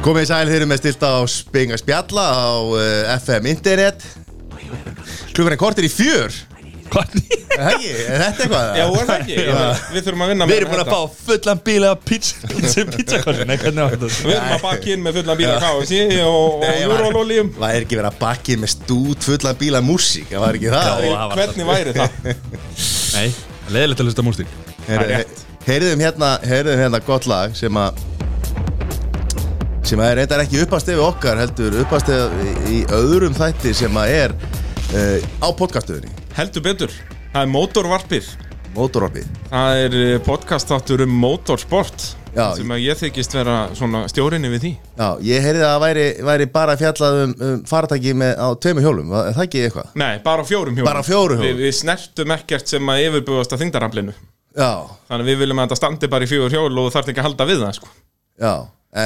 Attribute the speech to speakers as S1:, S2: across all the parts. S1: Komið í sæl þeir eru með stilt á Spinga Spjalla á uh, FM Internet Klukkan er kortir í fjör
S2: Hvað?
S1: Er það ekki? Er þetta eitthvað?
S3: Já, er það ekki? Ég meina, Við þurfum að vinna
S2: Við
S3: með
S2: erum búin að
S3: þetta.
S2: fá fullan bíla pizza, pizza, pizza kollin Nei, hvernig var þetta?
S3: Við erum að baki inn með fullan bíla KFC og
S1: Nei, Eh, var-
S3: júrólóljum
S1: Var ekki verið að bakkið með stút fullan bíla músík Það var ekki það
S2: Já, það var
S3: Hvernig væri það?
S2: Nei, leðilegt að hlusta mústík
S1: Heyrðu- Heyrðum hérna, heyrðum hérna gott lag sem að sem að er reyndar ekki uppast yfir okkar heldur uppast yfir í öðrum þætti sem að er uh, á podcastuðinni,
S3: Heldur betur Það er mótorvarpir
S1: Motororpið
S3: Það er eh, podcast þáttur um motorsport
S1: Já.
S3: sem að ég þykist vera svona stjórinni við því
S1: Já, ég heyrði að það væri, væri bara fjallað um, um faratæki með, á tveimur hjólum, var- er það ekki eitthvað?
S3: Nei, bara á fjórum hjólum
S1: Bara á fjórum hjólum.
S3: Við, við snertum ekkert sem að yfirbúast að þingdaraflinu
S1: Já,
S3: Þannig að við viljum að þetta standi bara í fjórum hjól og þú þarf ekki að halda við það sko.
S1: já,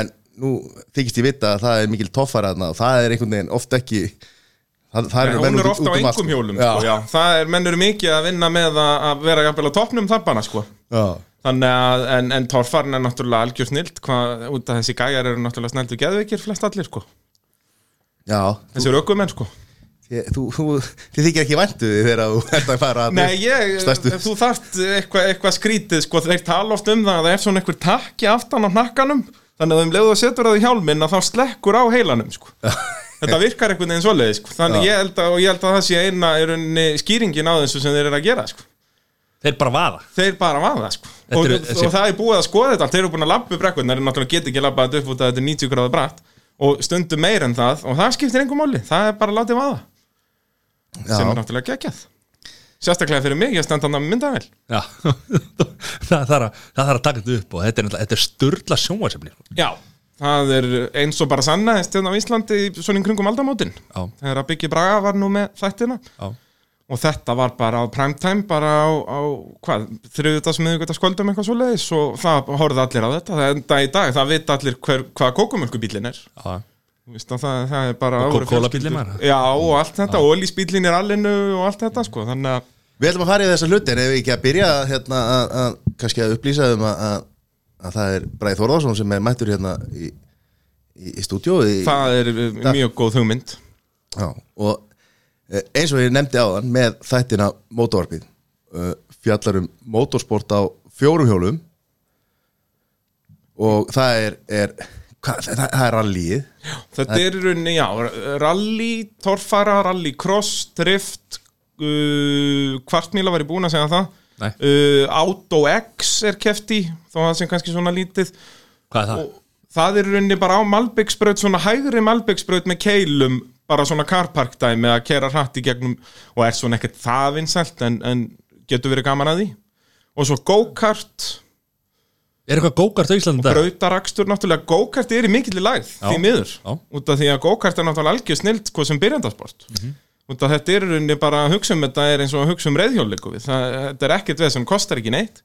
S1: en nú þykist ég vita að það er mikil toffar aðna og það er einhvern veginn oft ekki það, það
S3: En
S1: eru menn
S3: Hún
S1: út-
S3: er
S1: út
S3: ofta á
S1: um allt,
S3: engum
S1: sko.
S3: hjólum
S1: Já,
S3: sko, já. Það er, menn eru mikið að vinna með að, að vera jafnvel á toppnum þarpana sko.
S1: já,
S3: Þannig að, en, en torfarinn er náttúrulega algjör snilt, hvað, út af þessi gæjar eru náttúrulega snildu geðveikir flest allir, sko.
S1: já
S3: Þessi eru ökumenn, sko.
S1: Ég- þú, þú, þið þykir ekki væntu því þegar þú ert að fara að
S3: Nei, ég,
S1: stærstu,
S3: þú þarft eitthvað eitthva skrítið, sko, þeir tala oft um það að það er svona einhver takki aftan á hnakkanum, þannig að um leiðu að setur það í hjálminn að þá slekkur á heilanum, sko. Þetta virkar einhvern veginn svoleiði, sko. Þannig
S1: Já.
S3: ég held, að, og ég held að það sé eina í rauninni skýringin á þessu sem þeir eru að gera, sko.
S2: Þeir bara vaða
S3: Þeir bara vaða, sko. Og,
S2: Þetta eru-
S3: og, það er búið að skoða þetta, allt. þeir eru búin að labba upp brekkurnar, en náttúrulega geta ekki labbað þetta upp út að þetta er 90 gráða bratt og stundum meir en það og það skiptir engum máli, það er bara að látið vaða, sem er
S1: já,
S3: náttúrulega geggjað. Sérstaklega fyrir mig, ég stend hann að mynda vel.
S2: Já, það þarf að, það þarf að taka þetta upp og þetta er, náttúrulega- þetta er störla sjónvarsefni
S3: Já. Það er eins og bara sannaðist hérna á Íslandi í svona í kringum aldamótin.
S2: Já.
S3: Þegar að Byggi Braga var nú með þættina
S2: Já,
S3: og þetta var bara á primetime, bara á, á hvað, þriðutags miðugutaskvöldum eitthvað svo leiðis og það horfði allir á þetta. Það enda í dag, það vita allir hver, hvað kókumölkubílinn er.
S2: já
S3: Þú veist að það, það er bara
S2: Og
S3: ára
S2: Coca-Cola-bíllinn
S3: fjölskyldur.
S2: maður.
S3: Já og allt þetta, og olísbílinn er allinu og allt þetta sko Þannig að,
S1: Við ætlum að fara í þessa hluti en ef við ekki að byrja hérna, að, að, kannski að upplýsa um að, að, að það er Bræði Þórðarsson sem er mættur hérna í, í, í stúdíóið í-
S3: það er uh, mjög góð hugmynd
S1: Já, og eh, eins og ég nefndi áðan með þættina mótorvarpið eh, fjallar um mótorsport á fjórum hjólum og það er, er hva, það, það er rallíið
S3: Þetta er í rauninni, já, rally, torfara, rally, cross, drift uh, Kvartmíla var ég búin að segja það
S2: Nei.
S3: uh, Auto X er kefti, þó að það sem kannski svona lítið
S2: Hvað er það?
S3: Og það er í rauninni bara á Malbyggsbraut, svona hægri Malbyggsbraut með keilum bara svona carpark dæmi að kera hratt í gegnum og er svona ekkert það vinsælt en, en getur verið gaman að því og svo go-kart
S2: Er eitthvað gókart á Íslandi þetta?
S3: brautarakstur náttúrulega go-kart er í mikill lægð
S2: Já.
S3: því miður
S2: Já.
S3: út af því að go-kart er náttúrulega algjör snilt hvað sem byrjandarsport
S2: Mhm.
S3: út af þetta er í rauninni bara að hugsa um þetta er eins og að hugsa um reyðhjóllíku við það, þetta er ekkert veð sem kostar ekki neitt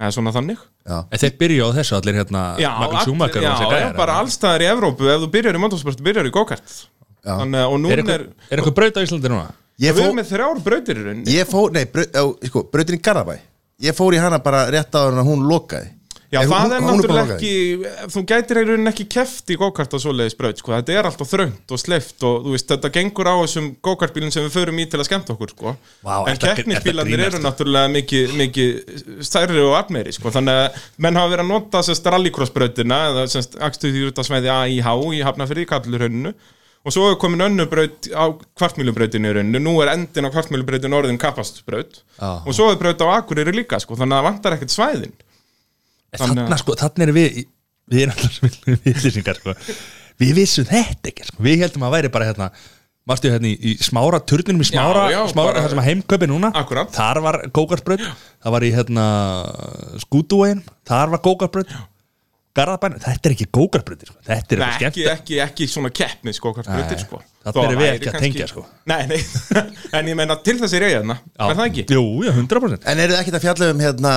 S3: það er svona þannig
S1: Já,
S2: En þeir byrja á þessu allir hérna
S3: Já,
S2: Michael
S3: all-
S2: Schumacher
S3: já,
S2: og þessi
S3: já,
S2: gæjar
S3: bara
S2: eða?
S3: allstaðar í Evrópu ef þú byrjar í motorsport, byrjar í go-kart Þannig að, og nú
S2: Er
S3: er,
S2: eitthvað, er eitthvað braut á Íslandi núna?
S1: ég
S3: við erum
S1: fór,
S3: með þrjár brautir í rauninni
S1: ég fór nei, brau, á, sko, brautin í Garabæ ég fór í hana bara rétt áður en að hún lokaði
S3: Já,
S1: Nei, hún- hún
S3: það er
S1: búin að
S3: náttúrulega
S1: loka því.
S3: ekki þú gætir í rauninni ekki keft í go-kart og svoleiðis braut, sko, þetta er alltaf þröngt og sleift og þú veist, þetta gengur á þessum go-kartbílum sem við förum í til að skemmta okkur, sko
S2: Vá, er
S3: en
S2: þetta-
S3: keppnisbílarnir
S2: er þetta
S3: eru
S2: grínast?
S3: náttúrulega mikið mikið stærri og armeiri, sko þannig að menn hafa verið að nota sérst rallycross brautina eða sérst akstuði út að smæði AIH í Hafnafyrði í Kallurhönnu og svo er komin önnu braut á kvartmýlubrautinu í rauninu, nú er endin á kvartmýlubrautinu orðin kapastusbraut
S2: Já.
S3: og svo er braut á Akureyri líka, sko, þannig að það vantar ekkert svæðin Þannig að-
S2: Þannig sko, þannig erum við í- Við erum allar sem viljum viðlýsingar sko. Við vissum þetta ekki sko. Við heldum að væri bara hérna Varstu hérna í, í smára, turninum í smára,
S3: Já, já,
S2: smára Það
S3: bara-
S2: sem að heimkaupi núna
S3: Akkúrat.
S2: Þar var gókartbraut Það var í hérna skútuvegin Þar var gókartbraut Garðabænum, þetta er ekki gókartbraut sko. Þetta er
S3: Nei,
S2: eitthvað
S3: ekki,
S2: skemmt
S3: ekki, ekki svona keppni sko, hvort hlutir sko
S2: þarna
S3: Þó
S2: erum við
S3: væri
S2: ekki að
S3: kannski-
S2: tengja, sko.
S3: Nei, nei, en ég meina til þessi reyðna, er það ekki?
S2: Jú, já, 100%
S1: en eru þið ekkert að fjalla um hérna,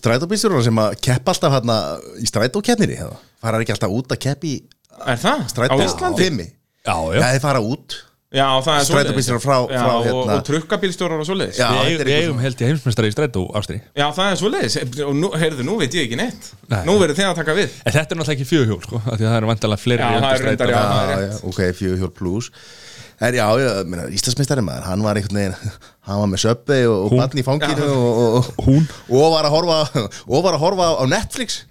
S1: strætóbísturuna sem að keppa alltaf hérna, í strætókeppninni hérna? farar ekki alltaf út að keppi í
S3: Er það?
S1: strætó
S3: Á Íslandi?
S1: Fimmi?
S2: Já,
S1: Já,
S2: já,
S1: þið fara út
S3: Já, það er svoleiðis.
S1: Strætóbílstjórar frá-
S3: Já,
S1: frá,
S3: og,
S1: hérna-
S3: og trukkabílstjórar og svoleiðis
S1: Já,
S3: Já.
S2: Við
S1: þetta er
S2: eigum, við
S1: eitthvað
S2: eigum held ég heimsmeistari í strætó ástri
S3: það er svoleiðis Og nú, heyrðu, nú veit ég ekki neitt
S2: Nei.
S3: Nú verður þið að taka við
S2: En þetta er náttúrulega ekki fjöghjól sko af Því að það eru vandalega fleiri
S3: Já,
S2: í
S3: það er
S2: Strætó.
S3: reyndar, já, það
S1: já,
S3: er rétt
S1: já, ok, fjögur plus En já, já, meina, Íslandsmeistari maður, hann var einhvern veginn hann var með söppi og, og
S2: Hún.
S1: barn í fanginu
S3: Já.
S1: og, og,
S2: Hún.
S1: og var að horfa og var að horfa á Netflix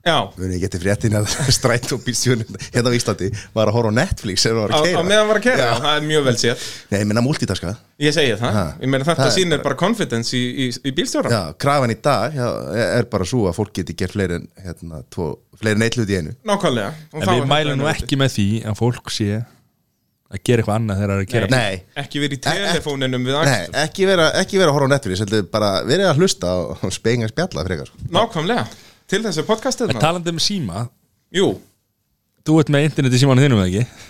S3: Já,
S1: Muni ég geti fréttin að strætó bílstjónin hérna á Íslandi var að horfa á Netflix sem var
S3: á,
S1: að
S3: á
S1: keira
S3: meðan var að kera, já. það er mjög vel sér
S1: Nei, ég meina multitaska
S3: Ég segi það,
S1: Ha.
S3: ég meina þetta
S1: Það er
S3: sýnir bara confidence í, í, í bílstjóra
S1: Já, krafan í dag já, er bara svo að fólk geti gert fleiri en hérna, tvo, fleiri en eitt hlut í einu
S3: Nákvæmlega
S2: En
S3: Og þá er
S2: við
S3: þetta
S2: mælum nú
S3: einu
S2: ekki með því að fólk sé að gera eitthvað annað þegar það er að gera
S1: Nei,
S3: Ekki verið í
S1: E- e-
S3: telefóninum við
S1: nei
S3: akstur
S1: ekki, vera, ekki vera að horfa á Netflix heldur bara verið að hlusta og spenga spjalla frekar sko.
S3: Nákvæmlega, til þessu podcastið
S2: En talandi um síma,
S3: Jú,
S2: þú ert með internet í símanu þínum eða ekki?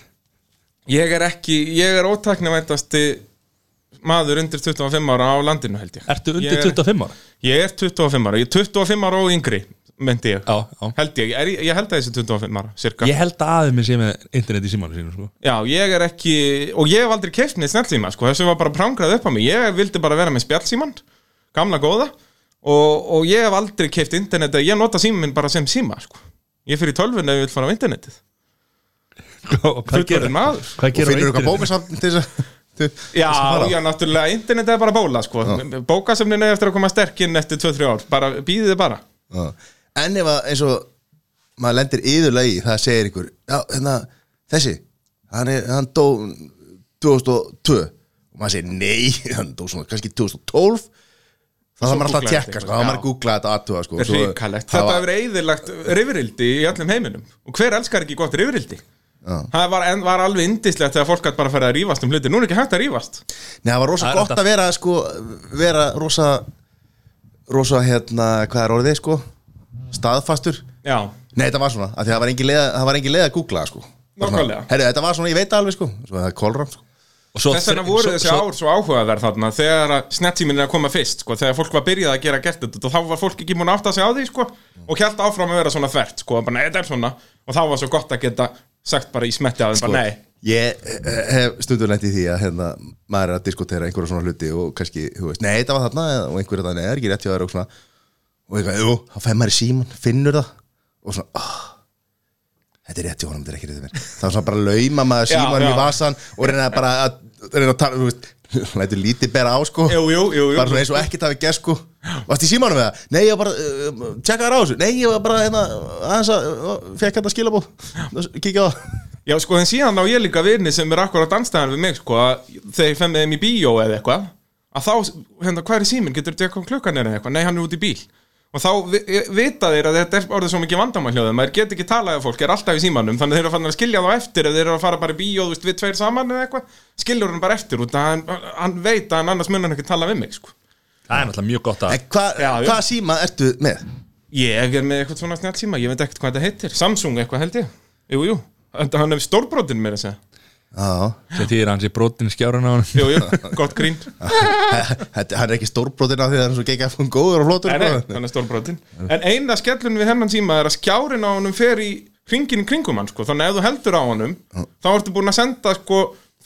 S3: ég er ekki, ég er ótaknavæntasti maður undir 25 ára á landinu held ég
S2: Ertu
S3: Ég
S2: undir
S3: er-
S2: 25 ára?
S3: Ég er 25 ára, ég er 25 ára og yngri myndi ég,
S2: Já, já
S3: held ég, ég, er, ég held að þessi 25 ára, cirka
S2: Ég held að aðeins sé með internet í símanu sínum sko
S3: Já, ég er ekki, og ég hef aldrei keft neitt snjallsíma, sko, þessu var bara prangrað upp á mig ég vildi bara vera með spjallsíman gamla góða, og, og ég hef aldrei keft internet, ég nota síminn minn bara sem síma, sko, ég fyrir tölvun ef ég vil fara á internetið,
S2: Og Hvað
S3: fullorðin maður
S2: Hvað
S1: og
S2: gerir
S1: finnur eitthvað bókasafn til þess að til- til þess
S3: Já,
S1: að fara á?
S3: já, náttúrulega, internet er bara bóla, sko bókasemnin er eftir að koma sterk inn eftir 2-3 ár, bara, býðið þið bara
S1: Já. en ef að eins og maður lendir yðurlega í það segir ykkur já, hérna, þessi hann, er, hann dó 2002 og maður segir nei hann dó svona kannski 2012 þá
S3: Svo
S1: þarf maður alltaf að
S3: googlaði
S1: tjekka
S3: þetta
S1: sko, þá þarf
S3: eitthvað,
S1: maður að googla þetta aðtuga sko, svo-
S3: Ríkalegt,
S1: það
S3: þetta
S1: var-
S3: hefur eigðilagt rifrildi í öllum heiminum og hver elskar ekki gott rifrildi?
S1: Já.
S3: Það var, en, var alveg indislegt þegar fólk gætt bara að fara að rífast um hluti, nú er ekki hægt að rífast
S1: Nei, það var rosa
S2: Það er
S1: gott
S2: þetta-
S1: að vera sko, vera rosa rosa hérna, hvað er orðið sko staðfastur
S3: Já,
S1: Nei, þetta var svona, af því það var engin leið, það var engin leið að googla það, sko Bara svona,
S3: Nákvæmlega.
S1: Herru, þetta var svona, ég veit það alveg sko Svo það er kolram sko
S3: þess vegna voru þessi ár svo áhugaverð þarna þegar snettíminn er að koma fyrst sko, þegar fólk var byrjað að gera gert þetta og þá var fólk ekki múin að átta sig á því sko, og hjælt áfram að vera svona þvert sko, bara, nei, þetta er svona, og þá var svo gott að geta sagt bara í smetti að þeim,
S1: Sko-
S3: bara nei
S1: Ég eh, hef stundur lent í því að hérna, maður er að diskutera einhverja svona hluti og kannski, þú veist, nei, þetta var þarna eða- og einhverja þannig er ekki rétt hjá þér og svona og eitthvað, jú, þá fæði maður í síman, finnur það og svona, ah þetta er rétt hjá honum, þetta er ekki rétt hjá mér þá svona bara lauma maður
S3: Já,
S1: símanum
S3: já.
S1: í vasan og reyna bara að, reyna að tala, þú veist lætur lítið bera á, sko
S3: Jú, jú, jú, jú.
S1: bara svona eins og ekkert hafi gert sko Varst í símanum með það? Nei, ég var bara, uh, tjekka þér á þessu Nei, ég var bara, hérna, aðeins að uh, fekk hérna skilabóð, kíkja á það
S3: Já, sko, en síðan á ég líka vini sem er akkurat anstæðan við mig, sko, að þegar ég fem með þeim í bíó eða eitthvað, að þá, hérna, hvað er í síminn, getur þetta eitthvað klukkan er eða eitthvað, nei, hann er út í bíl. Og þá vi- vita þeir að þetta er orðið svo mikið vandamaljóðum, maður get ekki talað af fólk, er alltaf í símanum, þannig að þeir eru að fara að skilja þá eftir, ef þeir eru að fara bara í bíó, þú veist, við tveir saman eða eitthvað, skiljur hann bara eftir, út að hann, hann veit að hann annars mun hann ekki tala við mig, sko.
S2: Það er náttúrulega mjög gott að
S1: En hva,
S3: Já, já.
S1: hvað síma ertu með?
S3: Ég er með eitthvað svona snjallsíma, ég veit ekkert hvað þetta heitir, Samsung eitthvað held ég, jú, jú, hann er stórbrotin meira að segja,
S1: Já,
S2: sem því er hans í brotin skjáran á hann
S3: jú, jú, gott grín.
S1: þetta, hann er ekki stórbrotin af því að hann er svo gekk að fóðum góður og flottur
S3: Nei, nei,
S1: sko.
S3: hann er stórbrotin En eina skellun við hennan síma er að skjárin á honum fer í hringin í kringum hann sko. Þannig að ef þú heldur á honum Þá ertu búin að senda sko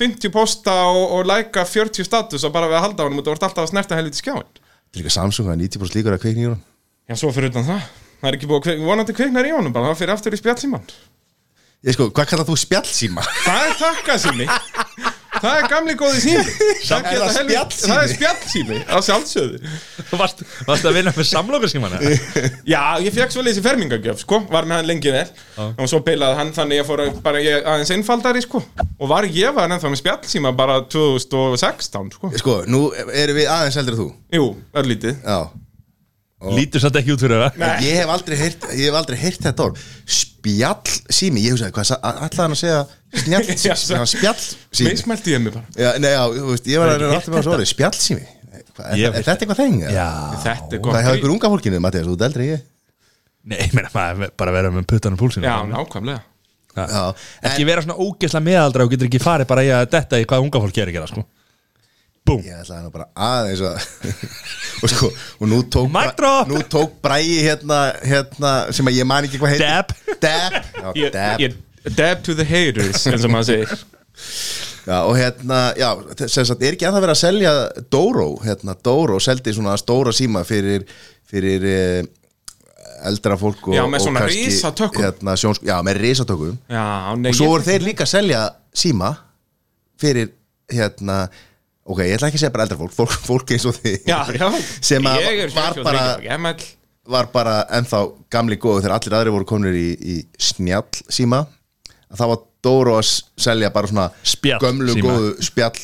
S3: 50 posta og, og læka 40 status og bara við að halda á honum og þú ert alltaf að snerta helviti skjáin
S1: Þetta er líka Samsung, það er 90% líkur að kveikni í hún
S3: Já, svo fyrir utan það Það er ekki búið að kveik, vonandi kveiknar í honum bara, það fyrir aftur í spjallsíman
S1: Ég sko, hvað kallar þú spjallsíma?
S3: Það er takka sími Það er gamli góði sími Það,
S1: Er
S3: geta
S1: það
S3: helvíti-
S1: spjallsími?
S3: það er spjallsími, á sjálfsöðu
S2: Varst, varst að vinna með samlokur símanu?
S3: Já, ég fekk svolítið þessi fermingagjöf, sko, var með hann lengi vel og svo beilaði hann þannig ég fór að- bara ég, aðeins einfaldari, sko og var ég var ennþá með spjallsíma bara 2016, sko
S1: Sko, nú erum við aðeins heldur þú
S3: Jú, örlítið
S1: Já
S2: Lítur samt ekki út fyrir það
S3: Nei.
S1: Ég hef aldrei heyrt, ég hef aldrei heyrt þetta orð Spjallsími, ég hugsaði, hvað ætlaði hann að segja
S3: Já,
S1: Snjall,
S3: svo-
S1: spjallsími
S3: Mismælti ég mig bara
S1: Já, nei, já, þú veist, ég var að reyna
S2: Það er ekki
S1: aftur með þessu orði, spjallsími Hva- Er,
S2: Ég
S1: er
S2: veit
S1: þetta eitthvað þeng? eða?
S3: Þetta er
S1: Hvað
S3: gott
S1: hefur
S3: grín.
S1: ykkur unga fólkinu, Mattias, þú ert eldri en ég
S2: Nei, ég meina maður er bara að vera með puttanum púlsinu
S3: Já, nákvæmlega
S1: Já,
S2: Ekki vera svona ógeðslega meðaldra og getur ekki farið bara í að detta í hvað unga fólk gerir gera sko Búm
S1: Ég ætlaði nú bara aðeins að Og sko, og nú tók
S2: Mic
S1: Bra-
S2: drop.
S1: Nú tók Bræi hérna, hérna Sem að ég man ekki hvað heitir
S2: Dab.
S1: Dab, já,
S3: ég,
S1: dab
S3: ég, Dab to the haters, eins og maður segir
S1: Já, og hérna, já, sem sagt, er ekki að það vera að selja Dóró, hérna, Dóró seldi svona stóra síma fyrir, fyrir eh, eldra fólk og,
S3: Já, með
S1: og
S3: svona
S1: kannski,
S3: risatökum.
S1: hérna, sjóns, Já, með risatökum
S3: Já, nei,
S1: Og svo
S3: ég-
S1: voru þeir líka að selja síma fyrir, hérna, ok, ég ætla ekki að segja bara eldra fólk, fólk, fólk eins og þið
S3: Já, já,
S1: Sem að
S3: ég er
S1: var
S3: 43
S1: bara-
S3: ára gamall.
S1: var bara ennþá gamli góðu þegar allir aðri voru komnir í, í snjall síma að það var Dóro að s- selja bara svona
S2: Spjall
S1: gömlu
S2: síma.
S1: góðu spjall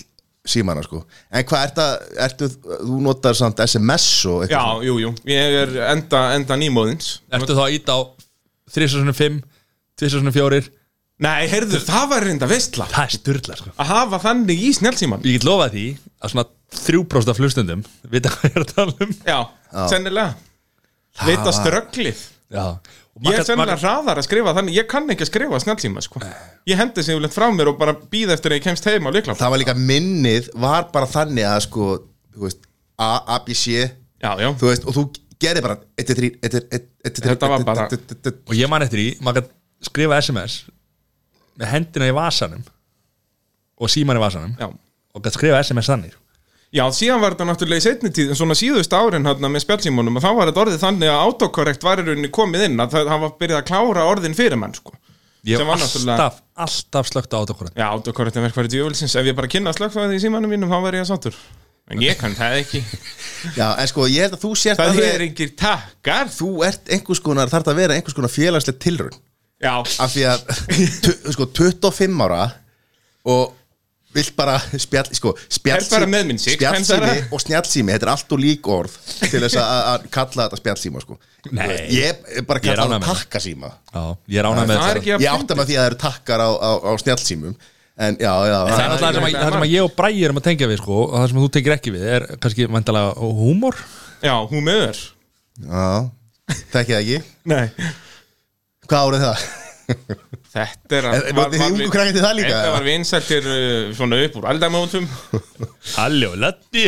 S1: símana sko en hvað er það, ertu, þú notar samt SMS og
S3: Já,
S1: eitthvað svona?
S3: jú, jú, ég er enda, enda nýmóðins
S2: Ertu þá að íta á 3.5 2.4
S3: Nei, heyrðu, það var reynda veistla
S2: Það er styrla sko
S3: Að hafa þannig í snjálfsíman
S2: Ég get lofað því að svona 3% af flustundum Vita hvað ég er að tala um
S3: Já, sennilega Vita strögglið
S2: Já
S3: Ég er sennilega hraðar að skrifa þannig Ég kann ekki að skrifa snjálfsíma, sko Ég hendi sig frá mér og bara býða eftir að ég kemst heim á líkla
S1: það var líka minnið, var bara þannig að sko, þú veist A, A, B, C,
S3: Já, já,
S1: þú veist og þú gerði bara 1, 3, 1, 1, 1, 3
S3: Þetta var bara-
S2: Og ég man eftir í, maður kann skrifa SMS Með hendina í vasanum Og síman í vasanum
S3: já
S2: Og kann skrifa SMS þannig
S3: Já, síðan var þetta náttúrulega í setni tíð en svona síðust árin hérna með spjallsímónum og þá var þetta orðið þannig að autokorrekt var í rauninni komið inn að það, hann var byrjað að klára orðin fyrir menn sko.
S2: Ég hef
S3: Sem var náttúrulega-
S2: alltaf, alltaf slögt á autokorrekt
S3: Já, autokorrekt er verkværi djöfulsins ef ég bara kynna að slökta í símanum mínum þá verð ég að sátur en ég kann það ekki
S1: já, en sko ég held að þú sért
S3: Það
S1: alveg-
S3: er engir takkar
S1: þú ert einhvers konar, þarf það að vera einhvers konar félagslega tilraun
S3: Já,
S1: af því að tu, sko, 25 ára og vill bara spjall sko, spjall,
S3: Er bara með minn sig,
S1: spjallsími
S3: pensara.
S1: og snjallsími, þetta er allt og lík orð til þess að- að kalla þetta spjallsíma sko.
S2: Nei.
S1: Þú veist, ég er bara að
S2: Ég er
S1: kalla
S2: ánægð
S1: þetta
S2: með
S1: takkasíma
S2: Já, ég er ánægð með
S3: það er
S2: þetta
S3: ekki að
S1: ég átta með því að það eru takkar á, á, á snjallsímum en já, já, já,
S2: Það er
S3: það
S2: alltaf
S3: er
S2: það sem að-
S3: ekki
S2: það sem að ég og Bræi erum að tengja við sko og það sem að þú tengir ekki við er kannski vandalega húmor
S3: Já, hún meður
S1: já þekki það ekki,
S3: Nei
S1: hvað árið það?
S3: Þetta er
S1: En- en notið Eh, þið ungu krakkar til það líka,
S3: Þetta
S1: eða?
S3: var vinsæltir uh, svona upp úr aldamótum
S2: Halló, Latti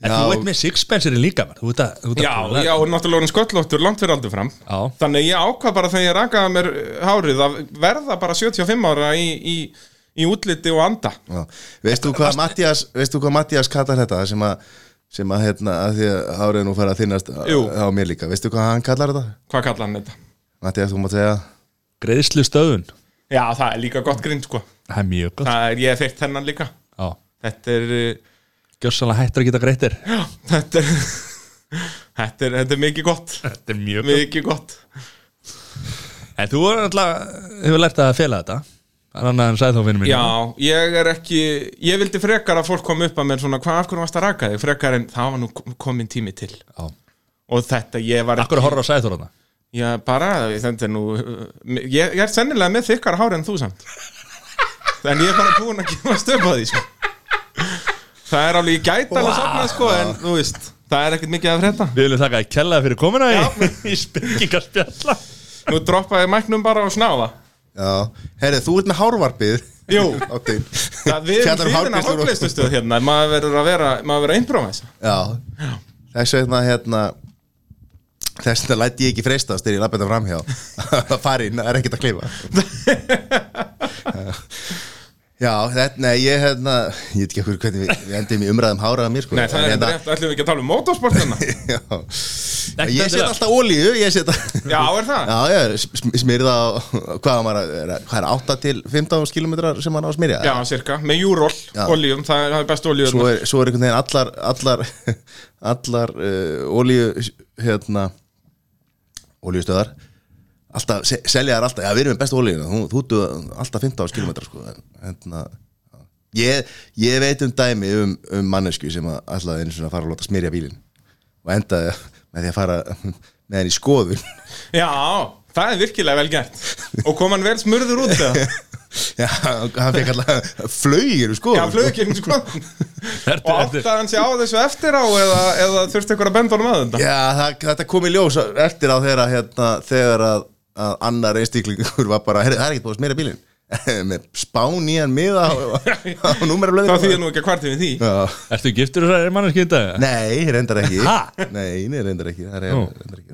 S2: En þú
S1: Já.
S2: veit með Sixpencerin líka man. Þú veit að, þú veit
S3: Já,
S2: að
S3: já, og náttúrulega hún sköllóttur langt fyrir aldur fram
S2: Já.
S3: Þannig að ég ákvað bara þegar ég rakaði mér uh, hárið að verða bara 75 ára í, í, í útliti og anda
S1: Já. Veist þú hvað Mattias veist þú hvað Mattias kallar þetta sem að, sem að hérna að því að hárið er nú fara að þinnast á
S3: Jú.
S1: á mér líka, veist þú hvað hann kallar þetta?
S3: Hvað kalla hann þetta?
S1: Mattias, þú mátt segja
S2: Greiðslu stöðun
S3: Já, það er líka gott grind, sko
S2: Það er mjög gott
S3: Það er, ég hef þeirt hennan líka
S2: Já,
S3: Þetta er, uh,
S2: gjörsalega hættur að geta greittir
S3: já, þetta er Þetta er, þetta er mikið gott
S2: Þetta er mjög
S3: Mikið gott
S2: En þú er alltaf, hefur lært að fela þetta Þannig að hann sagði þá fyrir mín
S3: Já, ég er ekki Ég vildi frekar að fólk kom upp að mér svona Hvað, af hverju varst að raka þig? Frekar en það var nú komin tími til Og þetta, ég var
S2: Akkur horfður á sæður þarna
S3: Já, bara, þetta er nú ég, ég er sennilega með þykkar hár en þú samt En ég er bara búinn að gefa stöp á því sko. Það er alveg, ég gæti alveg safna sko, En þú veist, það er ekkert mikið að frétta
S2: Við viljum þakka að kella fyrir komuna í, í spenningarspjalla
S3: Nú droppaði mæknum bara og snáða
S1: Já, herrið, þú ert með hárvarpið
S3: Jú.
S1: á um þeim
S3: Það við erum fyrir að hálfleistustuð hérna Maður verður að vera, maður verður að improvisa
S1: Já, þess vegna hérna þess vegna læti ég ekki freistast þegar ég lappa þetta framhjá að fara inn, það er ekkert að klifa Já, þetta, nei, ég hérna ég veit ekki af hverju hvernig við, við endum í umræðum háraða mér sko
S3: Nei, það
S1: En
S3: er
S1: hérna-
S3: hérna rétt, ætlum við ekki að tala um motorsportina
S1: Já. Ég set alltaf olíu Ég set
S3: Já, er það?
S1: Já, já, sm- smyrða á, hvað, á maður, að- er, hvað er 8 til 15 kilometrar sem hann á að smyrja
S3: Já, cirka, með júról,
S1: Já.
S3: oljum, það er, það er best oljur
S1: svo er, svo er einhvern veginn allar allar, allar uh, olíu hérna olíustöðar alltaf, se, selja þær alltaf, já við erum með bestu olíuna þú, þú duð alltaf 15 kilometrar sko, en, hérna ég, ég veit um dæmi um, um mannesku sem að alltaf einu svona fara að láta smyrja bílinn og endaði með því að fara með henni í skoðun
S3: Já, það er virkilega vel gert Og kom hann vel smurður út eða?
S1: já, hann fekk alltaf flögir um
S3: Já,
S1: skoðun
S3: flugurkinn, sko
S2: Ertu,
S3: Og
S2: ertu,
S3: áttaði hann sér á þessu eftir á eða, eða þurfti eitthvað að benda honum að þetta
S1: Já, það, þetta kom í ljós eftir á þeirra hérna, þegar að, að annar einstíklingur var bara, heyrðu, það er ekkert búið að smyrja bílinn með spán í hann miða á, á
S3: Þá því er
S1: númerablöðin
S3: nú ekki að kvarti við því
S2: ertu giftur þessar er manneskið í dag?
S1: Nei, reyndar ekki
S2: Ha?
S1: Nei, nei, reyndar ekki, það er,
S2: Nú.
S1: reyndar ekki.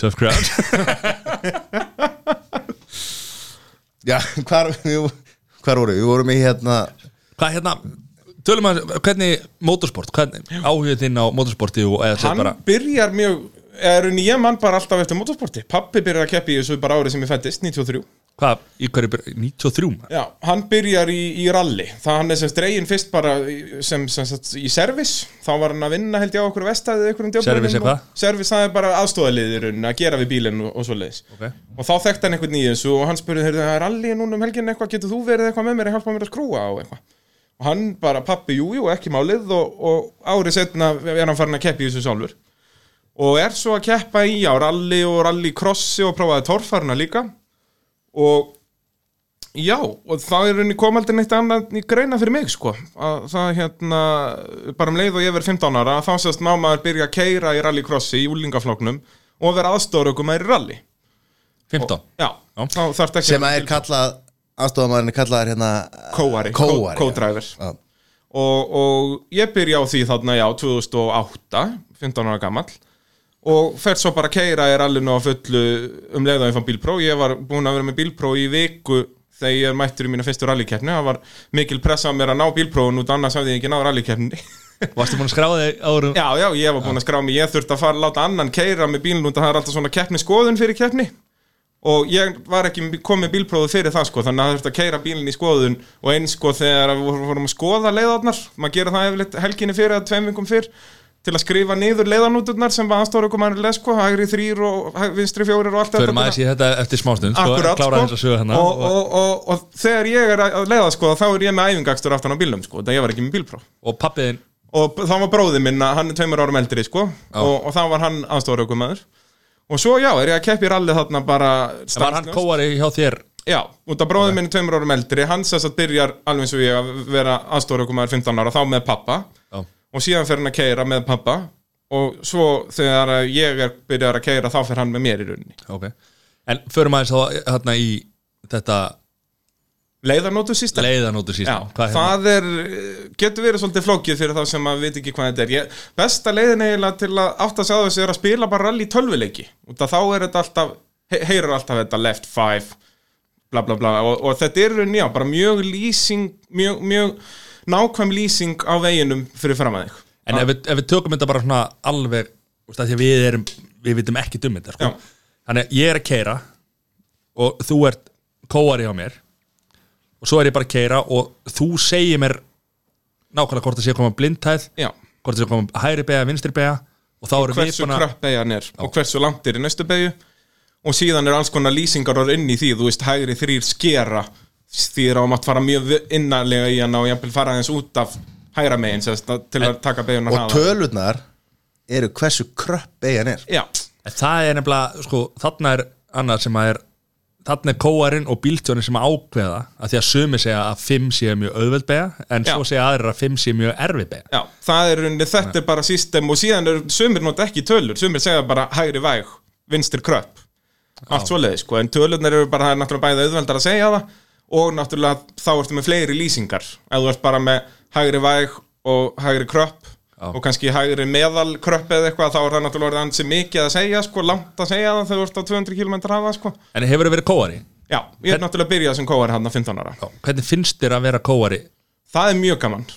S2: Tough crowd
S1: Já, hvar, jú, hvar voru? Við vorum í hérna
S2: Hvað hérna, tölum að, hvernig motorsport, hvernig áhugið þinn á motorsporti og eða
S3: hann
S2: segir bara
S3: byrjar mjög er unni ég mann bara alltaf eftir motorsporti pappi byrjar að keppa í þessu bara árið sem ég fættist 93,
S2: Hvað, í hverju, byr- 93 maður?
S3: já, hann byrjar í, í rally, það hann er sem dregin fyrst bara í- sem, sem sagt í service þá var hann að vinna held ég á okkur vestæði okkur um
S2: Service er hvað?
S3: service það er bara aðstóðaliðir að gera við bílinn og, og svo leiðis
S2: Ok.
S3: og þá þekkti hann eitthvað nýjins og hann spurði heyrðu, það er rally núna um helgin eitthvað, getur þú verið eitthvað með mér að hjálpa mér að skrúa á eitthvað og hann bara, pappi, jú, jú, ekki málið og, og árið setna er hann farin að keppa í þessu sjálfur og er svo að keppa í á rally og rally crossi og prófaði torfarna líka og já, og það er henni kom aldrei neitt annað í greina fyrir mig sko að það hérna, bara um leið og ég verið 15 ára, þá sérst má maður byrja að keira í rally crossi í úlingaflóknum og vera aðstóra okkur í rally
S2: 15
S3: Já,
S2: Já.
S3: þá þarf ekki
S1: sem að er kallað, aðstofamæðurinn er kallaðar hérna
S3: Kóari,
S1: Kóari, já.
S3: kódræfur
S1: Já.
S3: og, og ég byrja á því þarna, já, 2008 15 ára gamall og fer svo bara að keira er alveg á fullu um leiðan ég fann bílpró ég var búinn að vera með bílpró í viku þegar ég er mættur í mína fyrstu rallykeppni það var mikil pressa á mér að ná bílpróun út annars hafði ég ekki náð rallykeppni
S2: Varstu búin að skráða þig árum?
S3: já, já, ég var búinn að skrá mig ég þurfti að fara að láta annan keira með bílun út að það er alltaf svona keppni skoðun fyrir keppni og ég var ekki komið bílpróðu fyrir það sko þannig að það þurfti að keira bílinn í skoðun og eins sko þegar við vorum- vorum að skoða leiðarnar maður gerir það yfirleitt helginni fyrir eða tveim vingum fyrr til að skrifa niður leiðanúturnar sem var aðstóra okkur mann leð sko, hægri þrýr og hæ- vinstri fjórir og allt þetta
S2: Förum
S3: bara-
S2: aðeins í þetta eftir smástund sko,
S3: Akkurat,
S2: Klára
S3: sko.
S2: þess að sögu hana
S3: og, og, og, og þegar ég er að leiða sko, þá er ég með æfingakstur aftan á bílum sko, það ég var ekki með bílpróf
S2: og pappiðin
S3: og þá var bróðið minn, hann er tveimur árum eldri sko, og, og þá var hann aðstofaraukumæður og svo já, er ég að keppi rallið þarna bara
S2: Var hann kóari hjá þér?
S3: Já, út af bróðið minn er tveimur árum eldri hann sess að byrjar alveg eins og ég að vera aðstofaraukumæður 15 ára, þá með pappa
S2: Já,
S3: og síðan fer hann að keira með pappa og svo þegar að ég er byrjar að keira þá fer hann með mér í rauninni
S2: ok En förum aðeins þá hérna í þetta
S3: Leiðanótu síst
S2: leiðanótu
S3: Já,
S2: síðan Hvað hérna?
S3: það er, getur verið svolítið flókið fyrir þá sem að veit ekki hvað þetta er ég, Besta leiðin eiginlega til að átt að sjá þessu er að spila bara rally í tölvuleiki Út að þá er þetta alltaf, he heyrir alltaf þetta left five bla bla bla og, og þetta er í rauninni, já, bara mjög lýsing, mjög, mjög nákvæm lýsing á veginum fyrir fram að þig
S2: En ef við, ef við tökum þetta bara svona alveg þú veist, af Því að við erum, við vitum ekki um þetta sko.
S3: Já.
S2: Þannig að ég er að keira og þú ert kóari hjá mér og svo er ég bara að keira og þú segir mér nákvæmlega hvort það sé að koma blindhæð
S3: Já,
S2: hvort það sé að koma hægri beða, vinstri beða og þá erum við
S3: hversu
S2: búin að
S3: krapp beigjan er og hversu langt er í næstu beigju og síðan er alls konar lýsingar orð inn í því, þú veist, hægri þrýr skera því að maður fara mjög innanlega í hann og jafnvel fara aðeins út af hægra megin sérst, að- til að taka beigjuna
S1: og tölurnar eru hversu kröpp eigin er
S3: Já,
S2: En það er nefnilega, sko, þarna er annað sem að er, þarna er kóarinn og bíltjónin sem að ákveða að því að sumi segja að 5 sé mjög auðveld beða en
S3: Já.
S2: svo segja aðrir að 5 sé mjög erfið beða
S3: já, það er unni, þetta er bara system og síðan er sumir nota ekki tölur, sumir segja bara hægri væg, vinstir kröpp allt svoleiði, sko, en tölurnar eru bara það er náttúrulega bæði auðveldar að segja það og náttúrulega þá ertu með fleiri lýsingar ef þú ert bara með hægri væg og hægri kröpp
S2: Já.
S3: og kannski hægri meðal kröpp eða eitthvað þá er það náttúrulega orðið ansi mikið að segja sko, langt að segja það þegar þú ert á 200 km hraða sko.
S2: En hefur verið kóari?
S3: já, ég er náttúrulega byrjað sem kóar hann að 15 ára
S2: Já. Hvernig finnst þér að vera kóari?
S3: það er mjög gaman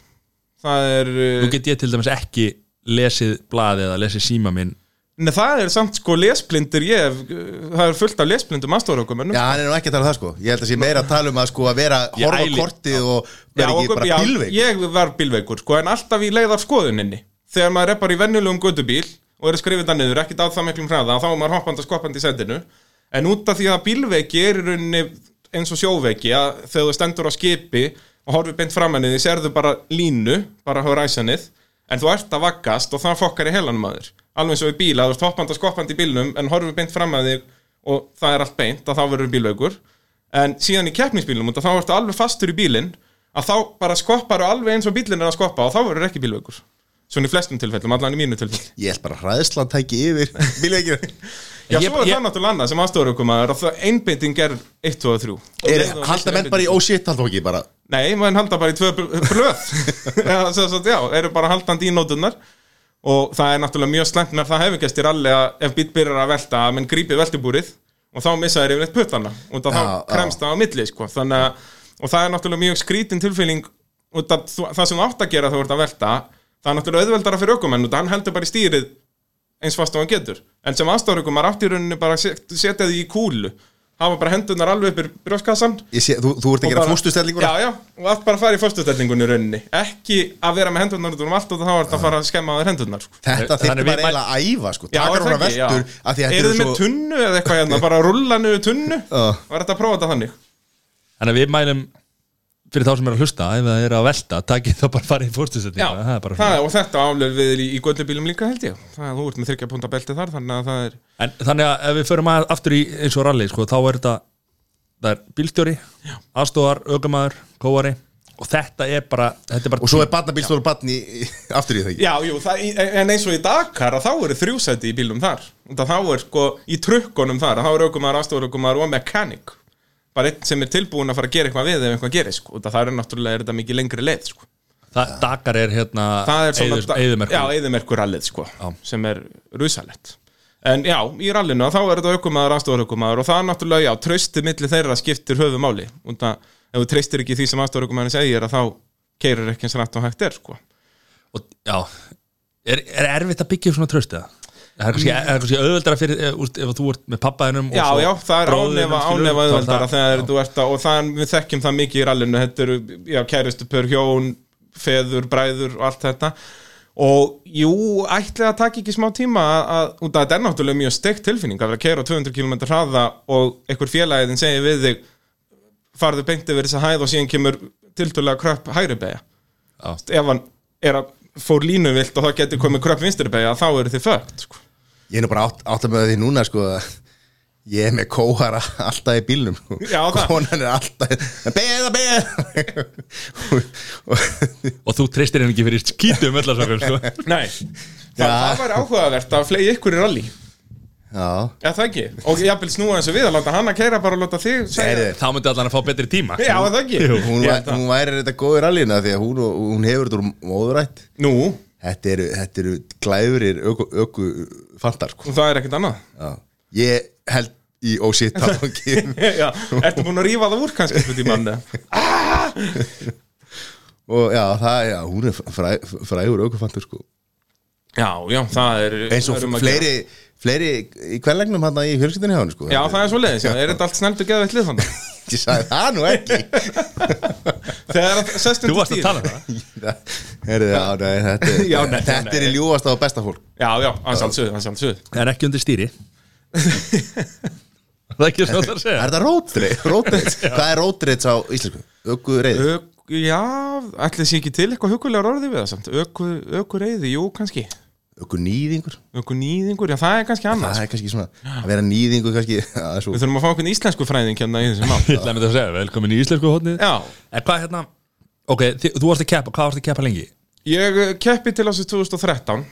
S3: það er, uh,
S2: Nú get ég til dæmis ekki lesið blaðið eða lesið síma minn
S3: Nei, það er samt sko lesblindir ég, hef, uh, það er fullt af lesblindum aðstofaraukumönnum.
S1: Já, hann er nú ekki að tala um það sko Ég held að sé meira að tala um að sko að vera
S2: Ég
S1: horfa á
S2: æli.
S1: kortið og vera ekki
S3: og-
S1: bara bílveik
S3: ég var bílveikur, sko, en alltaf í leiðar skoðuninni. Þegar maður er bara í venjulegum gödubíl og er að skrifa það niður, ekkert að það miklum hraða, þá er maður hoppandi og skoppandi í sendinu. En út af því að bílveiki er í rauninni eins og sjóveiki, að þegar þú stendur á skipi og horfir beint framennið, því serðu bara línu, bara horizonið, en þú ert að vaggast og það fokkar í helanum aður. Alveg eins og í bíla, þú ert hoppandi og skoppandi í bílnum, en horfir beint framennið og það er allt beint, að þá verður bílveikur. En síðan í keppnisbílnum, út af þá ertu alveg fastur í bílinn, að þá bara skopparu alveg eins og bílinn er að skoppa og þá verður ekki bílveikur. Svona í flestum tilfellum, allan í mínu tilfell.
S1: Ég held bara að hræðslan tæki yfir bílveikir
S3: Já,
S2: Ég-
S3: svo er
S2: ég-
S3: það náttúrulega annað sem aðstofur okkur maður að það einbeiting er 1, 2 og 3
S1: Er halda menn bara í ósitt halda ekki bara
S3: Nei, maður halda bara í tvö bl- blöð Já, sem sagt, já, eru bara haldandi í nótunar og það er náttúrulega mjög slæmt með það hefingast í ralli að ef bíl byrjar að velta að menn grípi veltibúrið og þá missa þær yfirleitt puttana og
S1: Já,
S3: það
S1: já.
S3: þá kremst það á milli sko. þannig að, og það er náttúrulega mjög skrítin tilfélning og það, það sem þú átt að gera þú ert að velta það er náttúrulega auðveldara fyrir ökumenn og hann heldur bara í stýrið eins fast og hann getur en sem aðstofrökum maður átt í rauninni bara að set- setja því í kúlu hafa bara hendunar alveg upp í brjóstkassan
S1: Ég sé, þú, þú ert
S3: og
S1: ekki að
S3: bara-
S1: fóstustellingur
S3: já, já, og allt bara að fara í föstustellingun í rauninni ekki að vera með hendunar út um allt og þá er þetta að fara að skemma á þér hendunar sko.
S1: Þetta
S2: Þannig
S1: þyrfti
S2: við
S1: bara
S2: mæ-
S1: eiginlega að æfa sko
S3: Já,
S1: Takar
S3: er
S1: hún að
S3: það ekki?
S1: veltur
S3: Já.
S1: af því að
S3: Eruð
S1: þetta
S3: þið með
S1: er svo
S3: tunnu eða eitthvað hérna, bara rulla niður tunnu
S1: Já.
S3: Var þetta að prófa þetta þannig?
S2: Þannig að við mælum fyrir þá sem er að hlusta ef það er að velta, takk þá bara farið í fórstusetning það er bara
S3: það,
S2: svona.
S3: og þetta álöf við í, í göllubílum líka held ég það, Þú ert með þryggja púnta belti þar, þannig að það er
S2: En þannig að ef við förum að, aftur í eins og rally sko, þá er þetta það er bílstjóri, aðstóðar, aukamæður kóari og þetta er bara þetta er bara
S1: Og svo er barnabílstóru barn í í- aftur í það ekki
S3: Já, jú, það, en eins og í Dakar að þá eru þrjúsæti í bílum þar og það þá er sko í trukkunum þar að þá eru aukumar, aðstofaraukumar og mekanik bara einn sem er tilbúin að fara að gera eitthvað við ef eitthvað gerir sko, og það það er náttúrulega er þetta mikið lengri leið sko.
S2: það, Dakar er hérna
S3: það er svona
S2: eyðumerkur
S3: já, eyðumerkurallið sko, sem er rusalett en já, í rallinu þá er þetta aukumæður, aðstofaraukumæður og það er náttúrulega, já, trösti milli þeirra skiptir höfumáli og það, ef þú treystir ekki því sem aðstofaraukumæðin segir að þá keirir ekki eins rætt og hægt er sko.
S2: og, já, er, er erfitt að byggja upp svona tröst eða? Það er kannski, er kannski auðveldara fyrir eh, úst, ef þú ert með pappaðinum
S3: Mm. já, já, það er ánefa, ánefa auðveldara þegar þú ert að, og það er, við þekkjum það mikið í rallinu, þetta eru, já, kæristu pör hjón, feður, bræður og allt þetta og jú, ætli að taka ekki smá tíma að, að, út að þetta er náttúrulega mjög steikt tilfinning að vera að kæra á 200 km hraða og einhver félagin segir við þig farðu beint yfir þessa hæð og síðan kemur tiltölulega kröpp hægri beigja
S2: Já.
S3: ef hann er að fór línuvilt og það getur komið kröpp vinstri beigja þá eru þið fögt sko.
S1: Ég er nú bara átt, átt að með því núna sko að Ég er með kóhara alltaf í bílnum sko.
S3: Já, það.
S1: Konan er alltaf Beða, beða
S2: og þú treystir henni ekki fyrir skítum öllarsakum sko.
S3: Nei,
S1: Já.
S3: það, það var áhugavert að flegi ykkur í rally
S1: Já
S3: Já, það ekki, og jafnvel snúa eins og við að láta hann að keira bara að láta þig segja
S1: Heyrðu,
S2: þá myndi allan að fá betri tíma
S3: Já, er það ekki
S2: Jú.
S1: Hún,
S3: Ég
S1: væ,
S3: held að-
S1: hún væri þetta góður allina því að hún, hún hefur þetta úr móðurætt
S3: Nú,
S1: Þetta eru, þetta eru glæðurir öku, öku fantar sko.
S3: og það er ekkert annað
S1: Já. Ég held í oh ósitt og
S3: Já, ertu búin að rífa það úr kannski fyrir tíma anda
S1: já, það, já, hún er fræ, frægur öku fantur sko.
S3: Já, já, það er
S1: eins og
S3: það er um að gera.
S1: fleiri, fleiri í hverlegnum hann í fjölskyldinni hjá hann sko.
S3: Já, það er svo leiðis, er þetta allt snelt og geða eitthvað þannig
S1: ég sagði það nú ekki
S3: Þegar að sestum
S2: þú varst að tala um það
S1: Heyrðu, já, nei, þetta, er-
S3: Já, nei,
S1: þetta
S3: nei.
S1: er í ljúast á besta fólk
S3: Já, já, hans allsöð, hans allsöð
S2: það er ekki undir stýri það er ekki svo það að
S1: Er
S2: segja
S1: þetta rótreits? Hvað er rótreits á íslensku? Öku reyð?
S3: Ök, já, ætli sé ekki til eitthvað hugulegar orðið við það samt Öku, öku reyði, jú, kannski
S1: Öku nýðingur?
S3: Öku nýðingur, já, það er kannski annað
S1: það er kannski svona að vera nýðingu kannski það er svo
S3: Við þurfum að fá einhvern íslensku fræðing hérna í þessum mál
S2: ég ætlaði að mynda að segja, velkomin í íslensku hótnið
S3: Já,
S2: en hvað hérna, ok, þi, þú varst að keppa hvað varst að keppa lengi?
S3: ég eh, keppi til ásins 2013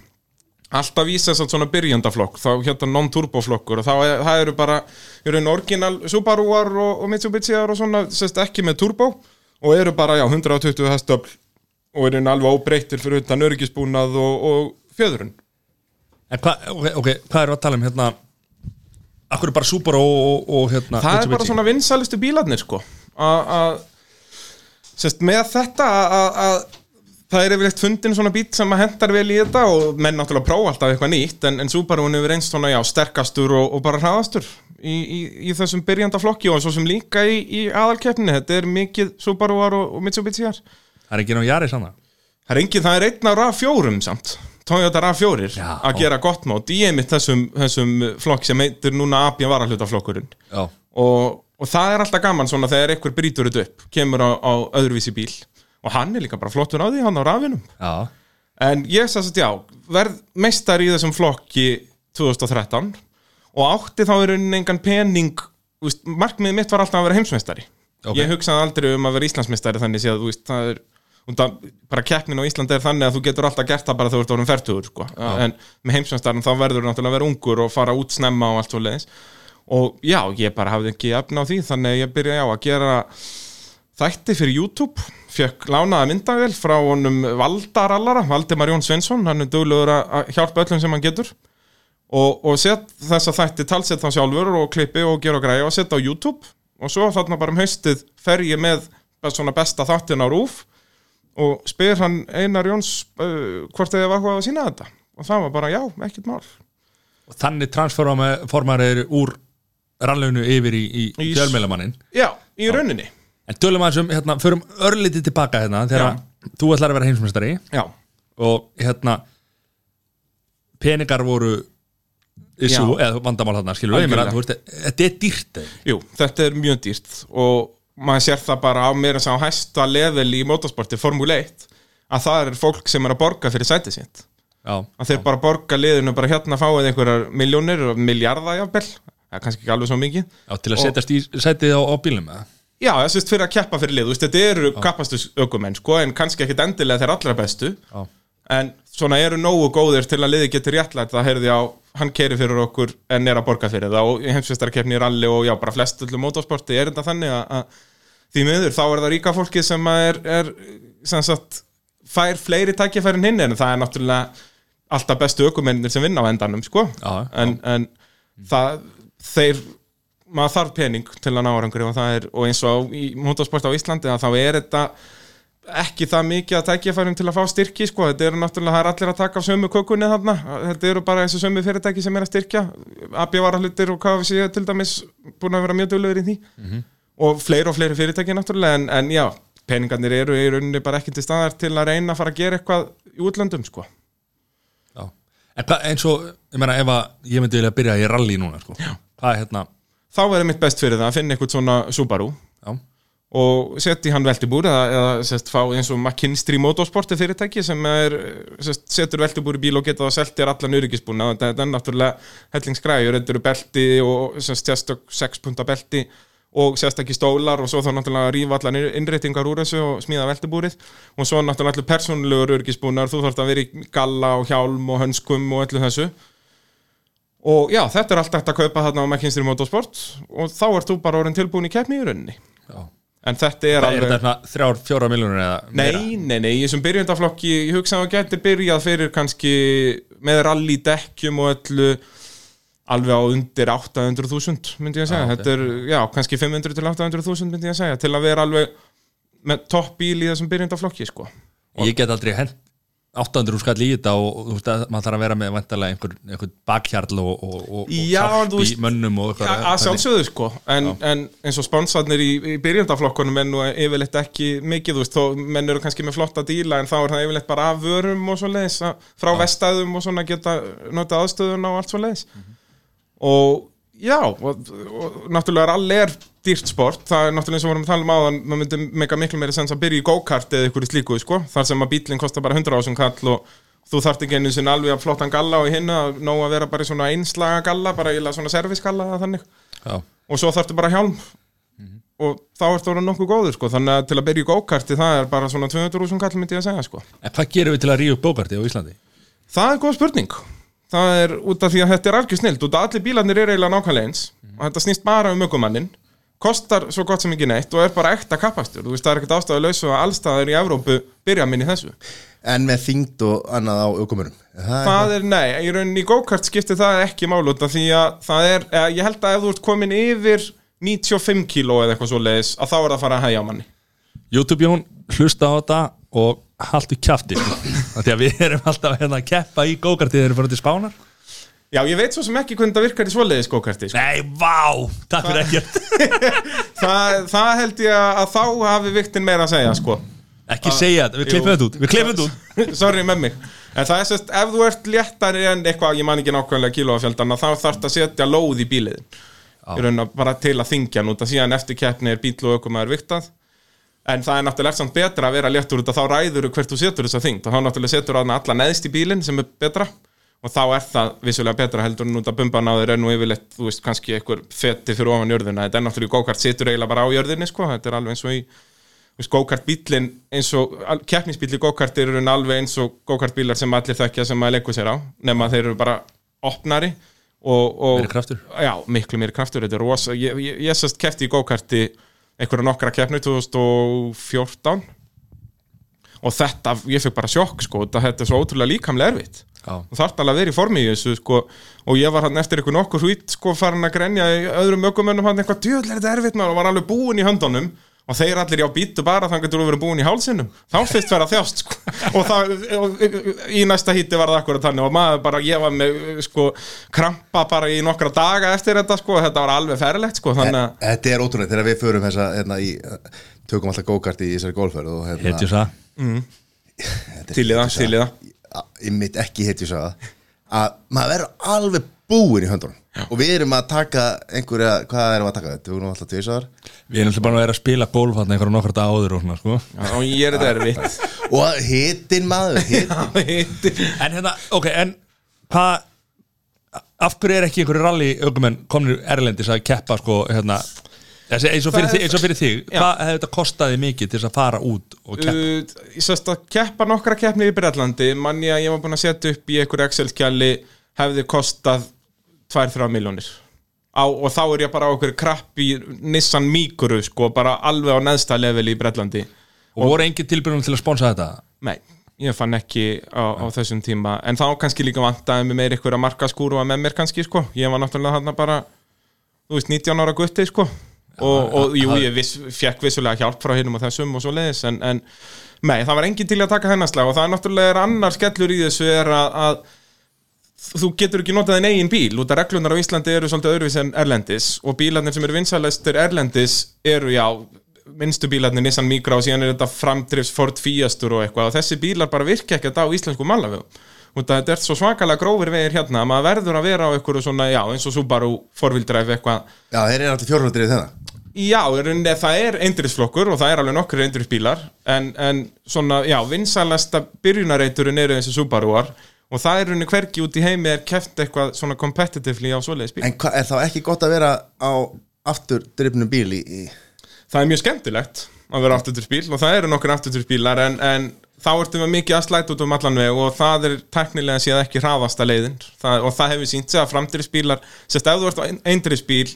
S3: Alltaf vísa þess að svona byrjandaflokk Þá hérna non-turbo flokkur Og þá er, það eru bara, ég raun orginal Subaruar og, og Mitsubishiar og svona Sest ekki með turbo Og eru bara, já, 120 hestöfl Og eru alveg óbreyttir fyrir utan öryggisbúnað og, og fjöðrun
S2: en hvað, ok, ok, hvað erum við að tala um hérna akkur er bara Subaru og, og, og hérna
S3: það er bara
S2: Mitsubishi?
S3: svona vinsalistu bílarnir sko að að- sérst með þetta að- að að það er yfirleitt fundin svona bít sem að hendar vel í þetta og menn náttúrulega prófa alltaf eitthvað nýtt en, en Subaru hún hefur reynst svona já sterkastur og, og bara hraðastur í, í, í þessum byrjanda flokki og svo sem líka í, í aðalkeppni þetta er mikið Subaruar og, og Mitsubishiar
S2: það er ekki náðu jari sann
S3: það er engin, það er einn af RAV4 samt Toyota RAV4
S2: Já.
S3: að gera gott mót í einmitt þessum, þessum flokk sem heitir núna Abja varahlutaflokkurinn
S2: já
S3: og, og það er alltaf gaman svona þegar einhver brýtur þetta upp kemur á, á öðruvísi bíl og hann er líka bara flottur á því, hann á rafinum
S2: Já,
S3: en ég sagði að já, verð meistar í þessum flokki 2013 og átti þá í rauninni engan pening þú veist, markmiðið mitt var alltaf að vera heimsmeistari
S2: Ok.
S3: ég hugsaði aldrei um að vera Íslandsmeistari þannig séð, þú veist, það er og það, bara keppnin á Íslandi er þannig að þú getur alltaf gert það bara þegar þú ert orðin fertugur sko. en með heimsmeistarinn þá verður þú náttúrulega að vera ungur og fara út snemma og allt svo leiðis og já, ég bara hafði ekki efna á því þannig að ég byrja á að gera þætti fyrir YouTube fekk lánaða myndavél frá honum Valdarallara, Valdimar Jón Svensson hann er duglegur að að hjálpa öllum sem hann getur og, og set þessa þætti talsett þá sjálfur og klippi og gera og græja og setja á YouTube og svo þarna bara um haustið fer ég með best- svona besta þáttin á rúf og spyr hann Einar Jóns uh, hvort þið var hvað að sína þetta og það var bara já, ekkert mál
S2: og þannig transformar er úr rannleginu yfir í, í
S3: Í s-
S2: fjölmeilamannin
S3: Já, í rauninni
S2: en tölum aðeins um, hérna, förum örlítið tilbaka hérna, þegar
S3: Já.
S2: að þú ætlar að vera heimsmeistari
S3: Já,
S2: og hérna peningar voru issue, eða vandamál þarna, skilur við, ég meina,
S3: Algjörlega.
S2: þú veist, þetta er dýrt eh. eða ekki?
S3: jú, þetta er mjög dýrt og maður sér það bara á mér þess að hæsta level í motorsporti Formule 1 að það er fólk sem er að borga fyrir sætið sitt
S2: já,
S3: að þeir bara borga liðinu bara hérna fáið einhverjar miljónir og miljardar jafnvel það er kannski ekki alveg svo mikið
S2: já, til að setjast í sætið á, á bílum eða?
S3: já, það sést fyrir að keppa fyrir lið þú veist, þetta eru kappastus ökumenn sko, en kannski ekkit endilega þeir allra bestu
S2: já,
S3: en svona eru nógu góðir til að liði getur réttlætt það heyrði á, hann keiri fyrir okkur en er að borga fyrir það og heimsvistarkeppni í rally og já, bara flest öllum motorsporti er þetta þannig að, að því miður þá er það ríka fólki sem að er, er sem sagt, fær fleiri tækifærin hinn en það er náttúrulega alltaf bestu ökumennir sem vinna á endanum sko.
S2: Já, já.
S3: en, en það þeir maður þarf pening til að ná árangur og, það er, og eins og á- í motorsport á Íslandi að þá er þetta ekki það mikið að tækifærum til að fá styrki sko. þetta eru náttúrulega, það er allir að taka af sömu kökunni þarna, þetta eru bara þessu sömu fyrirtæki sem er að styrkja, AB varahlutir og KFC er til dæmis búin að vera mjög duglegur í því og fleiri og fleiri fyrirtæki náttúrulega, en, en já peningarnir eru í rauninni bara ekki til staðar til að reyna að fara að gera eitthvað í útlöndum sko.
S2: já en hvað, eins og, ég meina, ef að ég myndi vilja byrja í rally núna, sko já. hvað er hérna,
S3: þá verður mitt best fyrir það að finna eitthvað svona Subaru
S2: já,
S3: og setja í hann veltibúr eða, eða sest, fá eins og McKinstry Motorsporti fyrirtæki sem er, sest, setur veltibúr í bíl og geta það selt þér allan öryggisbúna þetta þetta er náttúrulega hellingsgræjur þetta eru belti og sest, sérstök 6 punta belti og sérstakki stólar og svo þá náttúrulega rífa allan innreitingar úr þessu og smíða veltibúrið og svo náttúrulega allir persónulegur öryggisbúnar þú þarft að vera í galla og hjálm og hönskum og öllu þessu og já, þetta er allt hægt að kaupa þarna á McKinstry Motorsport og þá ert þú bara orðin tilbúin í keppni í rauninni
S2: já
S3: En þetta er
S2: er
S3: alveg...
S2: þetta svona þrjár, fjórar miljonur eða meira?
S3: Nei, nei, nei, í þessum byrjandaflokki ég hugsa að það getur byrjað fyrir kannski með rally dekkjum og öllu alveg á undir 800.000 myndi ég að segja,
S2: Já, ok.
S3: þetta er, já, kannski 500 til 800.000 myndi ég að segja, til að vera alveg með topp bíl í þessum byrjandaflokki sko.
S2: ég get aldrei hent 800 skall í þetta og og þú veist að maður þarf að vera með vantarlega einhver, einhver bakhjarl og, og, og, og
S3: Já,
S2: hjálp
S3: þú
S2: í
S3: veist-
S2: mönnum og
S3: Já, að
S2: eitthvað
S3: sjálfsögðu sko en, en eins og sponsarnir í, í byrjandaflokkunum er nú yfirleitt ekki mikið þú veist, þó menn eru kannski með flotta díla en þá er það yfirleitt bara af vörum og svo leiðis frá vestæðum og svona geta nota aðstöðuna og allt svo leiðis og já og, og náttúrulega rally er dýrt sport það er náttúrulega eins og vorum að tala um áðan maður myndi mega miklu meiri sens að byrja í go-kart eða ykkur í slíku sko, þar sem að bílinn kostar bara 100 ásum kall og þú þarft ekki einu sinni alveg að flottan galla og hinna, nóg að vera bara í svona einslaga galla, bara eiginlega svona servisgalla eða þannig
S2: Já,
S3: og svo þarftu bara hjálm og þá ertu orðin nokkuð góður sko þannig að til að byrja í go-karti það er bara svona 200.000 kall myndi ég að segja sko
S2: En hvað gerum við til að ríða upp bókarti á Íslandi?
S3: það er góð spurning það er út af því að þetta er algjör snild út af allir bílarnir eru eiginlega nákvæmlega eins og þetta snýst bara um ökumannin kostar svo gott sem ekki neitt og er bara ekta kappastur þú veist það er ekkert ástæðu lausu að allstaðar í Evrópu byrja minn í þessu
S1: En með þyngd og annað á aukumunum
S3: það er, nei, í rauninni í go-kart skiptir það ekki mál út af því að það er, eða, ég held að ef þú ert komin yfir 95 kíló eða eitthvað svo að þá er það að fara að hægja á manni
S2: YouTube Jón, hlusta á þetta og haltu kjafti Því að við erum alltaf hérna að keppa í bókarti þegar við fyrir til spánar
S3: Já, ég veit svo sem ekki hvernig það virkar í svoleiðis gókarti sko.
S2: Nei, vá, takk fyrir ekkert
S3: það, það held ég að þá hafi viktin meira að segja sko.
S2: Ekki segja þetta, við klippum þetta út Við klippum þetta út
S3: Sorry með mig En það er sérst, ef þú ert léttari en eitthvað ég man ekki nákvæmlega kílóafjöldan þá þarft að setja lóð í bíliðin í raun að bara til að þingja nút að síðan eftir keppni er bíl og ökumæður viktað en það er náttúrulega samt betra að vera léttur út að þá ræður þú hvert þú setur þess að þingt og þá náttúrulega setur þarna alla neðst í bílinn sem er betra og þá er það vissulega betra heldur en út að bumban á þér er nú yfirleitt, þú veist, kannski einhver feti fyrir ofan jörðina, þetta er náttúrulega gókart setur eiginlega bara á jörðinni, sko, þetta er alveg eins og í þú veist, go-kart bílinn eins og keppnisbíl í go-kart eru í raun alveg eins og go-kart bílar sem allir þekkja sem maður leikur sér á nema þeir eru bara opnari og, og
S2: Meiri kraftur.
S3: já, miklu meiri kraftur, þetta er rosa ég, ég, ég sérst kefti í go-karti einhverja nokkra keppni 2014 og þetta, ég fekk bara sjokk sko, þetta, þetta er svo ótrúlega líkamlega erfitt
S2: Já.
S3: og þarf alveg að vera í formi í þessu sko, og ég var hann eftir eitthvað nokkur hvít sko farin að grenja í öðrum ökumönnum hann eitthvað djöðlega er þetta erfitt maður og var alveg búin í höndunum og þeir allir já býtu bara þannig að þú verið búin í hálsinum þá fyrst vera þjást sko. og, það, og í næsta híti var það akkurat þannig og maður bara, ég var með sko krampa bara í nokkra daga eftir þetta sko, þetta var alveg ferlegt sko þannig að
S1: Þetta er ótrúlega þegar við förum þessa hérna, í, eh, tökum alltaf go-kart í þessari golfferð og hérna,
S2: Hetjus það
S1: þetta er
S3: til í það,
S1: hetjusaga.
S3: til í það
S1: Ég- ég mitt ekki hetjus að að maður verður alveg búin í höndunum og við erum að taka einhverja, hvað erum við að taka þetta? Við erum alltaf tvisaðar
S2: Við erum alltaf bara að vera að spila golf hann einhverjum nokkar dag áður og svona sko
S3: Já, og ég er þetta erfitt
S1: og hittin maður, hittin
S3: Hitti-
S2: En hérna, ok, en hvað Af hverju er ekki einhverju rally aukumenn komnir erlendis að keppa sko hérna þessi, eins, og fyrir,
S3: Það er-
S2: þig- eins og fyrir þig,
S3: Já.
S2: hvað hefði þetta kostaði mikið til þess að fara út og keppa?
S3: Uh, ég sérst að keppa nokkra keppni í Breitlandi mann ég að ég var búin að setja upp í einhver Excel-kjali hefði kostað 2-3 miljónir á, og þá er ég bara á okkur krapp í Nissan Micro sko, bara alveg á neðsta level í Breitlandi
S2: og voru engin tilbyrjum til að sponsa þetta?
S3: Nei, ég fann ekki á, á þessum tíma en þá kannski líka vantaði mig meir einhverja markaskúru að með mér kannski sko ég var náttúrulega hann bara þú veist 19 ára gutti sko og, og jú, ég viss, fekk vissulega hjálp frá hinnum og þessum og svo leiðis en, en nei, það var engin til að taka hennar slag og það er náttúrulega er annar skellur í þessu er að, að þú getur ekki notað þinn eigin bíl út af reglunar á Íslandi eru svolítið öðruvis en Erlendis og bílarnir sem eru vinsælæstur Erlendis eru já minnstu bílarnir Nissan Micra og síðan er þetta framdrifs Ford Fiastur og eitthvað og þessi bílar bara virka ekkert á íslensku malavegum út af þetta er svo svakalega grófir vegir hérna að maður verður að vera á einhverju svona já eins og Subaru forvildræf eitthvað
S1: Já, þeir eru allir fjórhundir í þennan
S3: Já, í rauninni, það er eindrisflokkur og það er alveg nokkur eindrisbílar en, en svona, já, vinsælasta byrjunareiturinn eru þessi Subaruar og það er í rauninni hvergi út í heimi er keft eitthvað svona competitively á svoleiðis bíl
S1: En hva, er þá ekki gott að vera á aftur drifnum bíl í, í
S3: Það er mjög skemmtilegt að vera afturtursbíl og það eru nokkur afturtursbílar en, en þá ertum við mikið að slæta út um allan veg og það er teknilega séð ekki hraðasta leiðin það, og það hefur sínt sig að framdrifsbílar sérst ef þú ert á eindrisbíl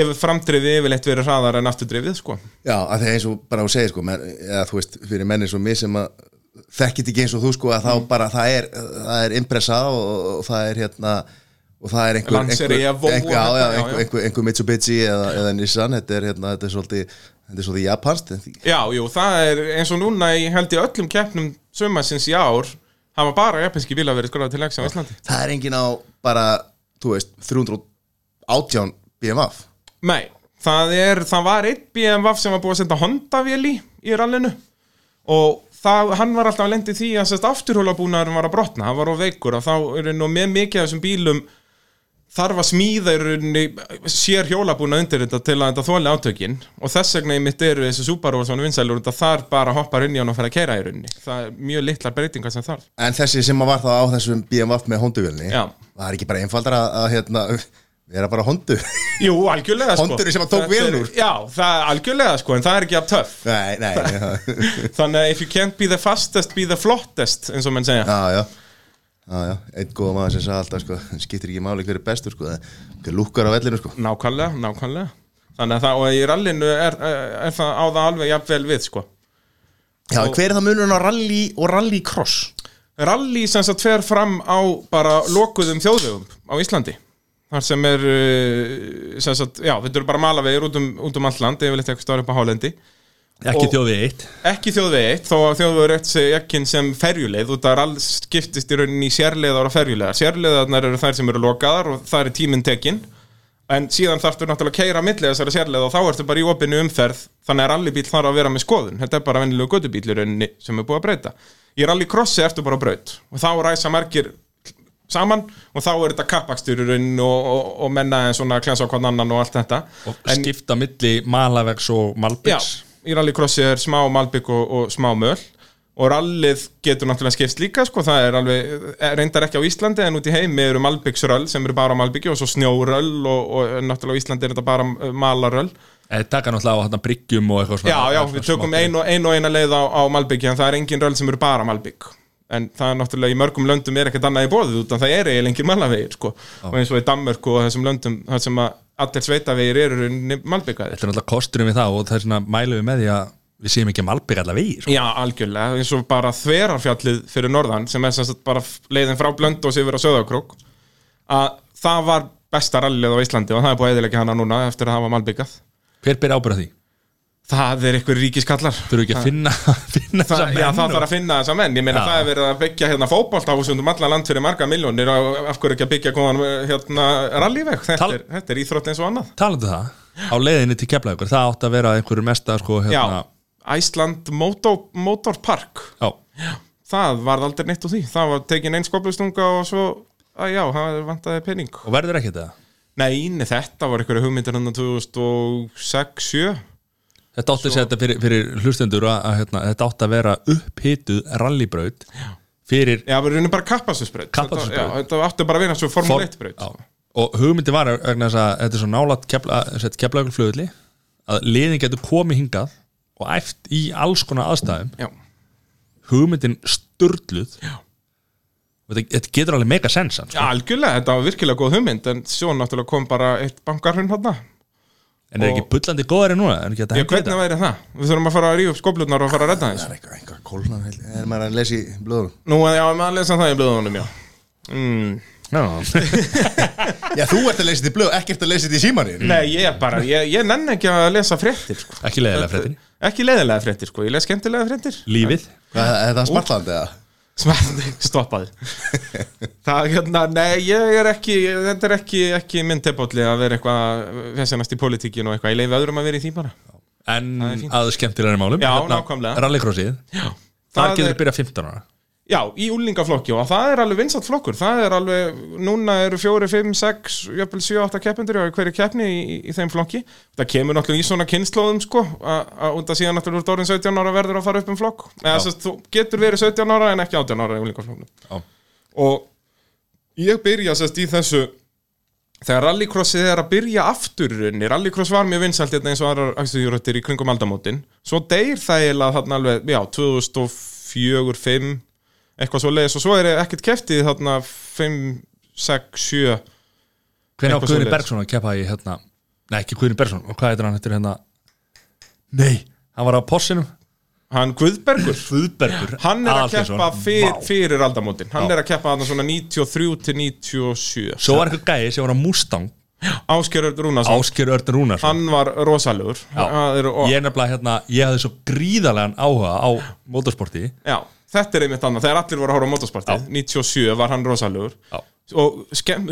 S3: hefur framdrifið yfirleitt verið hraðar en afturdrifið sko
S1: Já, að það er eins og bara þú segir sko menn, eða þú veist, fyrir menni svo mig sem að þekkit ekki eins og þú sko að þá
S3: Mm.
S1: bara það er, það er impressa og, og það er hérna og það er einhver
S3: Lancer
S1: einhver,
S3: eða Volvo
S1: einhver, já, já,
S3: þetta, já,
S1: einhver,
S3: já.
S1: einhver, einhver Mitsubishi eða, eða Nissan þetta er hérna, þetta er svolítið þetta er svolítið japanst en því-
S3: Já, jú, það er eins og núna í held í öllum keppnum sömarsins í ár hafa bara japanski bílar verið skráða til leiksa á Íslandi
S1: það er engin á bara, þú veist 318 BMF
S3: Nei, það, er, það var einn BMW sem var búið að senda Honda-vél í í rallinu og það, hann var alltaf að lendi því að sérst afturhólabúnaðurinn var að brotna, hann var of veikur og þá er nú með mikið af þessum bílum þarf að smíða í rauninni sér hjólabúna undir þetta til að þetta þóli átökin og þess vegna í mitt eru þessi Subaru og svona vinsælur og þar bara hoppar inn í hann og fer að keira í rauninni það er mjög litlar breytingar sem þarf
S1: En þessi sem var þá á þessum BMF með hónduvélni
S3: Já.
S1: Var ekki bara einfaldar að, að hérna, vera bara hóndu
S3: Jú, algjörlega sko
S1: Hondurinn sem að tók
S3: Þetta er-
S1: vélin úr.
S3: Já, það er algjörlega sko, en það er ekki af töff
S1: Nei, nei já.
S3: Þannig að if you can't be the fastest, be the flottest eins og menn segja
S1: Já, já Já, já, einn góða maður sem sagði alltaf sko, skiptir ekki máli hver er bestur sko, það- hver lukkar á vellinu sko
S3: Nákvæmlega, nákvæmlega Þannig að það, og í rallinu er, er það á það alveg jafnvel við sko
S1: Já, hver er það munurinn á rally og rallycross?
S3: Rally sem sagt fer fram á bara lokuðum þjóðvegum á Íslandi Þar sem er, uh, sem sagt, já, þetta eru bara malavegir út um, út um allt land Yfirleitt eitthvað stóri upp á hálendi
S2: Ekki
S3: Og-
S2: þjóðið eitt
S3: Ekki þjóðvegi eitt, þó að þjóðvegi eitt sé ekki sem ferjuleið Út að rall skiptist í rauninni í sérleiðar og ferjuleiðar Sérleiðarnar eru þær sem eru lokaðar og þar er tíminn tekinn En síðan þarftu náttúrulega að keira milli þessari sérleið og þá ertu bara í opinu umferð þannig að rallybíl þarf að vera með skoðun þetta er bara venjulegu gödubíl í rauninni sem er búið að breyta í rallycrossi ertu bara á braut og þá ræsa margir saman og þá er þetta kappakstur í rauninni og, og, og menna en svona klensa á hvern annan og allt þetta
S2: og skipta milli Malavegs og Malbyggs
S3: Já, í rallycrossi er smá malbygg og, og smá möl og rallið getur náttúrulega skipst líka sko, það er alveg, er- reyndar ekki á Íslandi en út í heimi eru malbyggsröll sem eru bara á malbyggi og svo snjóröll og, og náttúrulega á Íslandi er þetta bara eh, malaröll
S2: Eða taka náttúrulega á hérna bryggjum og eitthvað svona
S3: Já, já,
S2: svona
S3: við
S2: smá-
S3: tökum ein og, ein og eina leið á, á malbyggi en það er engin röll sem eru bara malbygg en það er náttúrulega í mörgum löndum er ekkert annað í bóðið út en það er eiginlega engin malavegir sko. og eins og í Danmörku og þessum löndum þar sem að allir sveitavegir eru
S2: Þetta
S3: malbyggaðir
S2: er náttúrulega kosturum við það og það er svona mælum við með því að við séum ekki malbygg allar vegi sko.
S3: Já, algjörlega, eins og bara þverarfjallið fyrir norðan sem er sem sagt bara leiðin frá Blöndós yfir á Söðakrók að það var besta rallið á Íslandi og það er búið að eðilegja hana núna eftir að hafa malbyggað
S2: hver byrja ábyrða því?
S3: Það er einhver ríkiskallar
S2: þurfum við ekki að finna, finna
S3: Þa,
S2: þessa menn
S3: já, það
S2: og-
S3: þarf að finna þessa menn, ég meina
S2: Já.
S3: það er verið að byggja hérna fótboltahúsum um alla land fyrir marga miljónir og af hverju ekki að byggja góðan hérna rallíveg, þetta,
S2: Tal-
S3: er- þetta er íþrótt eins og annað
S2: Talandi um það, á leiðinni til Keflavíkur það átt að vera einhverju mesta sko, hérna,
S3: Já, Æsland Motor, Motorpark
S2: já.
S3: það varð aldrei neitt úr því, það var tekin einn skoplustunga og svo, að já, það vantaði pening
S2: og verður ekki þetta
S3: Nei, nei, þetta var einhverja hugmyndir hann 2006-7
S2: Þetta átti að segja þetta fyrir, fyrir hlustendur að, að hérna, þetta átti að vera upphituð rallybraut fyrir
S3: Já, við erum bara kappasusbraut
S2: Kappakstursbraut.
S3: Þetta- já, Þetta átti bara að vera svo
S2: form-
S3: Formule 1 braut
S2: Já. og hugmyndi var vegna þess að þetta er svo nálat keflagur flugulli að liðin getur komið hingað og æft í alls konar aðstæðum
S3: Já,
S2: hugmyndin sturluð
S3: Já.
S2: Og þetta, þetta getur alveg mega sko. sens
S3: Já, algjörlega, þetta var virkilega góð hugmynd en svo náttúrulega kom bara eitt bankarhund hann
S2: en er ekki
S3: og-
S2: bullandi góðari núna er ekki hægt að
S3: Já,
S2: henda í
S3: hvernig væri það? Við þurfum að fara að rífa upp skoplunar og fara að redda
S1: Það
S3: þess
S1: er eitthvað, eitthvað kólna Er maður að lesa í blöðunum
S3: Nú, já, maður lesa það í blöðunum, já mm.
S2: þetta? Já.
S1: Já, þú ert að lesa þetta í blöð, ekkert að lesa þetta í símanir
S3: Nei, ég er bara, ég, ég nenn ekki að lesa fréttir sko.
S2: ekki leiðilega fréttin
S3: Ekki leiðilega fréttir, sko, ég les skemmtilega fréttir
S2: lífið
S1: Hvað, er það smartland eða?
S3: Smerti, stoppaði Það, hérna, nei, ég er ekki Þetta er ekki, ekki minn tepolli að vera eitthvað Vesenast í pólitíkinu og eitthvað Ég leiði öðrum að vera í því bara Það er
S2: en
S3: fínt.
S2: að skemmtilegri málum Hérna,
S3: Já, nákvæmlega.
S2: rallycrossið
S3: Já,
S2: þar getur
S3: er,
S2: við byrjað 15 ára
S3: já í úlingaflokki og það er alveg vinsat flokkur Það er alveg, núna eru fjóri, fimm, sex Jöfnvel, sjö, átta keppendur og hverju keppni í, í, í þeim flokki Það kemur náttúrulega í svona kynnslóðum sko að- að Undan síðan náttúrulega úr dórinn 17 ára verður að fara upp um flokk Eða, sest, Þú getur verið 17 ára en ekki 18 ára í úlingaflokknum
S2: Já.
S3: og ég byrja sérst í þessu þegar rallycrossið er að byrja aftur í rauninni, rallycross var mjög vinsælt hérna eins og aðrar aksturjúröttir í kringum aldamótin svo deyr það eiginlega þarna alveg já, 2004, 5 eitthvað svo leiðis og svo er ekkert keftið þarna 5, 6, 7
S2: Hvernig á
S3: Eitthvað
S2: Guðni
S3: svoleiðis.
S2: Bergson að keppa í hérna Nei, ekki Guðni Bergson, og hvað heitir hann heitir hérna Nei, hann var á possinum
S3: hann Guðbergur
S2: Guðbergur
S3: hann er að
S2: Aðalsteinsson.
S3: keppa fyr,
S2: Vá.
S3: fyrir aldamótin hann
S2: Já.
S3: er að keppa þarna svona 93 til 97
S2: Svo var eitthvað gæði sem var á Mustang
S3: Áskerur Rúnarsson,
S2: Ásker Örn Rúnarsson
S3: hann var rosalegur Það er- og-
S2: Ég er nefnilega hérna, ég hafði svo gríðarlegan áhuga á motorsporti
S3: Já, þetta er einmitt annað, þegar allir voru að horfa á motorsportið 97 var hann rosalugur
S2: Já.
S3: og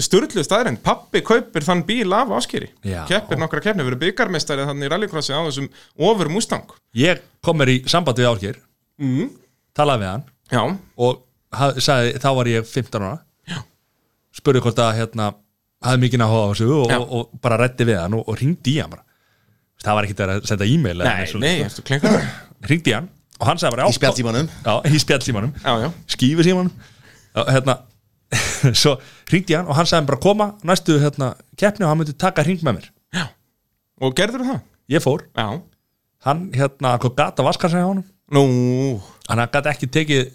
S3: styrluð staðrind pappi kaupir þann bíl af áskýri
S2: Já.
S3: keppir nokkra keppni, verið byggarmeistari þannig í rallycrossi á þessum ofur Mustang
S2: Ég kom mér í samband við Ásker mm. Talaði við hann
S3: Já,
S2: og haf, sagði, þá var ég 15 ára spurði hvort að hérna hafði mikinn að hóða á þessu og,
S3: Já.
S2: og, og bara rætti við hann og, og ringdi í hann bara það var ekkert að senda e-mail eða neitt
S3: nei,
S2: svoleiðis.
S3: nei, ertu klingur
S2: ringdi í hann og hann sagði bara
S1: Í spjalltímanum
S2: já, í spjalltímanum
S3: Já, já,
S2: skífi símanum og hérna svo ringdi ég hann og hann sagði bara koma næstu hérna keppni og hann myndi taka hring með mér
S3: og gerður það?
S2: ég fór,
S3: Já,
S2: hann hérna hann gata vaskar sig á honum
S3: nú,
S2: hann gata ekki tekið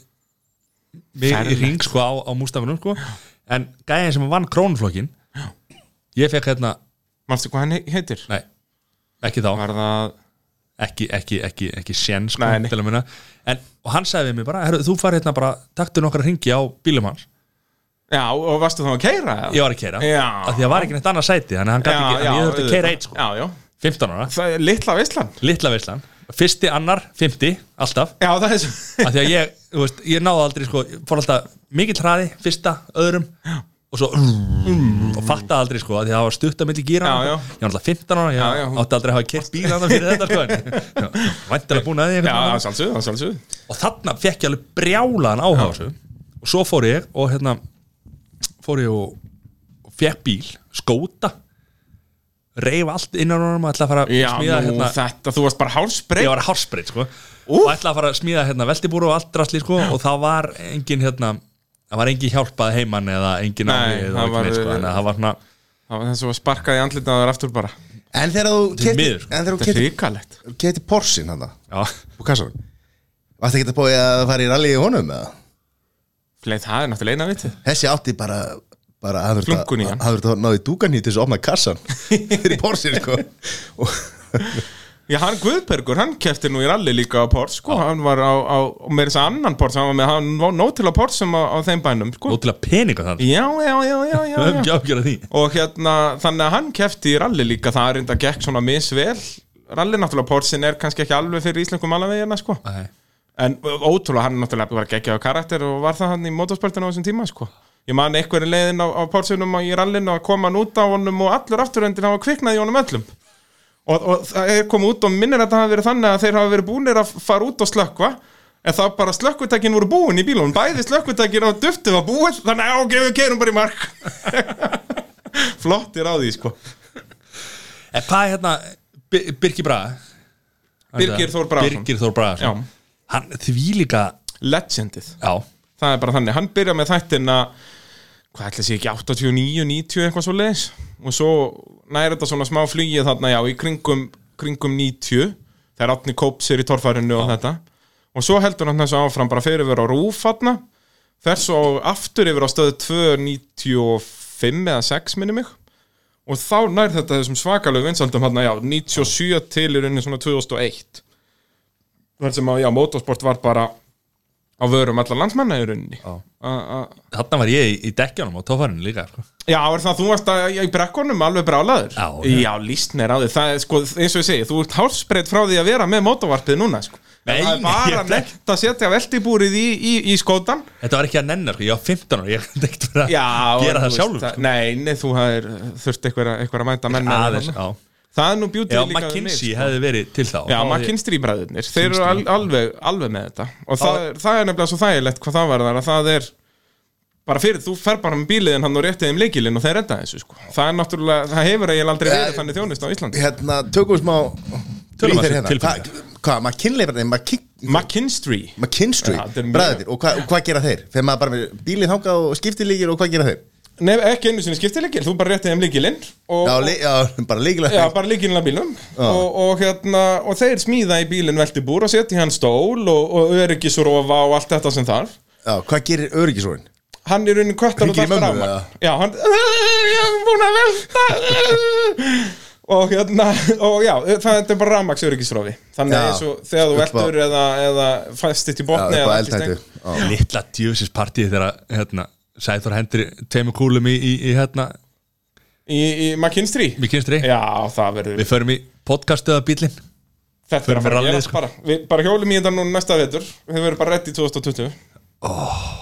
S2: mig í
S3: Ferlegt.
S2: hring sko á, á mústafinum sko en gæðin sem vann krónflokkin ég fekk hérna,
S3: manstu hvað hann he- heitir?
S2: nei ekki þá,
S3: Var það,
S2: ekki, ekki, ekki, ekki sén sko,
S3: Nei, nei.
S2: til að muna en, og hann sagði við mig bara, herru, þú farið hérna bara taktu nokkra hringi á bílum hans
S3: já, og varstu þá að keira það?
S2: ég var að keira,
S3: Já.
S2: af því að var ekki neitt annað sæti þannig að hann gæti ekki, hann ég þurfti að keira eitt sko.
S3: Já, já,
S2: 15 ára,
S3: það er litla veistlan
S2: litla veislan fyrsti annar, 50, alltaf
S3: Já, það er svo
S2: af því að ég, þú veist, ég náði aldrei sko, ég fór alltaf mikill hraði, fyrsta, öðrum og svo um, og fattaði aldrei sko, af því að það var stutt að milli gýra
S3: Já, já.
S2: ég var alltaf 15 ára, ég
S3: Já, já.
S2: átti aldrei að hafa kert bíl annað fyrir þetta sko, en- Já, væntanlega búin að því
S3: Já,
S2: einhvern
S3: það
S2: veginn.
S3: er sálsöð, það er sálsöð
S2: og þarna fekk ég alveg brjálaðan áhuga á þessu og svo fór ég og hérna fór ég og, og fekk bíl, skóta reyf allt innan honum ætla að fara að
S3: Já,
S2: smíða
S3: nú
S2: hérna,
S3: þetta, þú varst bara
S2: ég
S3: hálsbreytt
S2: var hársbreyt sko og ætla að fara að smíða hérna veltibúru og allt drastli sko og það var engin hérna það var engin hjálpað heimann eða engin
S3: Nei,
S2: áhugi eða
S3: það
S2: ekki
S3: var, eh,
S2: neitt, sko, þannig að það var svona
S3: Það var þess að sparkaði andlitið að það er aftur bara
S1: En þegar þú
S2: Til
S1: keyptir-
S2: miður, sko.
S1: En þegar þú
S3: Þetta er
S1: keyptir-
S3: ríkalegt
S1: keyptir Porsin hann það
S2: já,
S1: Og kassan Varstu ekki að bóði að fara í rally í honum eða?
S3: Fleið það er náttúrulega eina vitið
S1: Þessi átti bara bara hafður
S3: Flunkun í hann.
S1: þetta náði dúkan í til þess að opna kassan fyrir Porsin sko og
S3: Já, hann Guðbergur, hann kefti nú í rally líka á Pors, sko, hann var á, á og meira þess að annan Pors, hann var með, hann var nóg til á Porsum á, á þeim bænum, sko
S2: og til að peninga þannig
S3: Já, já, já, já, já,
S2: við höfum
S3: já.
S2: ekki ágjörða því
S3: Og hérna, þannig að hann kefti í rally líka, það er enda gekk svona misvel Rally náttúrulega Porsin er kannski ekki alveg fyrir íslengum alvegina, sko
S2: Nei.
S3: En ótrúlega hann náttúrulega var geggjaðu karakter og var það hann í motorspörtinu á þessum tíma sko. Ég man einhverju leiðin á, á pórsunum í rallinu að koma hann út á honum og allur afturöndin hafa kviknað í honum öllum. Og, og það er komið út og minnir að það hafi verið þannig að þeir hafa verið búnir að fara út og slökkva en það bara slökkvutækin voru búin í bílunum bæði slökkvutækin og duftið var búin þannig að ok, við keirum bara í mark flottir á því sko
S2: en hvað er hérna Bir- Birgir Braga
S3: Birgir Þór Bragason.
S2: Birgir Þór Bragason.
S3: Já.
S2: hann því líka
S3: legendið
S2: já,
S3: það er bara þannig, hann byrja með þættina hvað ætla sé ekki, 89, 90 eitthvað svo leis og svo næri þetta svona smá flugið þarna já, í kringum, kringum 90 þegar Átni Kóps er í torfærinu og þetta og svo heldur hann þessu áfram bara fyrir verið á rúf þarna fer svo aftur yfir á stöðu 295 eða 6 minni mig og þá nær þetta þessum svakalegu vinsaldum hann já, 97 til í rauninni svona 2001 þar sem að já, motorsport var bara á vörum allar landsmanna í rauninni
S2: Já.
S3: A- a-
S2: þarna var ég í, í dekkjanum á tófarinu líka sko.
S3: Já, er það þú varst að, í brekkunum alveg brálaður?
S2: Já,
S3: já.
S2: já.
S3: já lístnir á því, það er sko, eins og ég segi, þú ert hálfsbreytt frá því að vera með mótavarpið núna, sko.
S2: Nei,
S3: það er bara
S2: ég-
S3: neitt að setja veltibúrið í, í, í skótan.
S2: þetta var ekki að nennar sko. ég var 15 ára, ég hafði ekkert verið að
S3: Já.
S2: gera
S3: þú
S2: það
S3: veist,
S2: sjálfur
S3: það-
S2: sko.
S3: Nei, nei, þú hafðir þurft eitthvað, eitthvað að mæta menna.
S2: aðeins, já
S3: Það er nú bjútið
S2: Já,
S3: líka við mig,
S2: McKinsey
S3: sko.
S2: hefði verið til þá
S3: Já,
S2: Þá hefði-
S3: McKinstry bræðurnir, þeir eru al, alveg, alveg með þetta og það, er- það er nefnilega svo þægilegt hvað það var þar að það er bara fyrir, þú fer bara með bíliðin hann og réttið um leikilinn og þeir redda þessu sko. það er náttúrulega, það hefur eiginlega aldrei verið þannig þjónust á Íslandi
S1: Hérna, tökum við smá
S2: Tölum
S1: í
S2: að
S1: þeir
S2: sér
S1: hérna.
S2: tilfinningar.
S1: Hvað, hva, maður kynleifræðin, maður kynleifræðin
S3: McKinstry
S1: McKinstry,
S3: Já, þetta er mjög-
S1: bræðir, og hvað hva gera þeir? Þegar maður bara með bílið þangað og skiptilíkir og hvað gera þeir?
S3: Nei, ekki einu sinni skiptilegil, þú bara réttið um leikilinn og,
S1: Já, li, já bara líkilega
S3: Já, bara líkilinn af bílnum og, og, hérna, og þeir smíða í bílinn veltibúr og setja í hann stól og, og öryggisrofa og allt þetta sem þarf
S1: já, hvað gerir öryggisórin?
S3: hann er raunin kvöttar og
S1: Hringir í
S3: dættar á
S1: mömmu, eða?
S3: mann já, hann ég er búin að velta og hérna og já, það er bara rafmaks öryggisrófi þannig
S1: Já.
S3: að eins og þegar þú
S1: Upp á-
S3: veltur eða, eða fæstit í
S1: Já, upp
S3: botni
S1: á
S3: eða
S1: eldhættu
S3: steng-
S1: Já.
S2: litla djöfisins partíð þegar hérna, Sæþór hendur tveimur kúlum í, í, í hérna,
S3: í, í McKinstry
S2: mikinnstri
S3: já, það verður
S2: við förum í podcastuða bílinn
S3: þetta er
S2: förum
S3: að fara
S2: við
S3: að
S2: rallið,
S3: gera
S2: sko.
S3: bara við bara hjólum í þetta nú næsta vetur við verðum bara rétt í 2020 oh.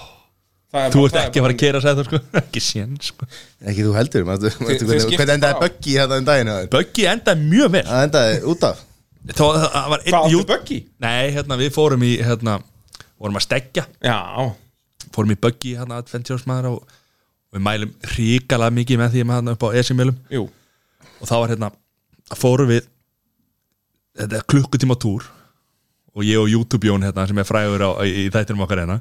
S2: þú ert ekki að fara að kera Sæþór sko. ekki sén sko.
S1: Ekki þú heldur, maður,
S3: þið
S1: maður, hvernig,
S3: skiptist
S1: hvernig endaði
S3: á.
S1: Böggi hérna um daginn hjá þér?
S2: Böggi endaði mjög vel
S1: Það endaði út af
S2: Þó, það var
S3: hvað
S2: einn
S3: áttu
S2: jú-
S3: böggi?
S2: nei, hérna, við fórum í hérna, vorum að stegja
S3: já,
S2: fórum í Böggi hérna, Adventures maður og við mælum ríkala mikið með því með hérna upp á esimilum
S3: jú
S2: og þá var hérna fórum við þetta er klukkutíma túr og ég og YouTube Jón hérna sem er frægur á, í, í þættinum okkar hérna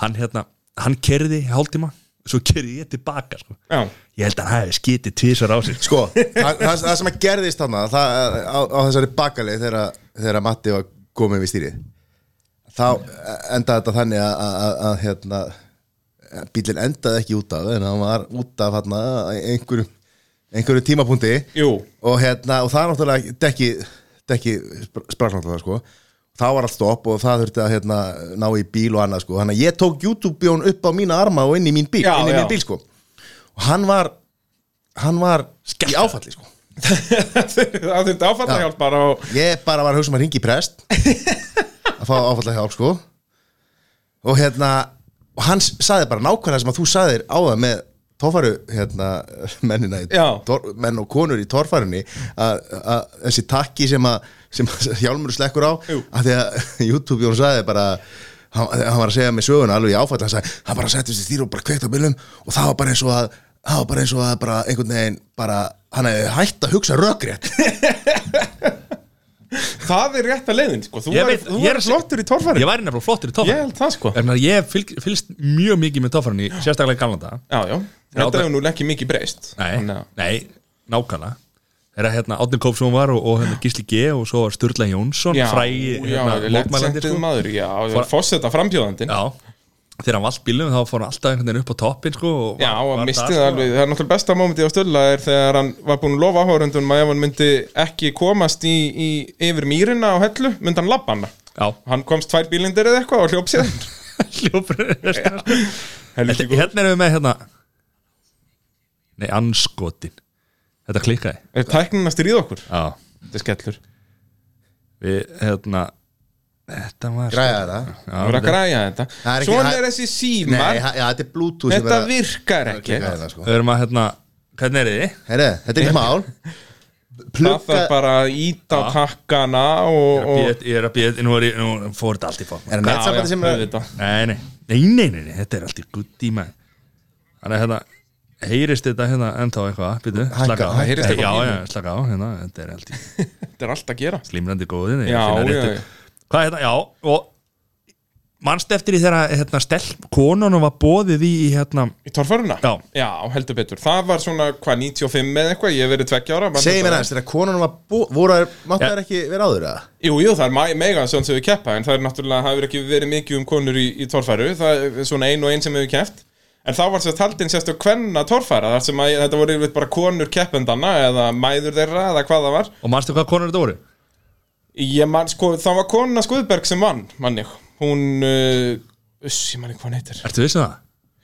S2: hann hérna, hann kerði hálftíma svo kerði ég tilbaka sko.
S3: já,
S2: ég held að hann hefði skitið tvisar á sig
S1: Sko, það, það, það sem að gerðist þarna það, á, á þessari bakalið þegar, þegar Matti var komið við stýrið þá endaði þetta þannig að, að, að, að hérna, bílinn endaði ekki út af en hann var út af hérna, einhverjum, einhverjum tímapunkti
S3: jú
S1: og, hérna, og það er náttúrulega dekki, dekki sprakk náttúrulega sko þá var allt stopp og það þurfti að hérna, ná í bíl og annað sko þannig að ég tók YouTube-bjón upp á mína arma og inn í mín bíl,
S3: Já,
S1: inn í
S3: já.
S1: mín bíl sko og hann var hann var í áfalli sko
S3: það þurfti áfalla hjálp bara og
S1: ég bara var að hugsa um að ringi prest að fá áfalla hjálp sko og hérna og hann saði bara nákvæmlega sem að þú saðir á það með tófaru hérna, mennina í,
S3: Já.
S1: tor, menn og konur í torfarunni að að þessi takki sem að sem að hjálmur slekkur á
S3: Jú.
S1: að því að YouTube Jón saði bara hann, hann var að segja með söguna alveg í áfalla hann, sagði, hann bara settist í stýr og bara kveikt á bylum og það var bara eins og að það var bara eins og að bara einhvern veginn bara hann hefði hætt að hugsa rökrétt
S3: Það er rétt að leiðin, sko. Þú
S2: Ég
S3: er,
S2: veit-
S3: þú
S2: ég er
S3: er
S2: að se-
S3: flottur í torfæri.
S2: ég væri nefnilega flottur í
S3: Ég
S2: tófarni
S3: held það, sko.
S2: en að ég fylg, fylgst mjög mikið með tófarni sérstaklega í gamla daga.
S3: Já, já.
S2: það-
S3: Þetta hefur nú ekki mikið breyst.
S2: nei,
S3: Þannig að-
S2: nei, nákvæmlega þegar hérna Átni Kópsson var og, og hérna Gísli G og svo var Sturla Jónsson
S3: Já,
S2: frægi
S3: já,
S2: hérna,
S3: leggsendið
S2: mótmælandi sko.
S3: maður, já,
S2: Fra-
S3: fósetta frambjóðandinn.
S2: Já, þegar hann vald bílum þá fór hann alltaf einhvern veginn upp á toppin sko, og var-
S3: Já, og
S2: var sko.
S3: misti
S2: þar,
S3: það alveg, það er náttúrulega besta mómenti á stölla er þegar hann var búin að lofa áhórundunum að ef hann myndi ekki komast í, í yfir mýrina á hellu, myndi hann labba hana
S2: Já,
S3: Hann komst tvær bílindir eða eitthvað og hljóp síðan
S2: hljópröður
S3: Helviti góð.
S2: sko. Hérna erum við með hérna Nei, anskotin Þetta klikkaði
S3: Er tæknin að stríða okkur?
S2: Já,
S3: Þetta er skellur
S2: við hérna Þetta var
S1: græða þetta
S3: Það voru að græja þetta
S1: Það er ekki-
S3: Svona
S1: það-
S3: er þessi
S1: Nei,
S3: símar
S1: ha- já, þetta er bluetooth sem
S3: Þetta
S1: er að-
S3: virkar ekki
S1: Klikka hérna, sko.
S2: Við erum að hérna Hvernig er þið?
S1: Herre, þetta er ekki mál
S3: Það
S1: Plugga
S3: þarf bara að íta á takkana og, og
S2: Ég er að býða Nú, er ég- nú fór þetta allt í fólk
S1: Er það
S3: Já, já,
S1: netsambandi sem er
S3: auðvitað.
S2: Nei, nei, nei, nei, nei, nei, þetta er alltaf gutt í maður Þannig að hérna, heyrist þetta hérna ennþá eitthvað, byrju,
S1: Hækka,
S2: slaka á
S1: hækka.
S2: Já, já, slaka á, hérna, þetta er alltaf
S3: Þetta er allt að gera
S2: slímrandi góðin
S3: Já, já, já.
S2: Hvað hérna, já, og mannst eftir í þeirra, hérna, stelp konunum var bóðið í, í, hérna
S3: Í torfaruna?
S2: Já.
S3: heldur betur Það var svona, hvað, 95 eða eitthvað Ég hef verið tveggja ára man
S1: Segir
S3: þetta
S1: mér
S3: vel.
S1: næst, þegar konunum var bú, voru þær, máttu þær ekki vera áður að?
S3: Jú, jú, það er ma- mega svona sem við keppa En það er náttúrulega, það hefur ekki verið mikið um konur í, í torfæru Það er svona ein og ein sem hefur keppt En þá var sérst haldin sérst og kvenna torfæra Þar sem að, þetta voru yfirleitt bara konur keppendana Eða mæður þeirra, eða hvað það var
S2: Og mannstu hvað konur þetta voru?
S3: Ég man, sko, það var kona Skuðberg sem vann, mann ég Hún, uh, uss, ég man ekki hvað hann heitir
S2: Ertu vissið það?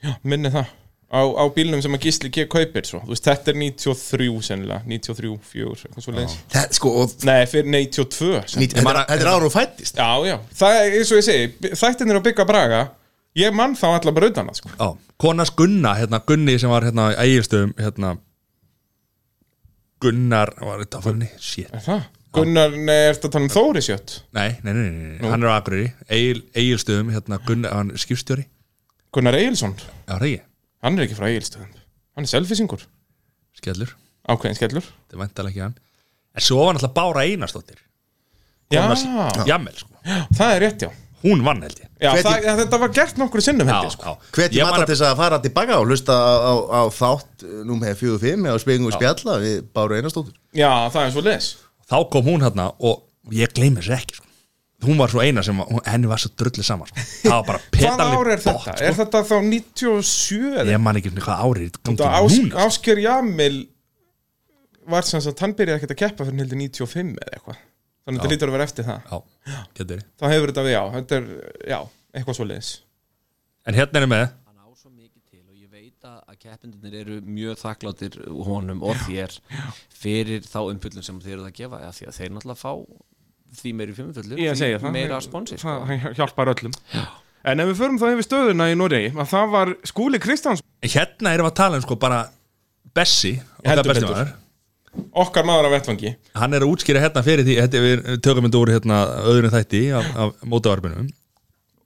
S3: Já, minni það Á, á bílnum sem að Gísli G. kaupir svo Þú veist, þetta er 93 sennilega 93, 4, eitthvað svo leiðis
S1: Það, sko, og,
S3: Nei, fyrir 92 sennilega.
S1: nýt, þetta, þetta er ára og fættist
S3: Já, já, það er eins og ég segi Þættin er að bygga braga Ég mann þá allar bara utan það, sko
S2: Já, konas Gunna, hérna, Gunni sem var, hérna, í ægjastöðum, hérna Gunnar, var þetta að fölni? Shit
S3: Er það? Gunnar, nei, ertu að tala um Þóri sjött?
S2: Nei, nei, nei, nei, nei. hann er á Akureyri Egil, Egilstöðum, hérna Gunnar, hann er skipstjóri
S3: Gunnar Egilson,
S2: Já, reygi,
S3: hann er ekki frá Egilstöðum Hann er selfisingur,
S2: skellur,
S3: ákveðin skellur
S2: þetta væntalega ekki hann En svo var náttúrulega Bára Einarsdóttir
S3: Já,
S2: Hún var sí- Jammel, sko
S3: það er rétt, já,
S2: Hún vann held ég
S3: já
S1: Hvet-
S3: það, Þetta var gert nokkru sinnum, held ég, sko
S1: Hvet ég
S2: Ég
S1: matta
S2: man
S1: til þess að fara tilbaka og hlusta á, á, á þátt númer 45 og spengum og spjalla við Báru Einarstóttur
S3: Já, það er svo leiðis
S2: Þá kom hún hérna og ég gleymi sér ekki, sko Hún var svo eina sem, var, hún- henni var svo drullið saman sko. Það var bara
S3: Hvað ár
S2: petalið
S3: er þetta? Er þetta þá 97 eða?
S2: Ég man ekki hvernig hvað árið kom til
S3: Þetta ás,
S2: núna sko.
S3: Ásker Jamil var sem sagt, hann byrjaði ekkert að keppa fyrir heldur 95 eða eitthvað þannig að þetta lítur að vera eftir það
S2: Já, getur verið.
S3: þá hefur þetta við, já, þetta er, já, eitthvað svo leiðis
S2: En hérna erum við
S4: hann á svo mikið til og ég veit að að keppindunir eru mjög þakkláttir honum og þér fyrir þá umfyllum sem þeir eru að gefa ja, því að þeir náttúrulega fá því meiri fimmfyllur, því meira sponsir sko.
S3: hjálpar öllum já. en ef við förum þá hefur stöðuna í Noregi að það var Skúli Kristjáns
S2: Hérna erum við að tala um sko bara Bessi, okkar
S3: Heldur
S2: besti
S3: betur.
S2: maður
S3: okkar maður af vettvangi
S2: hann er að útskýra hérna fyrir því þetta við tökum þetta úr hérna öðrum þætti af, af mótavarpinum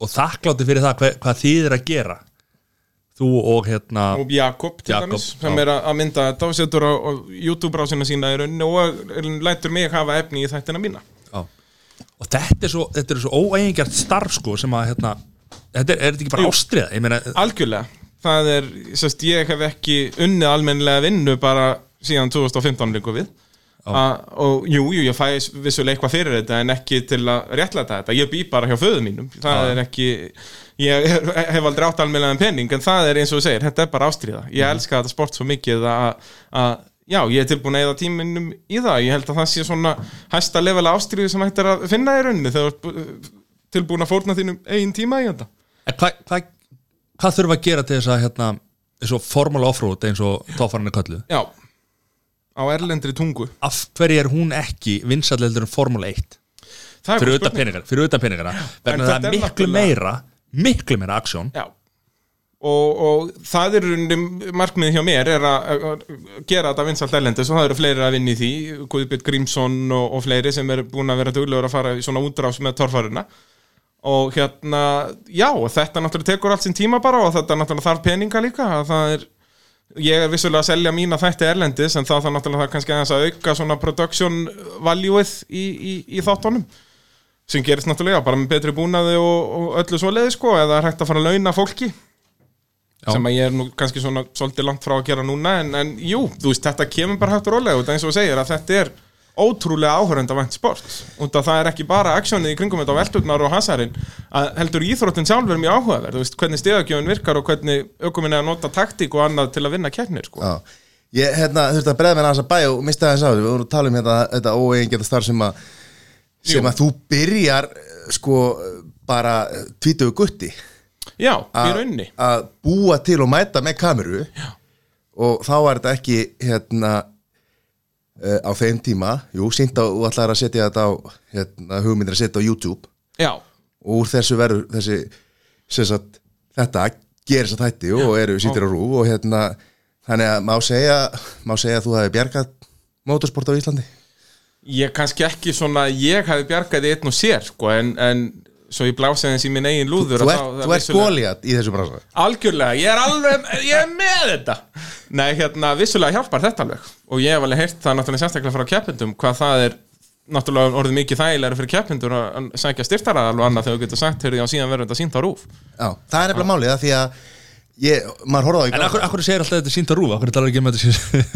S2: og þakklátti fyrir það hvað, hvað þið er að gera þú og hérna
S3: og Jakob til
S2: Jakob,
S3: dæmis
S2: já.
S3: sem er að að mynda þetta og setur á, á YouTube-rásina sína í rauninu og lætur mig hafa efni í þættina mína
S2: á, og þetta er svo, þetta er svo óeigingjart starf sko sem að hérna þetta er, er þetta ekki bara ástriða ég meina,
S3: Algjörlega, það er sérst, ég hef ekki unnið almennilega vinnu bara síðan 2015 líku við A, og jú, jú, ég fæ vissulega eitthvað fyrir þetta en ekki til að réttlæta þetta ég bý bara hjá föðu mínum það er ekki, ég er- hef aldrei átt almennilega pening en það er eins og þú segir, þetta er bara ástríða ég elska þetta sport svo mikið að, að já, ég er tilbúin að eða tíminum í það ég held að það sé svona hæsta levela ástríðu sem hægt er að finna í rauninni þegar þú ert bú- tilbúin að fórna þínum eigin tíma í þetta
S2: en hvað hva, hva þurfa að gera til þess að hérna eins og formal offroad eins og tófarinn er kölluð
S3: Já, á erlendri tungu
S2: af hverju er hún ekki vinsalleldur en formúl 1
S3: Það er
S2: fyrir
S3: góð
S2: utan
S3: spurning.
S2: peningana, fyrir utan peningana vegna það er
S3: þetta er
S2: miklu
S3: náttúrulega-
S2: meira miklu meira aksjón
S3: Já Og, og það er rauninni markmið hjá mér er að að gera þetta vinsalt erlendis og það eru fleiri að vinni í því Guðbjörn Grímsson og, og fleiri sem er búin að vera duglegur að fara í svona útrás með torfaruna og hérna já, þetta náttúrulega tekur allt sinn tíma bara og þetta náttúrulega þarf peninga líka að það er, ég er vissulega að selja mína þætti erlendis en þá þarf náttúrulega það kannski aðeins að auka svona production value-ið í, í, í þáttunum sem gerist náttúrulega bara með betri búnaði og, og öllu svoleiði sko eða er hægt að fara að launa fólki
S2: Já.
S3: sem að ég er nú kannski svona svolítið langt frá að gera núna en, en jú, þú veist, þetta kemur bara hægt og rólega og það eins og þú segir að þetta er ótrúlega áhörenda vænt sport og það er ekki bara aksjónið í kringum þetta á velturnar og hasarinn að heldur íþróttin sjálfur er mjög áhugaverð þú veist hvernig stegagjöfun virkar og hvernig aukuminn er að nota taktík og annað til að vinna keppnir sko.
S1: Já. Ég hérna, þurfti að breða mér aðeins að bæja og mista þess að við vorum að tala um hérna, þetta óeigingeta starf sem að sem að þú byrjar eh, sko eh, bara tvítuðu gutti
S3: já, í
S1: að-
S3: raunni
S1: að búa til og mæta með kameru Já. og þá var þetta ekki hérna uh, á þeim tíma, jú, sínt á þú ætlar að setja þetta á, hérna, hugmyndir að setja á YouTube
S3: já,
S1: og úr þessu verður þessi, sem sagt, þetta gerir þess að þætti og eru sýttir á rúf og hérna, þannig að má segja má segja að þú hefði bjargað motorsport á Íslandi
S3: ég kannski ekki svona ég hafi bjargað í einn og sér sko, en, en svo ég blási aðeins í minn eigin lúður
S1: Þú
S3: að
S1: ert,
S3: þá-
S1: þú ert
S3: vissulega-
S1: góliat í þessu bransa
S3: Algjörlega, ég er alveg, ég er með þetta Nei, hérna, vissulega hjálpar þetta alveg Og ég hef alveg heyrt það náttúrulega sérstaklega frá keppendum Hvað það er náttúrulega orðið mikið þægilega fyrir keppendur að að sækja styrtaraðal og annað þegar þú getur sagt Heyrðu, já, síðan verður þetta sínt á rúf
S1: Já, það er nefnilega málið að því að ég, maður horfði á í
S2: En akkur, akkur segir alltaf þetta sínt að rúfa, akkur talar ekki um þetta sínt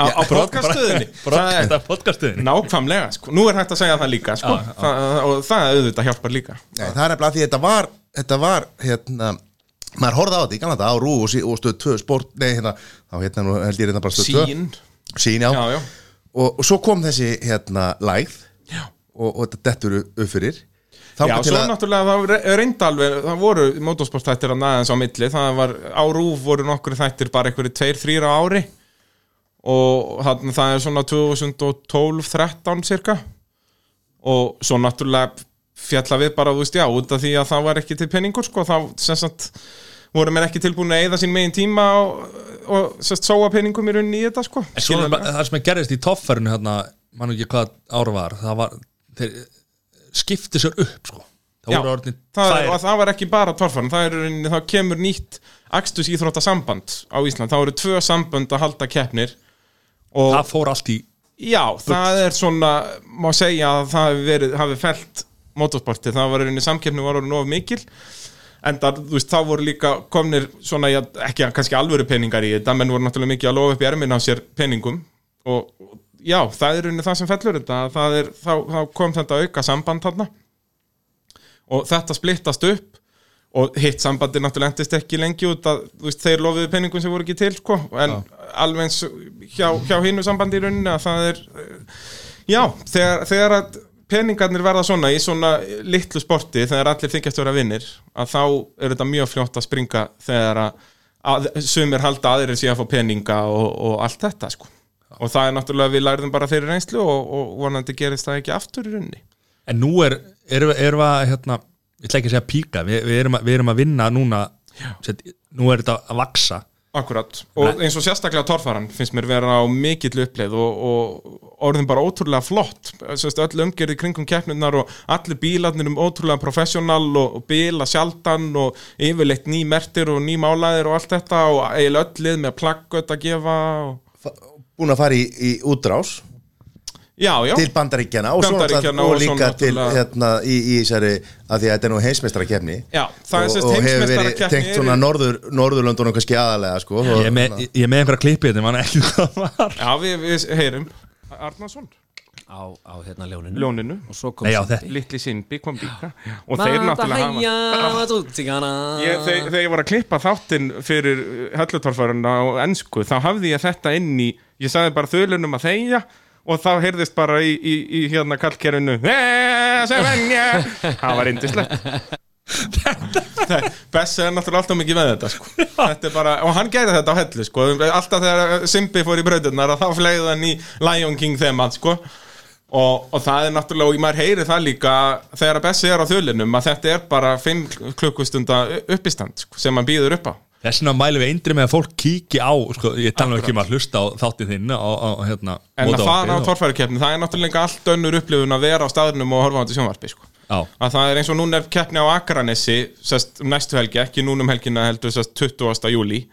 S3: Á, á podcaststöðinni Það er
S2: Þetta podcaststöðinni
S3: nákvæmlega, sko Nú er hægt að segja það líka, sko Það, Og það auðvitað hjálpar líka
S1: Nei, það er nefnilega að því að þetta var, þetta var hérna, maður horfði á þetta í gamla þetta á Rú og, sí, og stöð 2 sport, nei hérna þá hérna nú held ég hérna bara stöð 2
S3: Sín
S1: Sín, já,
S3: Já, já.
S1: Og, og svo kom þessi hérna lægð
S3: Já.
S1: og, og þetta dettur u- upp fyrir
S3: Já,
S1: Þangað til
S3: svo
S1: að-
S3: náttúrulega það re- reyndi alveg, það voru motorsportþættir að næðans á milli, það var á rúf voru nokkru þættir bara einhverju tveir, þrýra ári og þannig það er svona 2012-13 cirka og svo náttúrulega fjalla við bara, þú veist, já, út af því að það var ekki til penningur, sko, þá sem sagt voru mér ekki tilbúin að eyða sín megin tíma og, og sem sagt sóa penningum í rauninni í þetta, sko.
S2: En Svo er
S3: Skilurðu?
S2: bara- það sem er gerðist í toffærinu hérna, mann ekki hvað ára var það var, þeir skipti sér upp sko, það
S3: Já,
S2: voru orðin
S3: það, er- og
S2: tvær
S3: það var ekki bara torfarn það, er, í rauninni- það kemur nýtt akstus samband á Ísland það voru tvö sambönd að halda keppnir og
S2: það fór allt í,
S3: já, það er svona má segja að það hafi, verið, hafi felt motorsporti, það var í rauninni samkeppni var orðin of mikil en það, þú veist, þá voru líka komnir svona, já, ekki kannski alvöru peningar í þetta menn voru náttúrulega mikið að lofa upp í erminn á sér peningum og og já, það er í rauninni það sem fellur þetta það er, þá, þá kom þetta auka samband þarna og þetta splittast upp og hitt sambandi náttúrulega endist ekki lengi út að þú veist, þeir lofiðu peningum sem voru ekki til sko, en alveg eins hjá, hjá hinnu sambandi í rauninni að það er eh, já, þegar, þegar að peningarnir verða svona í svona litlu sporti þegar allir þykjast vera vinnir að þá er þetta mjög fljótt að springa þegar að, að sumir halda aðrir síðan að fá peninga og, og allt þetta sko. og það er náttúrulega við lærðum bara þeirri reynslu og, og vonandi gerist það ekki aftur í rauninni
S2: en nú er erum við, erum við að, hérna, ég ætla ekki að segja píka við, við, erum, að, við erum að vinna núna set, nú er þetta að vaksa
S3: Akkurat, og eins og sérstaklega torfaran finnst mér vera á mikill uppleið og, og orðin bara ótrúlega flott Sest, öll umgerði kringum keppnirnar og allir bílarnir um ótrúlega professional og, og bíla sjaldan og yfirleitt ný mertir og ný málaðir og allt þetta og eiginlega öll lið með plaggöt að gefa og...
S1: fa- búin að fara í, í útrás
S3: Já, já,
S1: til bandaríkjana og, svo
S3: Bandaríkjanna
S1: náttúrulega-
S3: og
S1: og
S3: svo
S1: líka til
S3: náttúrulega-
S1: hérna í, í þessari, að því að þetta er nú heimsmeistara kefni
S3: Já, það er sem sagt
S1: og hefur verið
S3: heimsmeistarakeppni
S1: tengt
S3: er í-
S1: svona norður, norðurlöndunum kannski aðalega sko,
S2: ég er með, ég er með einhverja klippið þetta, mann ekki hvað það var
S3: já við, við heyrum Arnason,
S4: á, á hérna ljóninu
S3: ljóninu,
S4: og svo kom
S2: Nei, já, þetta,
S3: litli sinbi kom bíka og
S4: Mata
S3: þeir náttúrulega hafa
S4: hæja, mata útíkana.
S3: Ég, þegar, þegar ég var að klippa þáttinn fyrir hellutorfaruna á ennsku þá hafði ég þetta inn í ég sagði bara þölunum að þegja og þá heyrðist bara í, í, í hérna kallkerfinu "Eh, Svenja." það var indislegt Bessi er náttúrulega alltaf mikið með þetta, sko. þetta er bara, og hann gerði þetta á hellu sko. alltaf þegar Simbi fór í brautirnar að þá fleigði hann í Lion King þeman sko og, og það er náttúrulega, og maður heyri það líka þegar að Bessi er á þölinum að þetta er bara 5 klukkustunda uppistand sko, sem hann býður upp á
S2: þess vegna mælum við eindri með að fólk kíki á sko, ég tala nú ekki um að hlusta á þáttið þinn á, á, á, hérna,
S3: en að fara
S2: mótorvarpið
S3: á
S2: og-
S3: torfærukeppni, það er náttúrulega allt önnur upplifun að vera á staðnum og horfa á þetta í sjónvarpi sko.
S2: Já.
S3: að það er eins og núna er keppni á Akranesi sest, um næstu helgi, ekki núna um helgina heldur sest, 20. júli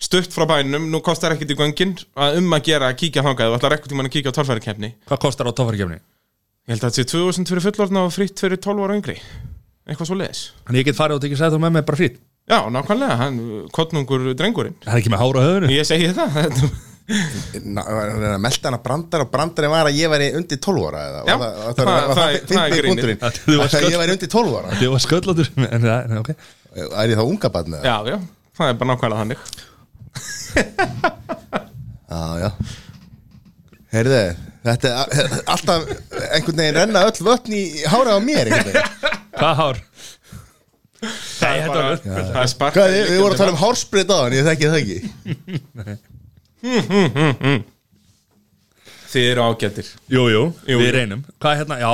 S3: stutt frá bænum, nú kostar ekkit í göngin að um að gera að kíkja þangað, þú ætlar ekkert tímann að kíkja á torfærukeppni
S2: hvað kostar á tófarkefni?
S3: ég held að þetta sé 2000 fyrir fullorðna og fritt fyrir 12 ára yngri eitthvað svo leðis
S2: Þannig ég get farið og tekið sæðum með mig bara frýtt
S3: Já, nákvæmlega, hann, kottnungur drengurinn
S2: Það er ekki með hára höfunu
S3: Ég segi það þetta-
S1: Na- var að reyna að melta hana brandar og brandarinn var að ég væri undir 12 ára eða,
S3: Já,
S1: og það, og
S3: það-
S1: það, var- var
S3: það-
S1: það,
S3: það er
S1: það,
S3: grínið.
S1: punkturinn
S2: Að þú varst
S1: að
S2: köll-
S1: ég væri undir 12 ára
S2: Þið var sköllatur en það, ok
S1: er ég þá unga barn eða?
S3: já, já, það er bara nákvæmlega þannig
S1: já, já heyrðu, þetta er a- alltaf einhvern veginn renna öll vötn í hárað á mér einhvern veginn
S2: Hvað hár? Nei,
S3: er
S2: þetta
S3: bara-
S2: var
S3: það er sparkað
S1: Hvað, við, við vorum að tala um hársprit á hann, ég þekki það ekki
S3: Þið eru ágættir
S2: Jú, jú,
S3: Jú,
S2: við
S3: jú.
S2: reynum Hvað er hérna, já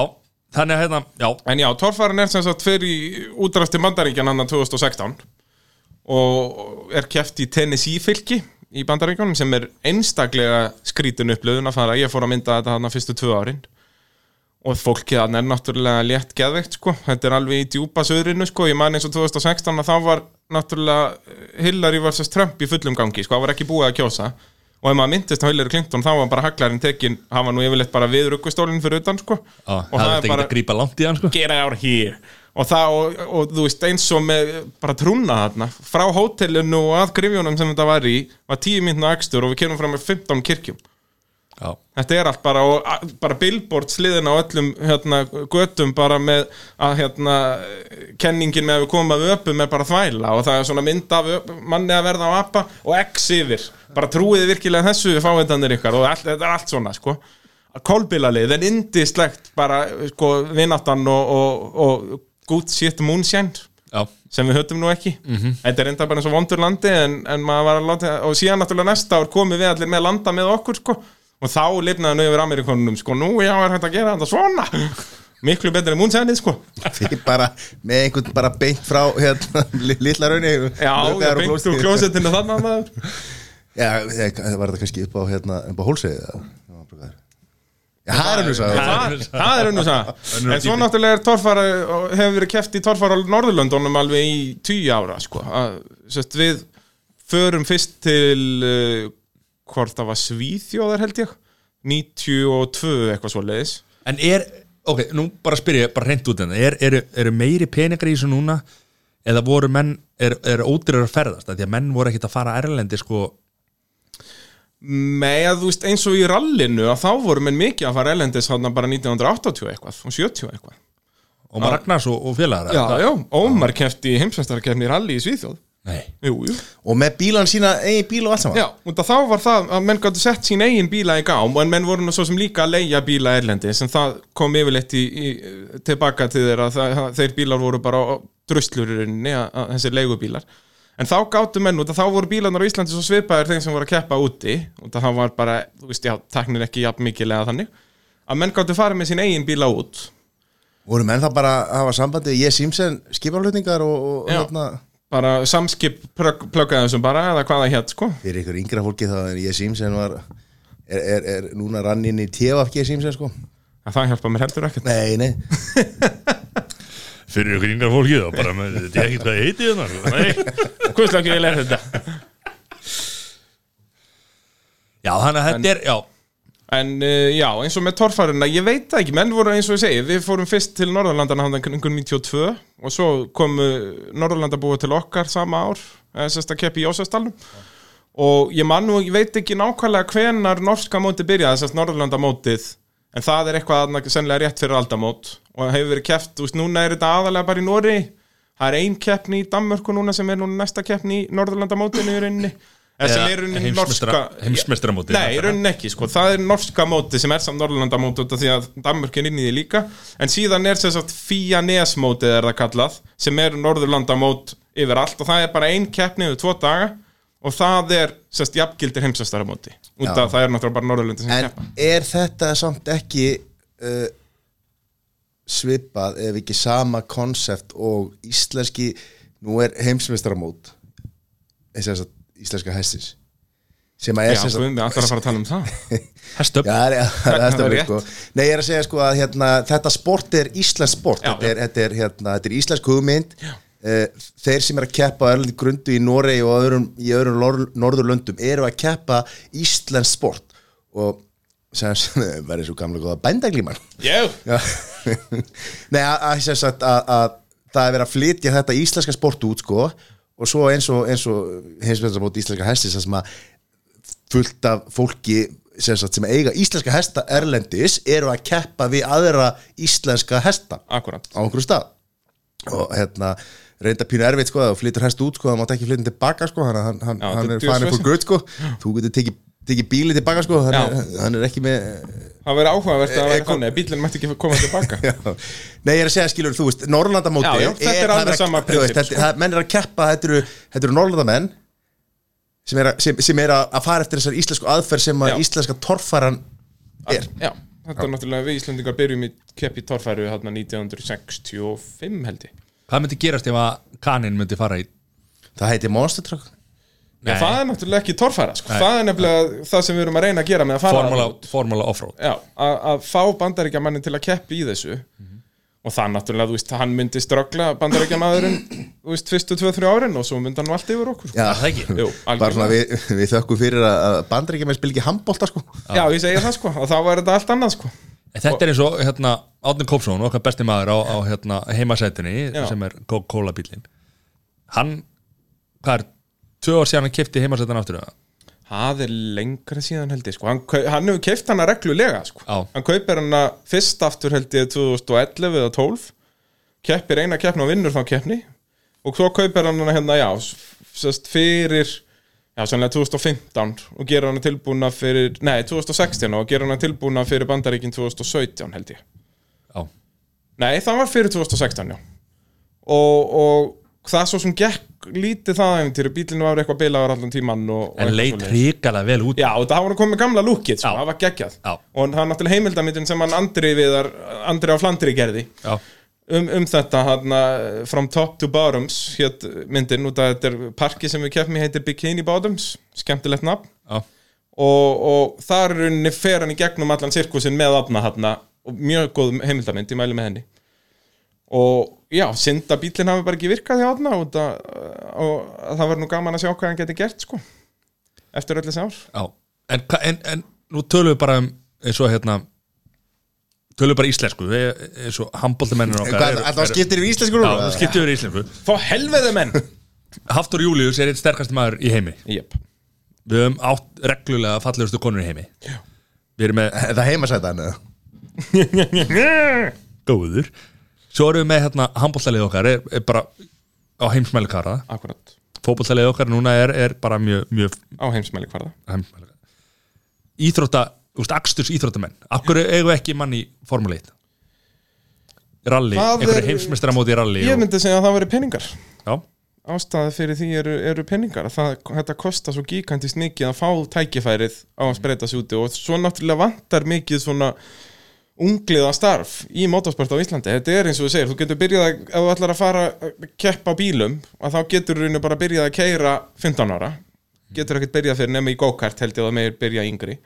S2: Þannig að hérna, já
S3: En já, torfarinn er sem sagt fyrir í útrasti bandaríkjan annan 2016 og er keft í Tennessee fylki í bandaríkjanum sem er einstaklega skrítin upplöðun að fara ég fór að mynda þetta hann fyrstu tvö árin og fólkið hann er náttúrulega létt geðveikt sko, þetta er alveg í djúpa söðrinu sko, ég man eins og 2016 að þá var náttúrulega Hillary vs. Trump í fullum gangi sko, það var ekki búið að kjósa og ef maður myndist á Hillary Clinton þá var bara haglarinn tekin, hann var nú yfirleitt bara við ruggustólinn fyrir utan sko
S2: Á, Ah, Það er ekki að grípa langt í hann, sko
S3: get out here og það, og, og þú veist, eins og með bara trúna þarna, frá hótelinu og að grifjónum sem þetta var í var tíu myndna akstur og við kemum fram með 15 kirkjum
S2: Já,
S3: þetta er allt bara, og, a, bara billboard sliðin á öllum hérna, götum bara með að hérna, kenningin með að við komum að öpum er bara þvæla og það er svona mynd af öp, manni að verða á appa og x yfir, bara trúið þið virkilega þessu við fáendanir ykkar og all, þetta er allt svona sko kolbilalið, en indislegt bara sko vináttan og, og, og good shit moonshine
S2: já
S3: sem við höfum nú ekki þetta er enda bara eins og vondurlandi en, en maður var að láta, og síðan náttúrulega næsta ár komum við allir með landa með okkur sko, og þá lifnaði hann yfir Amerikonunum sko, nú já, er hægt að gera þetta svona miklu betri en múnsennið sko
S1: Þið bara, með einhvern bara beint frá hérna, li- litla raunni
S3: já, ég beint úr klósettinu þannig maður
S1: Já, ég- það var þetta kannski upp á, hérna, upp á hólsið eða? Já, bara hvað er- Já, það er nú svo
S3: það, það er unnum það
S2: Önnur
S3: en svo
S2: dýpi.
S3: náttúrulega er torfara og hefur verið keft í torfara á Norðurlöndunum alveg í tíu ára sko. að, sest, við förum fyrst til uh, hvort það var Svíþjóðar held ég 92 eitthvað svo leiðis
S2: En er, ok, nú bara spyr ég bara reynd út en það, er, eru, eru meiri peningar í þessu núna eða voru menn er, er ódýrar að ferðast, af því að menn voru ekkit að fara erlendi, sko
S3: Nei, að þú veist, eins og í rallinu að þá voru menn mikið að fara elendis hann bara 1980 eitthvað og 70 eitthvað
S2: Ómar Ragnars og, og félagar eða hvað?
S3: já, Ómar kefti í heimsvæmstarkefni í ralli í Svíþjóð
S2: Nei,
S3: Jú, jú
S1: Og með bílan sína, eigin bíl og allt saman
S3: Já, og þá var það að menn gáttu sett sín eigin bíla í gám en menn voru nú svo sem líka að leigja bíla erlendis en það kom yfirleitt í, í, tilbaka til þeirra að það, að þeir bílar voru bara drustlurinni, þessir leigubílar en þá gáttu menn út að þá voru bílanar á Íslandi svo svipaðir þeim sem voru að keppa úti og það var bara, þú veist, já, teknir ekki jafn mikilega þannig að menn gáttu farið með sín eigin bíla út
S1: Vorum enn það bara að hafa sambandi við Ég Simpson, skiparlutningar og, og
S3: Já.
S1: hérna
S3: bara samskip plögg- plöggaði þessum bara eða hvaða hétt, sko
S1: Fyrir ykkur yngra fólki það en Ég Simpson var Er, er, er núna rann inn í TFG Simpson sko
S3: að það hjálpa mér heldur ekkert
S1: Nei, nei
S2: fyrir ykkur yngra fólkið þá bara, með- þetta er ekkit hvað heiti þetta Nei
S3: Hversu langt ég leir þetta?
S2: Já, þannig að þetta er, já,
S3: En uh, já, eins og með torfarina, ég veit það ekki, menn voru eins og ég segi, við fórum fyrst til Norðurlandana hann kringum 92 og svo komu Norðurlandabúið til okkar sama ár, eh, sérst að keppi í Jósastalnum og ég man nú, ég veit ekki nákvæmlega hvenar norska móti byrjaði, sérst Norðurlandamótið, en það er eitthvað þarna sennilega rétt fyrir aldamót og hefur verið keppt, þú veist, núna er þetta aðalega bara í Nóri, það er ein keppni í Danmörku núna sem er núna næsta keppni í Norðurlandamótinu í rauninni, þessi
S2: Eða
S3: er í rauninni norska
S2: heimsmeistara- heimsmeistaramótið.
S3: Nei, í rauninni ekki, sko, það er norska móti sem er samt Norrlandamóti út af því að Danmörk er inn í því líka en síðan er sem sagt Fíanesmótið er það kallað sem er Norðurlandamót yfir allt og það er bara ein keppni yfir tvo daga og það er sem sagt jafngildir heimsastaramóti út af
S1: Já.
S3: það er náttúrulega bara Norðurlandi sem
S1: En
S3: keppa
S1: er þetta samt ekki uh, svipað ef ekki sama konsept og íslenski, nú er heimsmeistaramót eins og íslenska hestis sem að
S3: Já,
S1: er sem
S3: þú
S1: sagt
S3: veist, við ætlar að fara að tala um það
S2: hestöp
S1: Já, það er- það er
S3: það er
S1: stöfnir
S3: rétt.
S1: sko Nei, ég er að segja sko að hérna, þetta sport er íslensk sport
S3: Já,
S1: þetta er, þetta, er, hérna, þetta er íslensk hugmynd uh, Þeir sem er að keppa á erlendi grundu í Noregi og öðrum, í öðrum lor- norðurlöndum eru að keppa íslensk sport og sem sem verður svo gamla góða bændaglíman
S3: Jú,
S1: Já. Nei, að, að, sem sagt, að, að það er verið að flytja þetta íslenska sport út sko og svo eins og, eins og heimsveitarsambót íslenska hestis það sem að fullt af fólki sem, sagt, sem eiga íslenska hesta erlendis eru að keppa við aðra íslenska hesta
S3: akkurat
S1: á einhverju stað og hérna reynda pínu erfitt sko og flytur hest út sko, það mátt ekki flytja tilbaka sko þannig að hann, hann,
S3: Já,
S1: hann er
S3: þetta er
S1: farin for
S3: djöfisvesen.
S1: good sko þú getur tekið tekið bíli tilbaka sko, hann
S3: Já.
S1: er, hann er ekki með
S3: Það verður áhugavert að
S1: E-
S3: vera
S1: e-
S3: þannig að bílinn mætti ekki koma tilbaka
S1: Já. Nei, ég er að segja, skilur, þú veist, Norrlandamóti
S3: Já, já, þetta
S1: það
S3: er alveg
S1: að-
S3: sama sko.
S1: þú veist,
S3: prinsip,
S1: þetta- það- Menn er að keppa, þetta eru, þetta eru Norrlandamenn sem er, að, sem, sem er að, að fara eftir þessar íslensku aðferð sem að
S3: Já.
S1: íslenska torfaran er
S3: Já, þetta er náttúrulega við Íslendingar byrjum í kepp í torfæru hérna 1965 held ég
S2: Hvað myndi gerast ef að kanin myndi fara í
S1: Það heiti Monster Truck
S3: Já, það er náttúrulega ekki torfæra sko. Það er nefnilega það sem við erum að reyna að gera með að fara
S2: formula,
S3: þarna út.
S2: formula offroad
S3: Já, að að fá bandaríkjamannin til að keppi í þessu og það náttúrulega, þú veist, hann myndi ströggla bandaríkjamaðurinn, þú veist, fyrstu 2-3 árin og svo myndi hann nú allt yfir okkur sko.
S1: Já,
S2: Það ekki
S3: Jú,
S1: bara svona
S3: algjörlega.
S1: við, við þökkum fyrir að- að bandaríkjamenn spil ekki handbólta sko
S3: Já, ég segi það sko, og þá var þetta allt annað sko
S2: En Þetta er eins og hérna, Átni Kópsson, okkar besti maður á, á hérna, heimasætinni
S3: Já.
S2: sem er Coca-Cola bílinn Hann, hvað er, tvö ár síðan hann kipti heimasætin aftur eða?
S3: Það er lengra síðan held ég sko Hann, kau- hann hefur keift hana reglulega sko
S2: Já.
S3: Hann kaupir hana fyrst aftur held ég 2011 eða 12 Keppir eina keppni og vinnur þá keppni Og svo kaupir hann hana hérna, já s- Sest fyrir, já sannlega 2015 Og gera hana tilbúna fyrir, nei 2016 Og gera hana tilbúna fyrir bandaríkin 2017 held ég
S2: Já,
S3: Nei, það var fyrir 2016, já Og, og það svo sem gekk lítið það eintir Bílinu var eitthvað bilaður allan tíman og, og
S2: en
S3: eitthvað
S2: leit
S3: svoleiðis.
S2: ríkala vel út
S3: Já, og það var að koma með gamla lúkið, sko,
S2: Já.
S3: það var geggjað
S2: Já.
S3: Og það var náttúrulega heimildamindin sem hann Andri viðar Andri á Flandri gerði
S2: Já.
S3: um, um þetta, hann uh, From Top to Bottoms, hétt myndin út að þetta er parki sem við keppum í heitir Bikini Bottoms, skemmtilegt nafn
S2: Já.
S3: og, og þar er rauninni fer hann í gegnum allan sirkusin með afna hann og mjög góð heimildamind, ég mæli með henni og já, synda bílinn hafi bara ekki virkað hjá afna og það, uh, og það var nú gaman að sjá hvað hann geti gert sko eftir öll þessi ár
S2: Já. En, hva- en, en nú tölum við bara um eins og hérna tölum við bara íslensku við, eins og handbóltamennir okkar
S1: Hvað, Það skiptir við íslensku núna?
S2: Já, um það skiptir við íslensku
S3: Fá helveðu menn
S2: Haftur Július er einn sterkasti maður í heimi
S3: Jep,
S2: Við höfum átt reglulega fallegustu konur í heimi Já. Við erum með
S1: Það heimasæta hann eða?
S2: góður Svo erum við með hérna, handbóltalið okkar er, er bara á heimsmælikara
S3: akkurat
S2: Fótbóltalið okkar núna er, er bara mjög, mjög
S3: á heimsmeili hvarða
S2: heimsmælikara Íþrótta, þú veist, aksturs íþróttamenn Akkur eigum við ekki mann í Formule 1 Rally,
S3: Það
S2: einhverju
S3: er-
S2: er... heimsmestramóti í rally
S3: Ég myndi segja að það veri peningar
S2: Já,
S3: Ástæði fyrir því eru, eru peningar að það, þetta kostar svo gíkandist mikið að fá tækifærið á að spreita sig úti og svo náttúrulega vantar mikið svona ungliða starf í motorsport á Íslandi þetta er eins og þú segir, þú getur byrjað að ef þú ætlar að fara að keppa á bílum að þá getur þú bara byrjað að keira 15 ára, getur ekkert byrjað fyrir nema í go-kart held ég að meir byrja yngri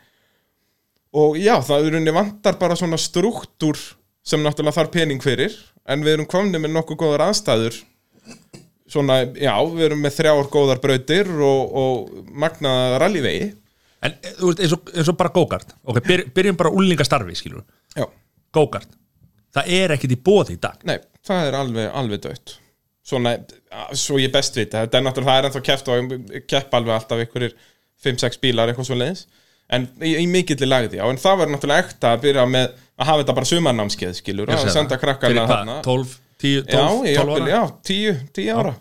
S3: og já, það er unni vantar bara svona struktúr sem náttúrulega þarf pening fyrir en við erum komni með nokkuð góðar aðstæður svona, já, við erum með þrjár góðar brautir og, og magnaða rallivegi
S2: en e, þú veist, eins og, eins og bara go-kart Ok, byr, byrjum bara úlingastarfi, skilur
S3: já,
S2: Go-kart Það er ekkit í bóð í dag
S3: nei, það er alveg, alveg dött svona, a- svo ég best vita þetta er náttúrulega, það er ennþá keppt og kepp alveg alltaf einhverjir 5-6 bílar eitthvað svo leiðis en í, í mikilli lagði, já, en það var náttúrulega ekta að byrja með að hafa þetta bara sumarnámskeið skilur,
S2: Ég
S3: að
S2: segi
S3: senda
S2: það.
S3: krakkana
S2: Fyrir hvað,
S3: þarna.
S2: 12, 10, 12, 12
S3: já, jafnvel,
S2: ára
S3: já, tíu, tíu ára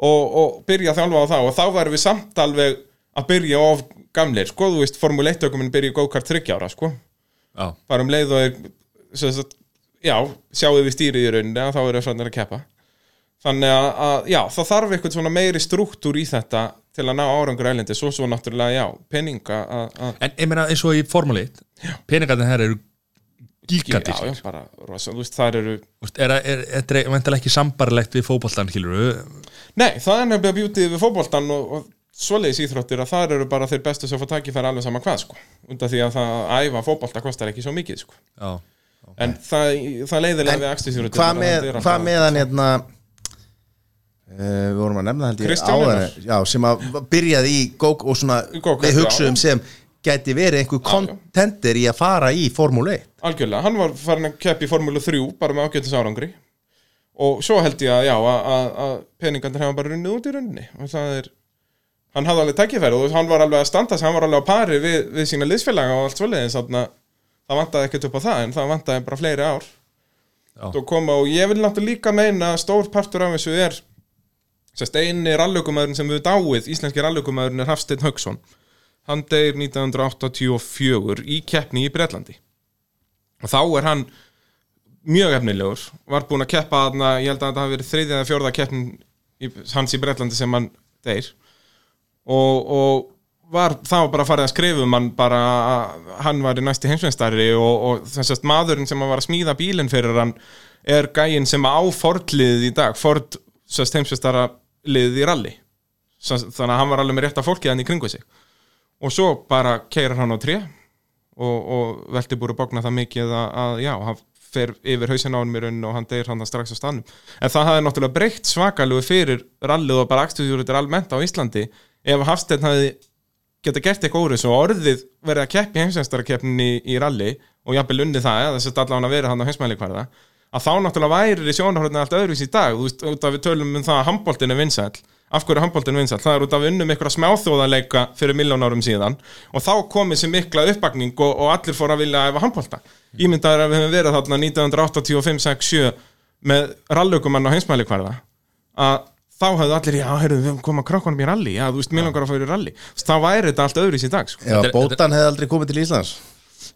S3: og, og byrja að þjálfa á það og þá væri við samt alveg að byrja of gamleir, sko, þú veist, Formule 1 ökuminn byrja í go-kart 30 ára, sko
S2: Já.
S3: bara um leið og er sem sagt, já, sjáu við stýrið í rauninni að þá eru svona að keppa þannig að, að, já, það þarf eitthvað svona meiri struktúr í þetta til að ná árangur ælendi, svo svo náttúrulega, já, peninga að, að
S2: En ég meina eins og í Formule 1 peningarnir hér eru
S3: já, já,
S2: gigantískir
S3: bara, rosa, þú veist, þar eru
S2: Þú veist, er að- er- Þetta er vantilega ekki sambarlegt við fótboltan skilur
S3: Nei, það er nefnilega bjútið við fótboltan og, og svoleiðis íþróttir að þar eru bara þeir bestu sem fá tækifæri alveg sama hvað sko undan því að það að æfa fótbolta kostar ekki svo mikið sko
S2: Já,
S3: en það, það leiðilega
S1: En
S3: við axtisíþróttir
S1: Hvað með, hvað með hann hérna Uh, við vorum að nefna held ég
S3: Kristján
S1: áðan,
S3: Einar.
S1: já, sem að byrjaði í gók og svona
S3: Í go-kart,
S1: við hugsuðum
S3: já.
S1: sem gæti verið einhver kontender í að fara í Formule 1
S3: Algjörlega, hann var farin að keppa í Formúlu 3 bara með ágjöndis árangri og svo held ég að já, að- að að peningarnir hefa bara runnið út í runni og það er hann hafði alveg tækifæri og hann var alveg að standa sig, hann var alveg á pari við, við sína liðsfélaga og allt svoleiðis þannig að það vantaði ekkert upp á það en það vantaði bara fleiri ár
S2: Já.
S3: og koma og ég vil náttúrulega líka meina að stór partur af þessu er sérst eini rallökumæðurinn sem við dáið íslenski rallökumæðurinn er Hafsteinn Hauksson hann deyr 1984 í keppni í Bretlandi og þá er hann mjög efnilegur, var búinn að keppa þarna, ég held að þetta hafi verið þriðið eða fjórða keppn í, hans í Bretlandi sem hann deyr og, og var, það var bara farið að skrifa um hann bara að hann var í næsti heimsveinstari og, og þessast maðurinn sem var að smíða bílinn fyrir hann er gæinn sem á Ford-liðið í dag Ford sest heimsveistara liðið í rally Sest- þannig að hann var alveg með rétta fólkið hann í kringu sig og svo bara keirar hann á tré og, og velti búið að bókna það mikið að, að já, hann fer yfir hausinn á hann mér unn og hann deyr hann strax á stanum en það hafði náttúrulega breytt svakalegu fyrir rallið og bara akstuðjúritur almennt á Íslandi ef Hafsteinn hafði geta gert eitthvað úr þessu og orðið verið að keppi heimsveimstarakeppni í, í rally og jafnvel unni það, eða þess að allan að vera hann á heimsmæli hverða, að þá náttúrulega væri sjónarhörðin allt öðruvis í dag, þú veist, út af við tölum um það að handbóltin er vinsæll af hverju handbóltin vinsæll, það er út af við unnum einhverja smáþóðanleika fyrir miljón árum síðan og þá komið sem mikla uppbakning og, og allir fór að vilja að efa handbólta ímyndaður að við hefum verið þarna 1985, 6, 7 með rallaukumann á heimsmæli að þá hefðu allir, já, heyrðu, við höfum komað krakkanum í rally, já, þú veist, mér langar að fara í rally Þú veist, þá væri þetta allt öðris í dag, sko
S1: Já, bótan hefði aldrei komið til Íslands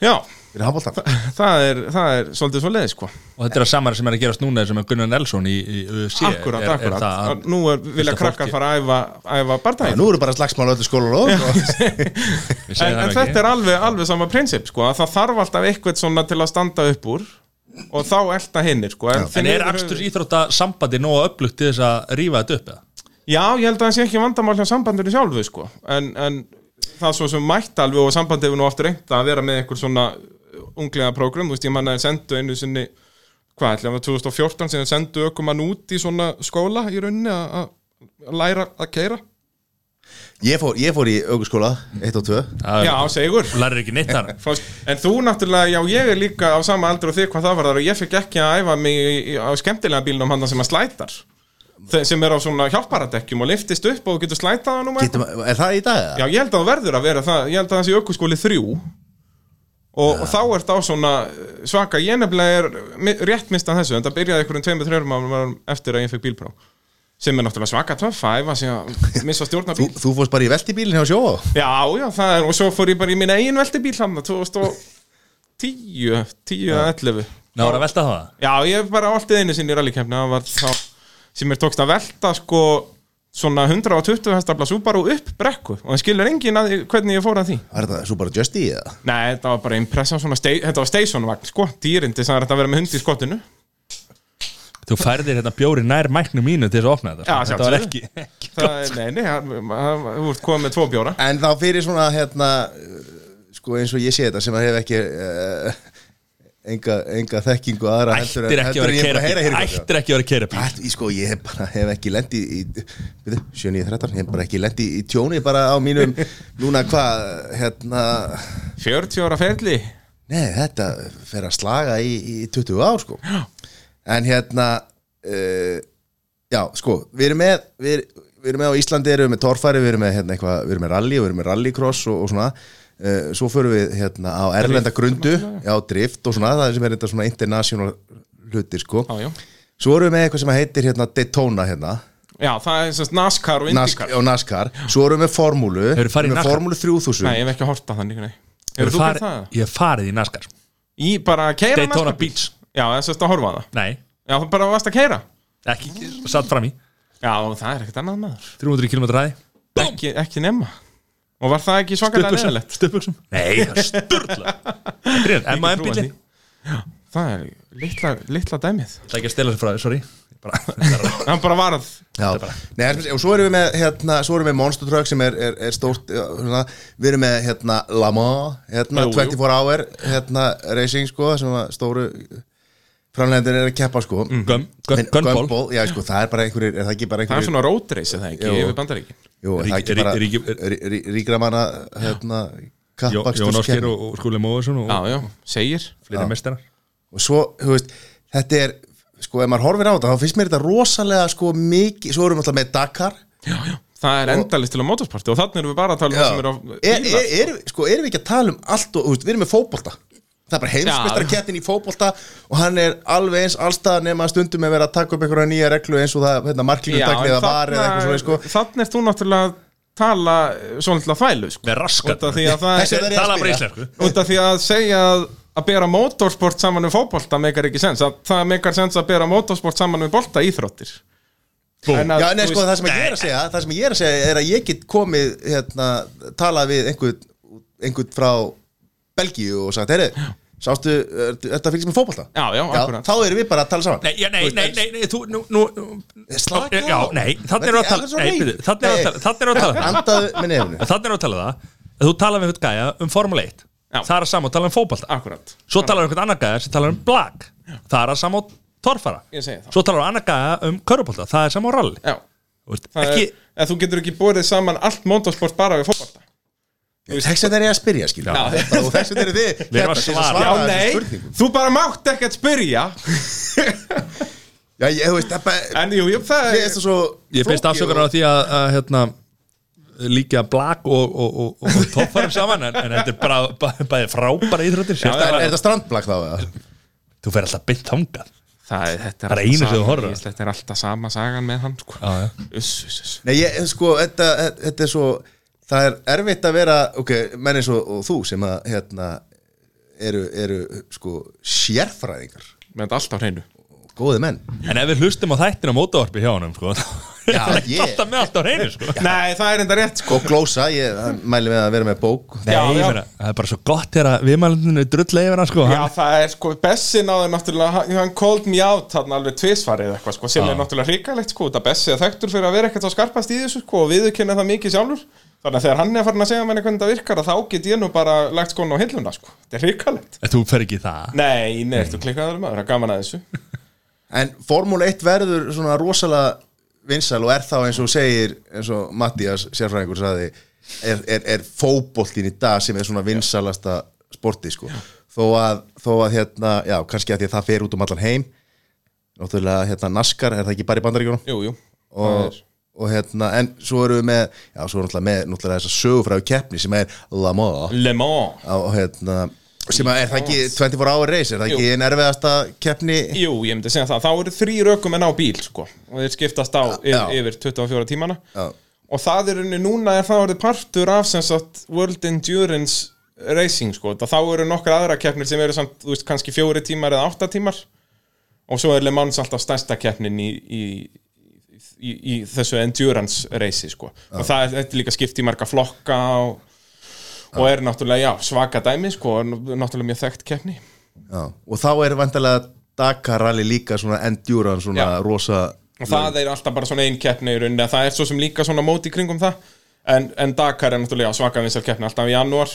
S3: Já,
S1: fyrir handbóltan
S3: það er, það er svolítið svo leiði, sko
S2: Og þetta er að samar sem er að gerast núna sem er Gunnar Nelson í, í UFC
S3: Akkurat,
S2: er,
S3: akkurat,
S2: er það, hann,
S3: nú er, vilja
S2: Þetta
S3: krakkar
S2: fólki-
S3: fara að æfa, æfa bardagi
S1: Nú eru bara slagsmál öllu skólar og
S2: en,
S3: en, en þetta er alveg, alveg sama prinsip sko, að það þarf alltaf eitthvað svona til að standa upp úr og þá elta hinnir sko, en,
S2: En
S3: því
S2: er
S3: miður
S2: akstur
S3: höfum-
S2: íþrótta sambandi nóg upplugt til þess að rífa þetta upp eða?
S3: Já, ég held að það sé ekki vandamál hjá sambandinu sjálfu sko, en, en það svo sem mætt alveg og sambandi hefur nú aftur reynd að vera með einhver svona uh, unglega prógram, þú veist, ég manna að þeir sendu einu sinni, hvað ætli, það var 2014 sem þeir sendu ökumann út í svona skóla í rauninni að- að að læra að keira
S1: ég, fór, ég fór í aukurskóla 1 og 2
S2: Það
S3: Já, segur
S2: Lærir ekki neitt þar
S3: Fást, en þú náttúrulega, já ég er líka á sama aldri og þig hvað það var þar og ég fekk ekki að æfa mig í, í, á skemmtilega bílnum hann sem að slætar Þe- sem er á svona hjálparadekkjum og liftist upp og þú getur slætað hann um
S1: Getum, Er það í dag?
S3: Já, ég held að það verður að vera það, ég held að það sé ökkuskóli þrjú og, og þá er það á svona eh, svaka, ég nefnilega er mi- rétt mistað þessu, en það byrjaði einhverjum tveimur, þrejum árum eftir að ég fekk bílpró sem er náttúrulega svaka töff að æfa sig að missa stjórna
S1: Þú,
S3: bíl
S1: þú fórst bara í veltibílinn hjá sjó
S3: Já, já, það er, og svo fór ég bara í minna eigin veltibíl hann, 2010 10 að 11
S2: Náður að velta það
S3: Já, ég bara alltið einu sinni í rallykefni það var þá sem mér tókst að velta sko svona 120 hestafla Subaru upp brekku og það skilur enginn að, hvernig ég fór að því
S1: Er það svo bara just í eða?
S3: Nei, þetta var bara impressa svona stei, þetta var stationvagn, sko, dýrindi sem er hægt að vera með hundi í skottinu
S2: Þú færðir hérna bjóri nær mæknu mínu til þess að opna þetta
S3: Já,
S2: Þetta var ekki,
S3: sjálfsögðu.
S2: ekki
S3: það, er- Nei, nei, það- það- þú ert komið með tvo bjóra
S1: En þá fyrir svona hérna eh, sko eins og ég sé þetta sem að hef ekki uh, enga, enga þekkingu aðra
S2: Ættir
S1: en-
S2: ekki að
S1: en ég er búin
S2: vera
S1: heyra
S2: að keira
S1: hér í kvöld.
S2: Ættir ekki að vera að keira bíl
S1: Allt, ég sko, ég hef bara, hef ekki lendi í, við þau, 7.9.13, hef bara ekki lendi í tjóni bara á mínum, núna hvað, hérna,
S3: 40 ára ferli
S1: Nei, þetta fer að slaga í, í 20 ár sko En hérna uh, Já, sko, við erum með við, við erum með á Íslandi, erum við með torfæri Við erum með, hérna, eitthvað, við erum með rally og við erum með rallycross og, og svona uh, Svo förum við hérna á erlenda grundu Já, drift og svona, það sem er þetta svona international hlutir sko
S3: Já, já
S1: Svo erum við með eitthvað sem heitir hérna Daytona hérna
S3: Já, það er semst NASCAR og
S1: Nask,
S3: IndyCar
S1: og NASCAR, svo erum við með formúlu Við
S2: Hefurðu farið
S1: erum
S2: í
S1: með
S2: NASCAR?
S1: formúlu 3000
S3: Nei, ég hef ekki horta þannig, nei Hefur
S2: Hefur
S3: þú
S2: farið-
S3: gert það?
S2: Ég hef farið í naskar
S3: Í bara að keira
S2: Daytona
S3: NASCAR bíl?
S2: Beach
S3: Já, það er semst að horfa á það
S2: Nei,
S3: Já, þú bara varst að keira
S2: ekki, satt fram í
S3: Já, það er ekkert annað maður
S2: 300 km ræði
S3: ekki, ekki nema Og var það ekki svakalega
S2: Stuttbuxum Stuttbuxum
S3: neðalegt?
S2: Nei, það er sturla M&M
S3: trúa
S2: bíli
S3: því. Það er litla, litla dæmið
S2: Það er ekki að stela sér frá þér, sorry Ég bara-
S3: Hann bara varð
S1: Já, Nei, það er sem sé- og svo erum við með, hérna, svo erum við Monster Truck sem er, er, er stórt já, svona, við erum með hérna, Lama hérna,
S3: Jú, jú.
S1: 24 Hour hérna, Racing sko, sem að stóru framlendir er að keppa sko.
S2: Gun- gun-
S1: En
S2: Gunball
S1: já, sko, það er bara einhverjir, er það ekki bara
S3: Mm. Það er
S1: einhverjir
S3: svona road race, er það ekki,
S1: Jú.
S3: yfir bandaríkin
S1: jú, er það
S2: Rík-
S1: ekki bara
S2: rík- rík-
S1: rí- rí- ríkra manna hérna,
S2: Jó- Jón Ásker
S1: kappakstuskeppni.
S2: og og Skúli Móðarsson og
S3: Já, já, segir
S2: fleiri mestarar
S1: og svo, þú veist, þetta er sko, ef maður horfir á þetta, þá finnst mér þetta rosalega sko mikið, svo erum við alltaf með Dakar
S3: já, já, það er endalist til að mótorsporti og þannig erum við bara að tala um það sem er á
S1: er,
S3: bíla.
S1: er, er, sko, erum við ekki að tala um allt og, þú veist, við erum með fótbolta það er bara heimsmyndar í fótbolta og hann er alveg eins allstað nema að stundum er verið að taka upp einhverja nýja reglu eins og það hérna, marklundagni
S3: en
S1: eða var eða eitthvað
S3: þarna-
S1: svona sko.
S3: þarna ert þú náttúrulega að tala eh, svolítið að þvælu sko.
S2: Með raskat.
S3: Út af því að það
S1: Þessi er
S3: er
S1: það
S2: Tala bara
S1: spila.
S2: íslensku
S3: út af því að segja að að bera motorsport saman við fótbolta meikar ekki sens, að það meikar sens að bera motorsport saman við bolta íþróttir En að,
S1: Já, nei,
S3: þú
S1: sko,
S3: veist-
S1: það sem ég er að segja það sem ég er að segja er að ég get komið hérna, talað við einhvern, einhvern frá Belgíu og sagt, heyri, sástu er- þetta fylgist með fótbolta?
S3: Já, já, akkurat.
S1: þá erum við bara að tala saman
S2: Nei, já, nei,
S1: Þú veist,
S2: nei, nei, nei, þú, nú, nú
S1: Slaka
S2: Já,
S1: á.
S2: nei, þannig erum við að
S1: Þetta er
S2: tala
S1: svo
S2: Nei,
S1: reyð.
S2: byrju, þannig erum við að tala Þannig erum við að tala
S1: Andaðu með nefnu
S2: Þannig erum við að tala það að Þú talar við einhvern gæja um Formule 1
S3: Já.
S2: Það er að sama og tala um fótbalta
S3: akkurat
S2: Svo talar við einhvern annar gæja sem talar um blag Það er að sama og torfara
S3: Ég segi það.
S2: Svo talar við annar gæja um körubólta Það er sama og rally
S3: já,
S2: Þú veist,
S3: það
S2: Ekki,
S3: er, að þú getur ekki borið saman allt motorsport bara við fótbolta
S1: Þess að það er ég að spyrja, skil
S2: Já.
S1: Og þess að það er þið
S2: Við erum að
S1: hérna, til
S2: svara.
S3: Já,
S1: þessum
S3: nei,
S1: spurningum.
S3: þú bara mátt ekkert spyrja
S1: Já, ég, þú veist, það er bara
S3: En jú, jú, það
S1: Ég
S3: er
S1: er svo
S2: ég beist
S1: flókið
S2: afsökunar á
S1: og-
S2: því að, að hérna, líka blag og, og, og, og toffar saman en, en þetta er bara bæði bæ, frábæra íþróttir
S1: Það Er
S2: sérstaklega-
S1: er þetta strandblag þá, eða?
S2: Þú fer alltaf beint þangað
S3: Það er, þetta er
S2: Bara einu
S3: alltaf
S2: sem þú
S3: sama-
S2: horfir á.
S3: ég- Þetta er alltaf sama sagan með hann sko.
S2: Já, já.
S3: Uss, uss, uss
S1: Nei, ég, sko, þetta, þetta er svo Það er erfitt að vera, ok, menn eins og, og þú sem að, hérna eru, eru sko, sérfræðingar
S3: Með þetta alltaf hreinu
S1: og góði menn
S2: En ef við hlustum á þættin á mótavarpi hjá honum sko, Já,
S1: Já,
S2: ég
S1: ég-
S2: Alltaf með alltaf reyni sko.
S3: Nei, það er enda rétt sko.
S1: og glósa, ég það mæli með að vera með bók
S2: Nei,
S3: Já,
S2: ég
S3: já.
S2: meina, það er bara svo gott þegar að viðmælundinu drull yfir hann sko
S3: Já,
S2: hann,
S3: það er sko, Bessi náði náttúrulega hann- Hann called me out hann alveg tvisfarið eitthvað sko, sem er náttúrulega hrikalegt sko, þetta Bessi er þekktur fyrir að vera ekkert á skarpast í þessu sko, og viðurkenna það mikið sjálfur Þannig að þegar hann er farin að segja manni hvernig það virkar að þá get ég nú bara lagt skona á hilluna sko. Þetta er hrikalegt
S2: en Þú fer ekki í það
S3: Nei, nei, ertu klikkaður maður, það er gaman að þessu
S1: en Formúla 1 verður svona rosalega vinsal og er þá eins og þú segir eins og Mattias sérfræðingur saði er, er, er fótboltin í dag sem er svona vinsalasta sporti sko þó að, þó að hérna, já, kannski að því að það fer út um allan heim náttúrulega hérna naskar, er það ekki bara í bandaríkjunum
S3: Jú, jú, það
S1: og,
S3: er
S1: og hérna, en svo erum við með já, svo erum við náttúrulega með náttúrulega þessa sögufræðu keppni sem er La Mans
S3: Le Mans
S1: á, hérna, sem að er það ekki 24 hour race, er það ekki einn erfiðasta keppni
S3: Jú, ég myndi segja það, þá eru þrý rökum en á bíl sko, og þeir skiptast á
S1: Já.
S3: yfir, yfir 24 tímana
S1: Já.
S3: og það er unni núna er það orðið partur af sem sagt World Endurance Racing sko, það, þá eru nokkra aðra keppnir sem eru samt, þú veist, kannski fjóri tímar eða átta tímar og svo er Le Mans alltaf stærsta keppnin í, í, í, í þessu endurance race sko, og það er, þetta er líka skipt í marga flokka og, og er náttúrulega, já, svaka dæmi sko, og er náttúrulega mjög þekkt keppni
S1: Já, og þá er vantarlega Dakar rally líka svona endurance svona
S3: Já.
S1: rosa
S3: og það er alltaf bara svona ein keppni í rauninni að það er svo sem líka svona mót í kringum það en, en Dakar er náttúrulega svaka vinsal keppni alltaf í janúar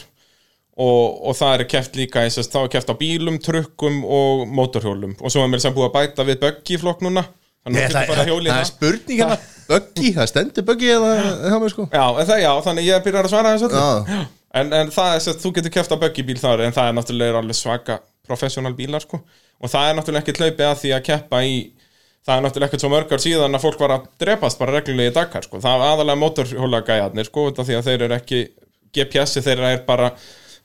S3: og, og það er keppt líka eins og þá er keppt á bílum, trukkum og mótorhjólum og svo er mér sem búið að bæta við böggi í flokk núna þannig
S1: Ég,
S3: að
S1: það,
S3: það bara hjólið
S1: það er spurning hérna Buggy, það stendur Buggy eða hjá mér sko
S3: Já, en það, já, þannig ég byrjar að svara þessu öllu.
S1: Já.
S3: Já. en, en það er sem sagt, þú getur keft á böggibíl þar en það er náttúrulega alveg svaka professional bílar sko. og það er náttúrulega ekkert hlaupið að því að keppa í það er náttúrulega ekkert svo mörgar síðan að fólk var að drepast bara reglulega í Dakar sko. það er aðalega mótorhjólagæjarnir sko, út af því að þeir eru ekki GPS-i þeirra er bara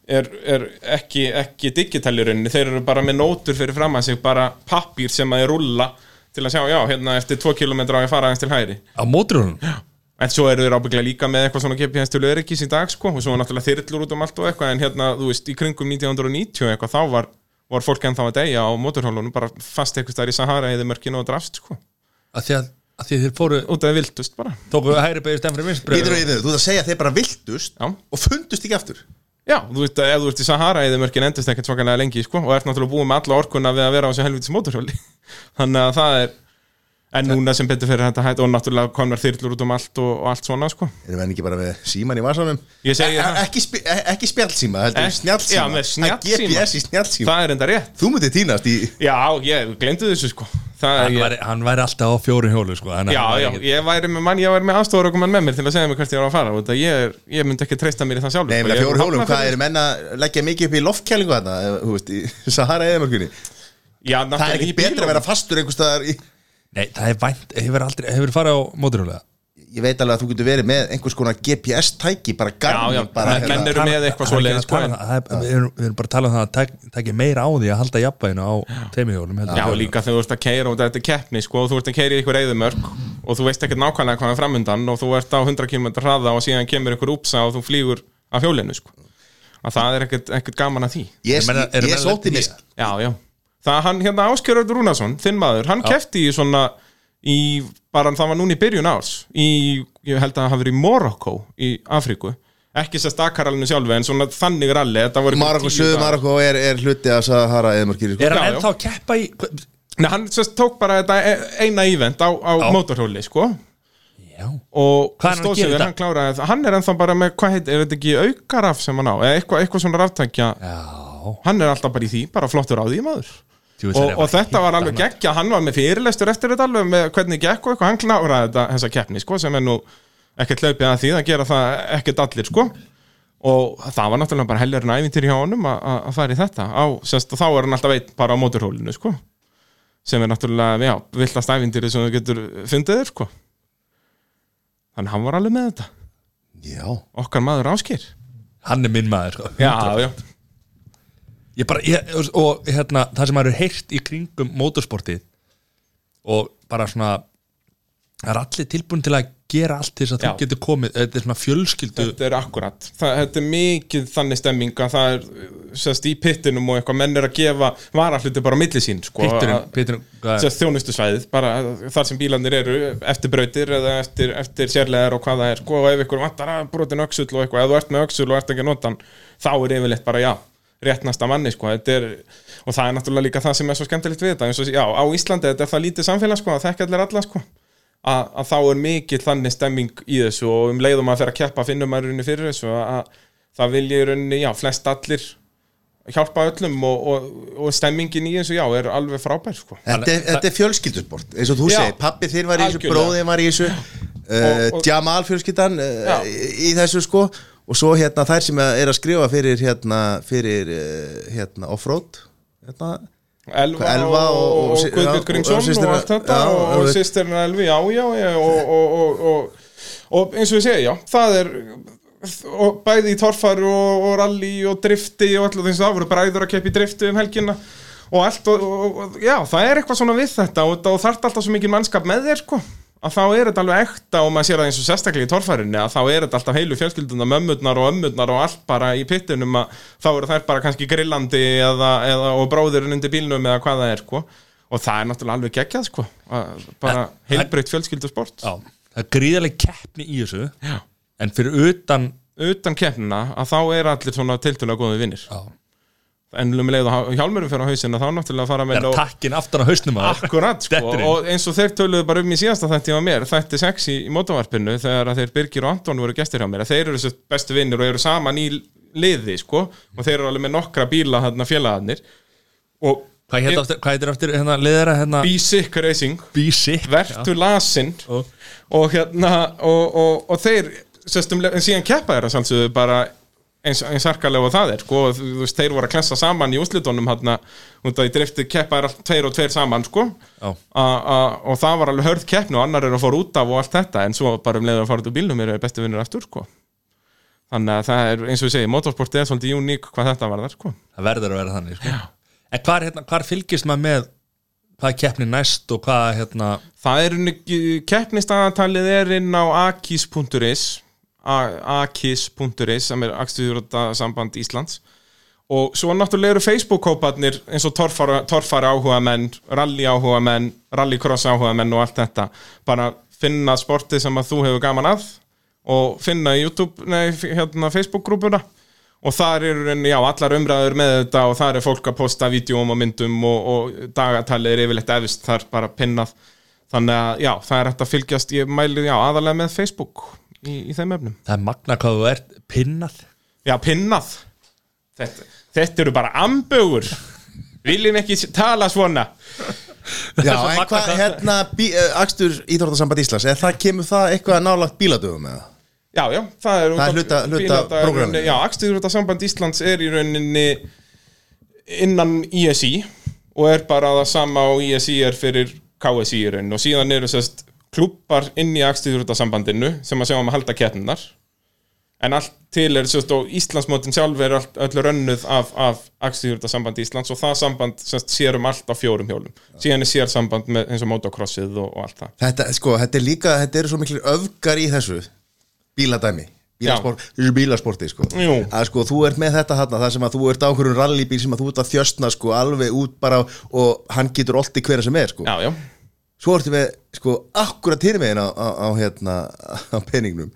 S3: er, er ekki, ekki digitalirunni þeir eru bara með nótur fyrir fram að sig bara pappír sem að er rulla til að sjá, já, hérna eftir 2 km á ég að fara aðeins til hægri
S2: Á mótrunum
S3: En svo eru þeir ábygglega líka með eitthvað svona GPS til öryggis í dag sko og svo náttúrulega þyrlur út um allt og eitthvað en hérna, þú veist, í kringum 1990 eitthvað þá var, var fólk ennþá að deyja á móturhálunum bara fast eitthvað þar í Sahara eða mörkinu og drafst sko
S2: að því að, að því að þeir fóru
S3: út af viltust bara
S2: Tóku hægri beigist enn fyrir vinstri
S1: Býtur við þau, þú ert að segja að þeir bara viltust
S3: Já.
S1: og fundust ekki aftur
S3: Já, þú veist, ef þú ert í Sahara eða mörkin endist ekkert svakalega lengi sko og ert náttúrulega búið með alla orkuna við að vera á þessu helvitis móturhjóli þannig að það er en núna sem betur fyrir þetta hætt og náttúrulega konar þyrlur út um allt og, og allt svona sko
S1: Erum við enn ekki bara með síman í vasanum
S3: Ég segi
S1: E-
S3: það.
S1: Ekki, spi- e- ekki spjallsíma, heldur
S3: Ek-
S1: snjallsíma
S3: Já, með snjallsíma.
S1: Að GPS í snjallsíma
S3: það er enda rétt
S1: Þú myndir týnast í
S3: Já, ég glemdi þessu sko Það
S2: hann,
S3: er ég-
S2: væri- hann væri alltaf á fjórum hjólu sko þannig að
S3: Já,
S2: hann væri
S3: já,
S2: ekki-
S3: ég væri með mann, ég væri með aðstofar okkur mann með mér til að segja mér hvert ég var að fara út að ég, er, ég myndi ekki treysta mér í það sjálfur
S1: Nei,
S3: sko.
S1: meina
S3: Ég
S1: fjóru hjólum,
S3: hafna
S1: hvað
S3: fyrir-
S1: er menna leggja mikið upp í loftkjælingu þarna ef- Þú veist, í Sahara eðamörkunni
S3: Já,
S1: Það er
S3: náttúrulega
S1: ekki
S3: í
S1: betra að
S3: bílum.
S1: vera fastur einhverstaðar í
S2: Nei, það er vænt Hefur aldrei, hefur farið á mótrunum
S1: ég veit alveg að þú getur verið með einhvers konar GPS-tæki bara hérna. garð
S3: já, menn- menn eru með
S2: Það er
S3: eitthvað
S2: ekki
S3: svoleiðis,
S2: að tala um
S3: sko, en-
S2: það, það er- Við erum við erum bara að tala um það að tak- taki meira á því að halda jafnvæginu á teimihjólum heldur
S3: Já,
S2: en-
S3: líka þegar þú ert að keira og þetta er keppni sko, og þú ert að keira í ykkur reyðumörk og þú veist ekkert nákvæmlega hvað er framundan og þú ert á 100 km hraða og síðan kemur ykkur úpsa og þú flýgur af hjólinu sko. að það er ekkert, ekkert gaman að því
S1: Ég,
S2: Ég meina,
S1: ég,
S2: eru
S1: ég
S2: menn-
S1: sótti mig
S3: Já, já Það hann, hérna Áskjörður Rúnarsson, þinn maður hann kefti í svona í, bara það var núna í byrjun árs í, ég held að það hafi verið í Morocco í Afríku, ekki sér stakkarallinu sjálfi en svona þannig ralli þetta voru
S1: Marokko,
S3: tíu
S1: Suðu
S3: dagar.
S1: Marokko er, er hluti af Sahara eða mörgir sko.
S2: Er hann
S3: Já, já.
S2: ennþá að keppa í hva-
S3: Nei, hann sérst tók bara þetta e- eina ívent á, á mótorhjóli, sko
S2: Já Hvað
S3: og
S2: er hann að
S3: stóð
S2: gera í
S3: sig vel,
S2: dag?
S3: hann kláraði það hann er ennþá bara með, hvað heit, er þetta ekki aukaraf sem hann á, eða eitthvað, eitthvað svona ráftækja
S2: Já
S3: hann er alltaf bara í því, bara flottur á því maður
S2: Djú,
S3: og, og þetta var alveg geggja, hann var með fyrirlestur eftir þetta alveg með hvernig gekk og eitthvað, hann kláraði þetta þessa keppni, sko, sem er nú ekkert hlaupið að því, það gera það ekkert allir, sko og það var náttúrulega bara hellurinn ævintir hjá honum að- að að fara í þetta á, semst, þá er hann alltaf veit bara á móturhólinu, sko sem er náttúrulega, já, viltast ævintir sem þú getur fundið þér, sko þannig hann var alveg með þetta
S1: Já,
S3: okkar maður áskir
S2: Hann er minn maður sko.
S3: já, já,
S2: ég bara, ég, og- og hérna, það sem maður er heyrt í kringum mótorsportið og bara svona það er allir tilbúin til að gera allt til þess að þú
S3: Já.
S2: getur komið þetta er svona fjölskyldu
S3: þetta er akkurat það, þetta er mikið þannig stemming að það er sérst í pittinum og eitthvað menn er að gefa varahluti bara á milli sín sko,
S2: pitturinn,
S3: að-
S2: pitturinn, hvað er
S3: sérst þjónustusvæðið, bara þar sem bílandir eru eftir brautir eða eftir, eftir sérlegar og hvað það er, sko, og ef ykkur vantar að brotin öxull og eitthvað, ef þú ert með öxull og ert ekki að nota hann, þá er yfirleitt bara já réttnasta manni, sko, þetta er og það er náttúrulega líka það sem er svo skemmtilegt við þetta eins og, já, á Íslandi, þetta er það lítið samfélag, sko, það þekki allir alla, sko að, að þá er mikið þannig stemming í þessu og um leiðum að fer að keppa finnum maður í rauninni fyrir þessu að, að það vilji í rauninni, já, flest allir hjálpa öllum og, og, og stemmingin í þessu, já, er alveg frábær sko.
S1: þetta, er- þetta er fjölskyldusport eins og þú
S3: Já.
S1: segir, pappi þinn var í þessu,
S3: Algjörlega.
S1: bróðin var í þessu
S3: Og-
S1: uh,
S3: og-
S1: Jamal fjölskyldan uh,
S3: Já.
S1: í þessu sko og svo hérna þær sem er að skrifa fyrir hérna, fyrir uh, hérna offroad hérna,
S3: Elva,
S1: Elva
S3: og,
S1: og-
S3: og,
S1: og-
S3: og Guðbjörn
S1: og-
S3: Grímsson
S1: og
S3: og,
S1: systirina-
S3: allt þetta
S1: já,
S3: og, og
S1: alveg.
S3: sýstirinn Elvi, já, já, já og, og, og, og, og eins og ég segi, já, það er og bæði í torfaru og, og rally og drifti og alltaf þess að það voru bræður að keppi drifti um helgina og allt og, og, og já, það er eitthvað svona við þetta og, og þarf alltaf svo mikið mannskap með þér sko að þá er þetta alveg ekta og maður sér það eins og sérstaklega í torfærinni að þá er þetta alltaf heilu fjölskylduna mömmurnar og ömmurnar og allt bara í pittinum að þá eru þær bara kannski grillandi eða, eða og bróðurinn undir bílnum eða hvað það er sko og það er náttúrulega alveg geggjað sko að bara
S2: En-
S3: heilbreytt fjölskyldusport
S2: já, það er gríðarlega keppni í þessu
S3: Já.
S2: en fyrir utan
S3: utan keppnina að þá er allir svona tiltulega góði vinnir
S2: já,
S3: en um leið og hjálmurum fyrir á hausina þá náttúrulega fara
S2: er
S3: með ló-
S2: takkin aftan á hausnum að
S3: Akkurat sko,
S2: Dettur inn.
S3: og eins og þeir töluðu bara um í síðasta þætti á mér, þætti sex í, í mótavarpinu þegar að þeir Birgir og Anton voru gestir hjá mér að þeir eru þessu bestu vinnir og eru saman í liði sko, og þeir eru alveg með nokkra bíla þarna félagarnir og
S2: hvað heitir aftur, hvað heitir aftur hérna, leðara hérna
S3: B-Sick Racing
S2: bísi
S3: Vertu Lasin
S2: Og-
S3: og hérna og, og, og þeir sestum, en síðan keppa þeirra sannsögðu bara eins, eins harkalega og það er sko, og þú veist, þeir voru að klessa saman í úslitunum hérna, út að í drifti keppa þeirra tveir og tveir saman sko
S2: Já.
S3: a, a, og það var alveg hörð keppni og annar er að fóra út af og allt þetta en svo bara um leiður að fara út úr bílnum eru þeir bestu vinnir aftur sko þannig að það er eins og ég segi, motorsportið er svolítið uník hvað þetta var þar sko
S2: það verður að vera þannig sko. en hvar, hérna, hvar fylgist maður með hvað er keppni næst og hvað hérna
S3: Það er keppnistaðatalið er inn á akis.is a- akis.is sem er Akstuðurota samband Íslands og svo náttúrulega eru Facebook-kóparnir eins og torfara, torfara áhuga menn rally áhuga menn, rallycross áhuga menn og allt þetta, bara finna sportið sem að þú hefur gaman að og finna í YouTube, nei, hérna Facebook-grúpuna og þar eru en, já, allar umræður með þetta og þar er fólk að posta vídjum og myndum og, og dagatalið er yfirleitt efist þar bara pinnað þannig að já, það er hægt að fylgjast ég mæli, já, aðalega með Facebook í, í þeim efnum
S2: það er magna hvað þú ert pinnað
S3: Já, pinnað Þetta, þetta eru bara ambögur Viljum ekki tala svona
S1: Já,
S2: svo
S1: en
S2: magnað
S1: hvað,
S2: hvað-
S1: hérna, bí, uh, Akstur Íþórtasamband Íslands, er það kemur það eitthvað nálægt bíladöfum eða?
S3: Já, já, það er,
S1: Það er hluta- hluta
S3: bíladagur-
S1: prógramminu.
S3: Já, Akstuðurúta samband Íslands er í rauninni innan ISI og er bara það sama og ISI er fyrir KSI í rauninni og síðan eru sérst klúpar inn í akstuðurútasambandinu sem að sjá um að halda keppninar en allt til er sérst, og Íslandsmótin sjálf er allt, öll rönnuð af, af akstuðurútasambandi Íslands og það samband sérst, sér um allt á fjórum hjólum síðan er sér samband með eins og motocrossið og, og allt það
S1: Þetta, sko, þetta er líka, þetta eru svo miklir öfgar í þessu bíladæmi Bílasport, bílasporti sko.
S3: Jú.
S1: að sko þú ert með þetta þarna það sem að þú ert á hverjum rallybíl sem að þú ert að þjösna sko alveg út bara og hann getur olti hverja sem er sko
S3: Já, já,
S1: svo ertu með sko akkurat hér megin á, á, á hérna á peningnum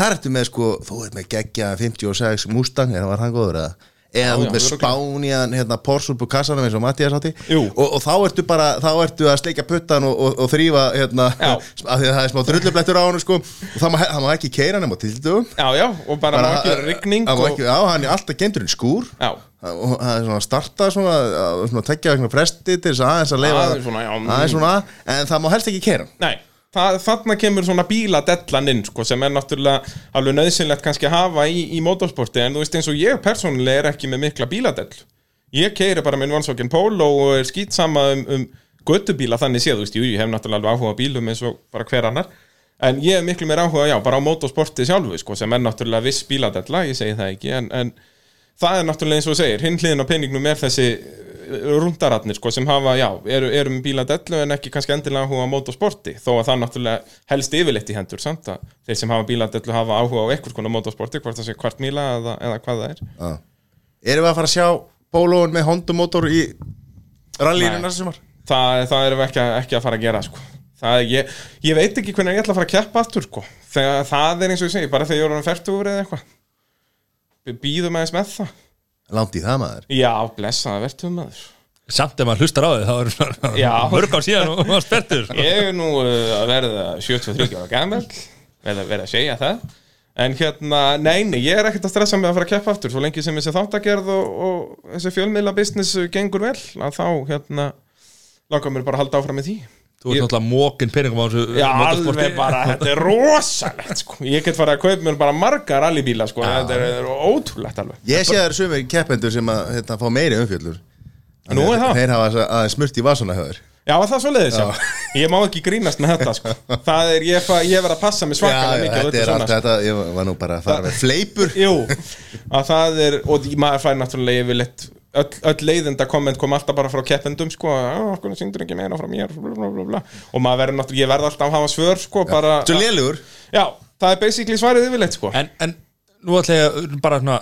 S1: þar ertu með sko þú ert með geggja 56 Mustang eða var hann góður eða eða
S3: Já,
S1: þú
S3: já,
S1: ert með
S3: örugglega.
S1: spánian hérna Porsche upp úr kassanum eins og Mattias átti
S3: Jú.
S1: og, og þá ertu bara þá ertu að sleikja puttan og, og, og þrýfa hérna
S3: Já.
S1: af því að það er smá drullublettur á hann sko og það má, það má ekki keira nema tildum
S3: já, já og bara, bara eh, ekki vera rigning
S1: og...
S3: og,
S1: ekki, já, hann er alltaf gendur í skúr
S3: Já,
S1: og það er svona að starta svona, að- svona að tekja eitthvað fresti til þess að aðeins að leifa
S3: Aðeins svona, já. mm.
S1: aðeins svona, en það má helst ekki keira hann.
S3: nei Það, þarna kemur svona bíladellan inn sko, sem er náttúrulega alveg nöðsynlegt kannski að hafa í, í motorsporti en þú veist eins og ég persónulega er ekki með mikla bíladell ég keiri bara minn vansókin polo og er skýtsama um, um göttubíla þannig séð, þú veist, jú, ég hef náttúrulega alveg áhuga á bílum eins og bara hver annar en ég hef miklu meir áhuga, já, bara á motorsporti sjálfu sko, sem er náttúrulega viss bíladella ég segi það ekki, en, en það er náttúrulega eins og þú segir, hinn hliðin á peningnum er þessi rundaratnir sko, sem hafa, já, eru, eru með bíladellu en ekki kannski endilega áhuga á motorsporti þó að það náttúrulega helst yfirleitt í hendur samt að þeir sem hafa bíladellu hafa áhuga á einhvers konar motorsporti, hvort það sé hvart míla eða, eða hvað það er
S1: Já. erum við að fara að sjá bólóin með hóndumótor í rallinu
S3: Nei.
S1: næsta sumar
S3: það, það erum við ekki, að- ekki að fara að gera sko. það, ég, ég veit ekki hvernig ég ætla að fara að keppa aftur sko. þegar það er eins og ég segi bara þegar ég er orðin færtugur eða eitthvað Við býðum aðeins með það
S1: langt í það maður
S3: já, blessa það verðtum maður
S2: Samt ef maður hlustar á þig þá er svona
S3: Já.
S2: mörg á síðan og maður spertur
S3: ég er nú uh, að verða 73 ára gammal verða, verða að segja það en hérna, nei, nei, ég er ekkert að stressa með að fara að keppa aftur, svo lengi sem þessi þáttagerð og, og þessi fjölmiðla business gengur vel, að þá hérna langar mér bara að halda áfram með því
S2: Þú ert náttúrulega mókin peningum á þessu
S3: Já,
S2: motorsporti.
S3: alveg bara, þetta er rosalegt sko. Ég get farið að kaupa mér bara marga rallybíla sko. þetta, er, þetta er ótrúlegt alveg
S1: ég sé að það eru sumir keppendur sem að hérna, fá meiri umfjöllur
S3: Nú er það.
S1: þeir hafa þess- aðeins smurt í vasana höður
S3: Já, var það svo leiðis, já Ég má ekki grínast með þetta sko. Það er, ég, fa- ég verð að passa mig svakalega mikið á
S1: þetta
S3: öllu
S1: er
S3: svona,
S1: allt þetta ég var nú bara að fara með fleipur
S3: Jú, að það er og því- maður fær náttúrulega yfirleitt öll, öll leiðinda komment kom alltaf bara frá keppendum sko, "Já, af hvernig syndur ekki meira frá mér bla, bla, bla, bla. og maður verður náttúrulega, ég verð alltaf að hafa svör sko, bara,
S1: svo lélugur
S3: já, það er basically svarið yfirleitt sko.
S2: en, en nú ætla ég að bara svona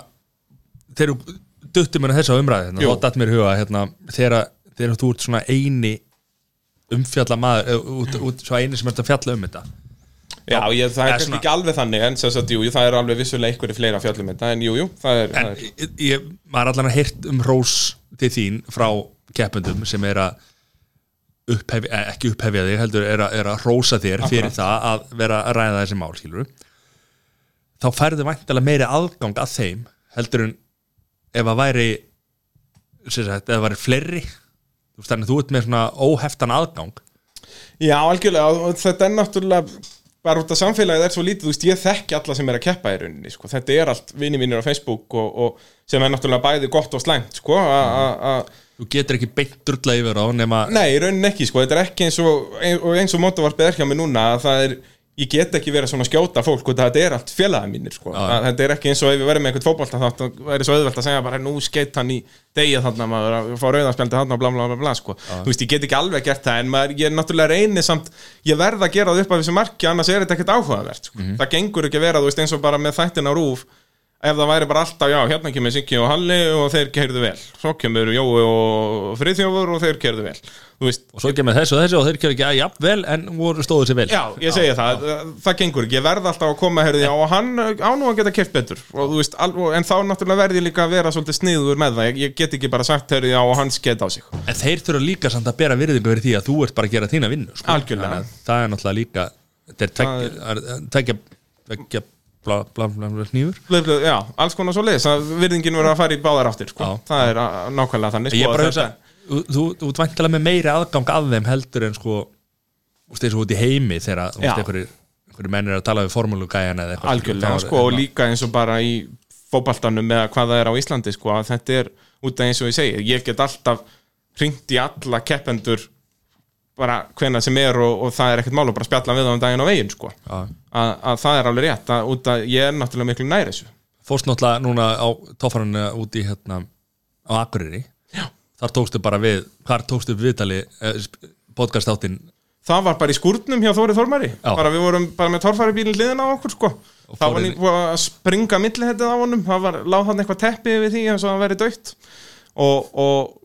S2: þegar þú duttum mér þessa umræði hérna,
S3: Jú.
S2: þá datt mér í huga hérna, þegar, þegar þú ert svona eini umfjalla maður eh, út, út, svo eini sem ert að fjalla um þetta
S3: já, ég, það er
S2: eða
S3: kannski
S2: svona-
S3: ekki alveg þannig en sem sagt, jú, jú, það er alveg vissulega einhverju fleira að fjallum þetta en jú, jú, það er,
S2: en
S3: það er
S2: ég, ég, maður er allan að heyrt um rós til þín frá keppendum sem er að upphefja, eh, ekki upphefja þig heldur er að, er að rósa þér fyrir það að vera að ræða þessi mál skilur þá færðu væntalega meiri aðgang að þeim heldur en ef að væri sem sagt, ef það væri fleiri þú veist þannig að þú ert með svona óheftan aðgang
S3: já, algjörlega, og- og þetta er náttúrulega bara út af samfélagið er svo lítið, þú veist, ég þekki alla sem er að keppa í rauninni, sko, þetta er allt vini mínir á Facebook og, og sem er náttúrulega bæði gott og slæmt, sko, a- a- a-
S2: þú getur ekki beint drulla yfir á nema
S3: nei, í rauninni ekki, sko, þetta er ekki eins og, ein- og eins og mótavarpið er hjá mig núna að það er, ég get ekki verið svona að skjóta fólk og þetta er allt félagið mínir, sko
S2: Já.
S3: að, þetta er ekki eins og ef við verðum með einhvern fótbolta þá þá væri svo auðvelt að segja bara nú skeitt hann í degja þarna maður að fá rauðarspjaldi þarna bla bla bla bla sko þú veist ég get ekki alveg gert það en maður, ég er náttúrulega reyni samt ég verð að gera það upp af þessu marki annars er þetta ekkert áhugavert sko.
S2: Mhm.
S3: það gengur ekki að vera þú veist eins og bara með þættin á rúf ef það væri bara alltaf já hérna kemur Siggi og Halli og þeir kerðu vel svo kemur Jói og Friðjófur og þeir kerðu vel þú veist
S2: og svo kemur þessu og þessu og þeir kemur ekki að jafnvel en voru stóðu sér vel
S3: Já, ég segi það, það gengur ekki, ég verð alltaf að koma herði, já, og hann á nú að geta keft betur og, þú veist, al, og, en þá náttúrulega verð ég líka að vera svolítið sniður með það, ég, ég get ekki bara sagt herði, já, og hann skeitt á sig
S2: En þeir þurfa líka samt að bera virðingu fyrir því að þú ert bara að gera þína vinnu sko.
S3: Algjörlega.
S2: Þannig að Það er náttúrulega líka Þetta er tveggja- það er tveggja tveggja bla bla bla bla snýfur
S3: Blö, blö, Já, alls konar svo leiðis, virðingin verður að fara í báðar áttir, sko,
S2: Já.
S3: það er að, nákvæmlega þannig,
S2: Ég
S3: sko,
S2: er bara að
S3: að
S2: hugsa Þú, þú, þú ert væntalega með meiri aðgang að þeim heldur en sko Þú veist eins og út í heimi þegar þú
S3: Já.
S2: veist einhverju einhverju menn er að tala við formúlugæjan eða eitthvað
S3: algjörlega,
S2: Þá-
S3: sko, og líka eins og bara í fótbaltanum eða hvað það er á Íslandi, sko, að þetta er út af eins og ég segi, ég get alltaf hringt í alla keppendur bara hvena sem er og, og það er ekkert mál og bara spjalla við það um daginn á veginn sko.
S2: Já.
S3: að, að það er alveg rétt að, út að ég er náttúrulega miklu nær þessu
S2: fórst náttúrulega núna á tófarinu út í hérna á Akureyri Já. þar tókstu bara við, þar tókstu við viðtali eh, sp- podcast áttinn
S3: það var bara í skúrnum hjá Þórið Þormari
S2: Já.
S3: bara við vorum bara með torfæribílinn hliðin á okkur sko.
S2: Og
S3: það var
S2: fórið-
S3: líka búið að springa milli þetta á honum, það var láð hann eitthvað teppi yfir því eins og það verið dögt og, og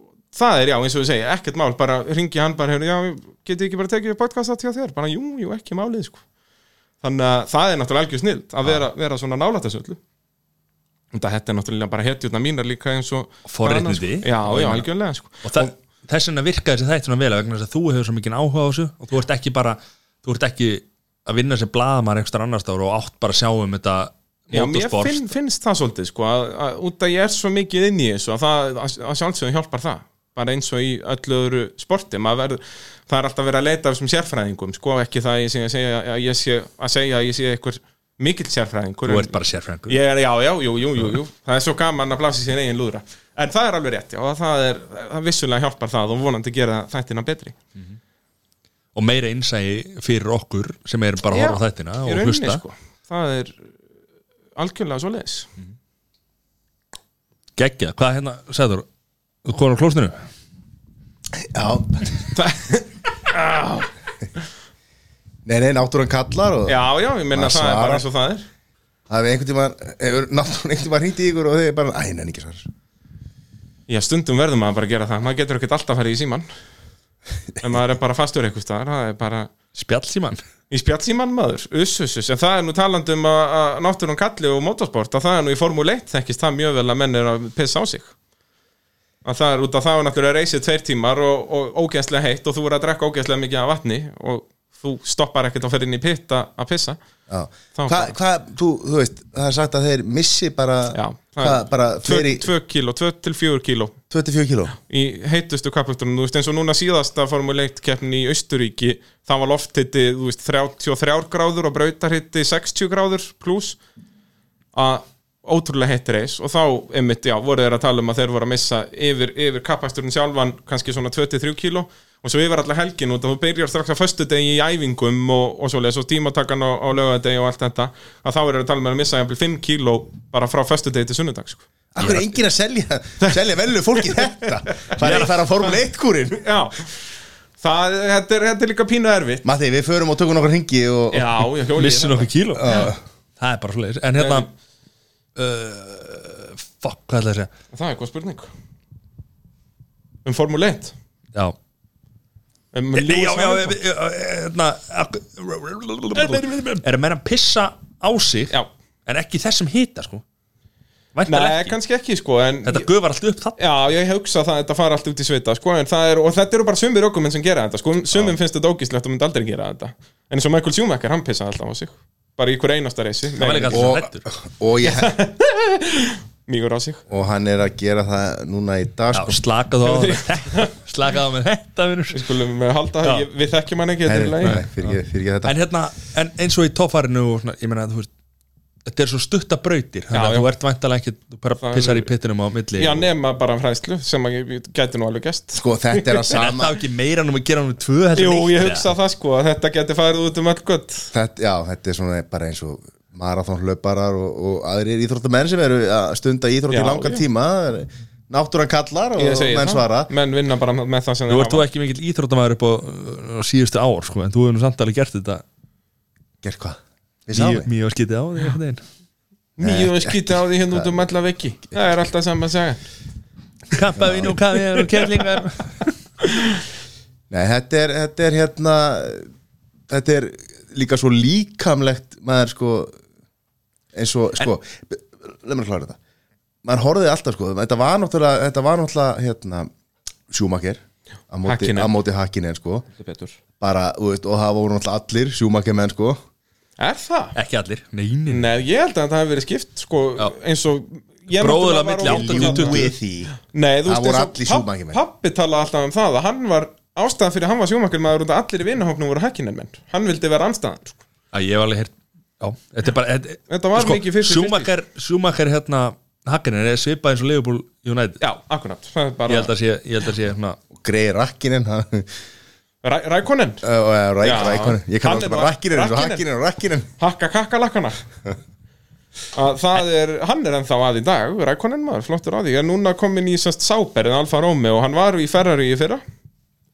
S3: það er já eins og við segja ekkert mál, bara ringi hann bara, heyrðu, já, getið ekki bara tekið podcast átt hjá þér, bara jú, jú, ekki málið sko. þannig að það er náttúrulega algjör snild að vera, vera svona nálætt þessu öllu Þetta, þetta er náttúrulega bara hetjurna mínar líka eins og
S2: Forréttindi.
S3: Já,
S2: Og ég
S3: já,
S2: meina-
S3: algjörlega sko.
S2: og, það, þess vegna virkaði þessi þætt svona vel vegna þess að þú hefur svo mikinn áhuga á þessu og þú ert ekki bara, þú ert ekki að vinna sem blaðamar einhver annars stára og átt bara að sjá um þetta
S3: Já, mér
S2: motorsport
S3: finn, finnst það svolítið sko, að, að, út að ég er svo mikið inn í þessu að, það, að, að sjálfsögum hjálpar það bara eins og í öllu öðru sporti maður verður, það er alltaf verið að leita af þessum sérfræðingum, sko, ekki það að ég sé að segja að ég sé að, segja, að ég sé einhver mikill sérfræðingur
S2: þú
S3: en-
S2: ert bara sérfrængur
S3: Ég er, já, já, jú, jú, jú, jú Það er svo gaman að blasi sér eigin lúðra En það er alveg rétt, já, það er það vissulega hjálpar það og vonandi gera þættina betri
S2: og meira innsægi fyrir okkur sem erum bara að horfa á
S3: Já,
S2: þættina
S3: í
S2: og
S3: rauninni,
S2: hlusta
S3: sko. Það er algjörlega svo leis
S2: geggja, hvað hérna, segður þú komur á klósninu?
S1: Já Nei, nei, náttúran kallar og
S3: Já, já, Ah. ég minna
S1: Maður
S3: það er
S1: svarar.
S3: bara eins og það er
S1: það hefur einhvern tímann, hefur náttúran einhvern tímann hringt í ykkur og þið er bara, æ, neina ekki svar
S3: Já, stundum verður maður bara að gera það maður getur ekkert alltaf að fara í síman en maður er bara fastur eitthvað staðar það er bara
S2: Spjallsíman?
S3: í spjallsíman maður ussusus, en það er nú talandi um að, að náttúrun kalli og motorsport að það er nú í formúl 1 þekkist það mjög vel að menn er að pissa á sig að það er út af það er náttúrulega reysið tveir tímar og, og ógeðslega heitt og þú er að drekka ógeðslega mikið af vatni og þú stoppar ekkert að ferja inn í pitt að að pissa
S1: Já,
S3: Þá
S1: hvað,
S3: bara.
S1: hva, þú, þú veist, það er sagt að þeir missi bara,
S3: Já, það
S1: hvað,
S3: er
S1: bara fleiri,
S3: 2 kíló, 2 til 4 kíló
S1: 24 kíló
S3: í heitustu kapplöftunum, þú veist eins og núna síðasta formuleikt keppnin í Austuríki það var lofthiti, þú veist, 33 gráður og brautarhiti 60 gráður pluss að ótrúlega heitt reis og þá einmitt, já, voru þeir að tala um að þeir voru að missa yfir, yfir kappasturinn sjálfan kannski svona 23 kíló og svo yfir allar helgin út að þú byrjar strax á föstudegi í æfingum og, og svoleiðis og tímatakan á, á lögadegi og allt þetta að þá eru að tala um að missa jafnvel 5 kíló bara frá föstudegi til sunnudag sko.
S1: Akkur er enginn að selja, selja velinu fólki þetta Það er að fara á Formule 1 kúrin
S3: Já, það, þetta, er, þetta er líka pínu erfitt
S1: Matti, við förum og tökum nokkar hringi og,
S3: Já, já, hjóli
S2: Missin okkur kíló Það er bara svoleiðis En hérna uh, Fuck, hvað ætlaði að
S3: Það er góð spurning Um Formule 1
S2: segja Já
S3: um
S2: Já, Eh,
S3: Lewis
S2: já, já,
S3: Hamilton.
S2: já, hérna ak- Eru menn að pissa á sig
S3: Já.
S2: En ekki í þessum hita, sko
S3: Nei,
S2: Væntalega ekki
S3: kannski ekki sko en
S2: Þetta gufar allt upp það
S3: Já, ég hugsa það að þetta fara allt út í svita sko, en það er, og þetta eru bara sumir okkumenn sem gera þetta sko, sumum finnst þetta ógíslegt og myndi aldrei gera þetta en eins og Michael Schumacher, hann pissaði alltaf á sig bara í hver einasta reysi,
S2: Það var líka alltaf
S1: og,
S2: hrættur
S1: og, ég,
S3: mýgur á sig
S1: og hann er að gera það núna í dag
S2: Já,
S1: sko.
S2: slakað á með þetta Slakað á með þetta, vinnur
S3: Við skulum eh, halda það,
S2: Já.
S3: ég- við þekkjum hann ekki þetta er í
S1: Nei,
S3: lagi.
S1: nei, fyrir ekki, fyrir ekki þetta
S2: En hérna, en eins og í toffarinu og svona, Ég meina, þú veist Þetta er svo stutta brautir Þannig
S3: Já,
S2: að
S3: já.
S2: þú ert væntalega ekki Þú bara
S3: Það
S2: pissar
S3: er-
S2: í pittinum á milli
S3: Já,
S2: og-
S3: nema bara fræðslu sem að ég- ég gæti nú alveg gest
S1: Sko, þetta er að
S2: En er
S1: sama
S2: það ekki meira nú að gera hann við tvö heldur
S3: Jú,
S2: en eitt,
S3: ég
S2: eða?
S3: hugsa það sko að þetta geti farið út um öll gött
S1: þetta, Já, þetta er svona bara eins og marathónlauparar og, og aðrir íþróttamenn sem eru að stunda íþrótt í
S3: Já,
S1: langan
S3: já.
S1: tíma Náttúran kallar og
S3: Ég segi
S1: menn
S3: það.
S1: svara
S3: Menn vinna bara með það sem
S2: Þú
S3: þeir
S2: ert þú ekki mikill íþróttamæður upp á, á síðustu ár sko, en þú hefur nú samt alveg gert þetta
S1: Gert hvað? Við
S2: mjög-
S1: sáum
S2: mjög skitið á því einhvern veginn.
S3: Mjög skýta á því hérna út um alla veggi Það er alltaf saman að segja
S2: Kampavín og kaviar og kjærlingar
S1: Nei, þetta er, þetta er hérna þetta er líka svo líkamlegt maður sko eins og sko leið mér að klára þetta maður horfið alltaf sko, þetta var náttúrulega þetta var náttúrulega hérna sjúmakir á móti,
S3: Hakkinen.
S1: á móti hakkinin sko
S4: betur
S1: bara, þú veist, og það voru náttúrulega allir sjúmakir menn sko
S3: Er það?
S2: Ekki allir, neinin
S3: Nei, ég held að það hafi verið skipt sko
S2: Já.
S3: eins og ég
S2: Bróðulega
S3: náttúrulega var
S2: milli 80
S3: á-
S2: og 20.
S1: With því
S3: Nei,
S1: Það
S3: þú veist
S1: voru
S3: eins og
S1: allir
S3: papp-
S1: Schumacher menn.
S3: Pabbi talaði alltaf um það að hann var ástæðan fyrir að hann var sjúmakir maður út að allir í vinnahóknum voru hakkinen menn Hann vildi vera anstæðan sko.
S2: að ég hef alveg heyrt já, þetta, er bara, þetta,
S3: Þetta var mikið 50-50.
S2: Sjúmakar, sjúmakar hérna Hakkinin er svipað eins og Liverpool United
S3: Já, akkurat Það er
S2: ég
S3: bara
S2: held að sé, ég held að sé hérna,
S1: og greið rakkinin hann-
S3: Ræ- Rækonen, Já.
S1: Rækonin, eh, ég
S3: Hann
S1: kallar
S3: er
S1: það bara
S3: bara-
S1: rakkirinn eins og
S3: Rakkirinn.
S1: hakkirinn og rakkirinn
S3: hakka kakkalakkana að það er, hann er ennþá að í dag Rækonen maður, flottur að því er núna komin í semst Sáber en Alfa Rómi og hann var í Ferrari í fyrra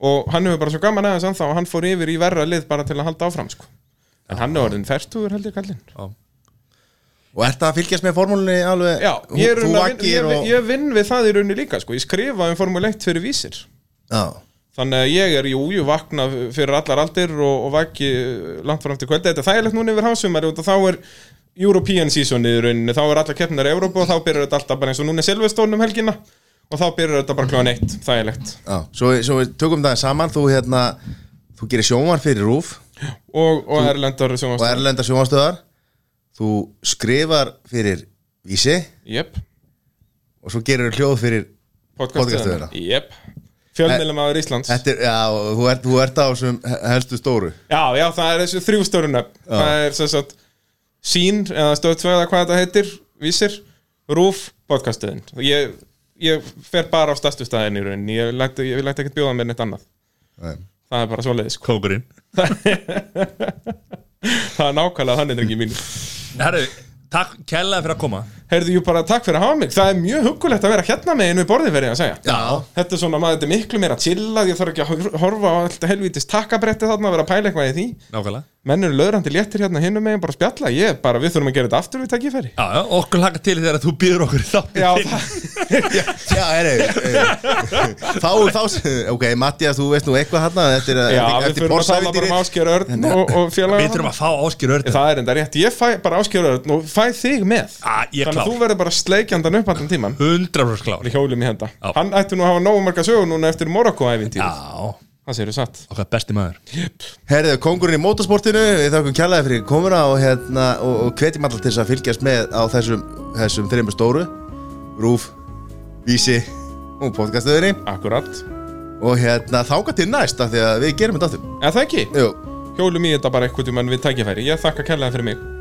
S3: og hann hefur bara svo gaman aðeins ennþá og hann fór yfir í verra lið bara til að halda áfram sko. en hann er orðin fertugur held ég kallinn
S1: Og ert það að fylgjast með formúlunni alveg
S3: Já, ég, er
S1: Þú
S3: raunar vinn,
S1: akkir
S3: ég,
S1: og
S3: ég vinn við það í rauninni líka sko. ég skrifa um Formule 1 fyrir vísir
S1: Já,
S3: þannig að ég er, jú, ég vakna fyrir allar aldir og, og vaki langt fram til kvöldi, þetta er þægilegt núna yfir hásumari og þá er European season í rauninni, þá er allar keppnar í Európa og þá byrjar þetta alltaf bara eins og núna er Silvestónum helgina og þá byrjar þetta bara klóðan eitt, þægilegt
S1: já, svo, svo við tökum það saman Þú hérna, þú gerir sjónvar fyrir rúf
S3: og, og Erlendar sem
S1: Og
S3: var
S1: erlenda sjónvarstöðar Þú skrifar fyrir vísi
S3: Jep,
S1: Og svo gerir hljóð fyrir
S3: podcastöðuna
S1: Podcaststöðina.
S3: Jep, fjölmiðlamaður Íslands
S1: Þetta er, já, og þú ert, þú ert á sem helstu stóru
S3: Já, já, það er þessu þrjústörunöfn Það er sem sagt Sín, eða stöðtvö, eða hvað þetta heitir Vísir, Rúf, podcastuðin ég, ég fer bara á stærstu staðin í rauninni Ég læt, ég læt ekkert bjóða mér neitt annað
S1: Nei.
S3: Það er bara svoleiðis sko.
S2: Kókurinn
S3: Það er nákvæmlega þannig drengi mínu
S2: Herru, takk kærlega fyrir að koma
S3: Heyrðu, jú bara takk fyrir að hafa mig Það er mjög huggulegt að vera hérna með einu í borðið verið að segja
S1: Já,
S3: Þetta er svona, maður, þetta er miklu meira chillað Ég þarf ekki að hor- horfa á alltaf helvítist takkabretti þarna að vera að pæla eitthvað í því
S2: Nákvæmlega
S3: Menn eru löðrandi léttir hérna hinum megin bara að spjalla Ég er bara, við þurfum að gera þetta aftur við takkifæri
S2: Já, já, okkur laka til þegar þú býður okkur í þáttinn
S3: Já,
S2: þinn.
S3: það,
S1: já, herri Þá, þá, ok, Mattias, þú veist nú eitthvað hérna Þetta er
S3: já
S1: þetta er
S3: við þurfum að tala bara um Ásker Örn og, og
S2: Hérna, Við þurfum
S3: félaga
S2: að fá Áskir Örn
S3: Það er enda rétt, ég fæ bara Ásker Örn og fæ þig með
S2: Á, ég
S3: Þannig að
S2: klár,
S3: þú verður bara sleikjandan upp allan tíman
S2: 100% klár
S3: Í hjólum í henda
S2: Já.
S3: Hann ætti nú að hafa nógu marga sögur núna eftir Morocco-ævindíu
S2: Já,
S3: Það séu satt
S2: okkar besti maður
S1: Herðu, kongurinn í mótorsportinu, við þakkum kjallaði fyrir komuna og, hérna, og, og hvetjum alltaf til þess að fylgjast með á þessum, þessum þreymur stóru, Rúf, Vísi og podcastöðinni
S3: Akkurat
S1: og hérna þáka til næst af því að við gerum þetta aftur.
S3: En það ekki,
S1: Jú,
S3: hjólum í þetta bara eitthvað um við takkifæri Ég þakka kærlega fyrir mig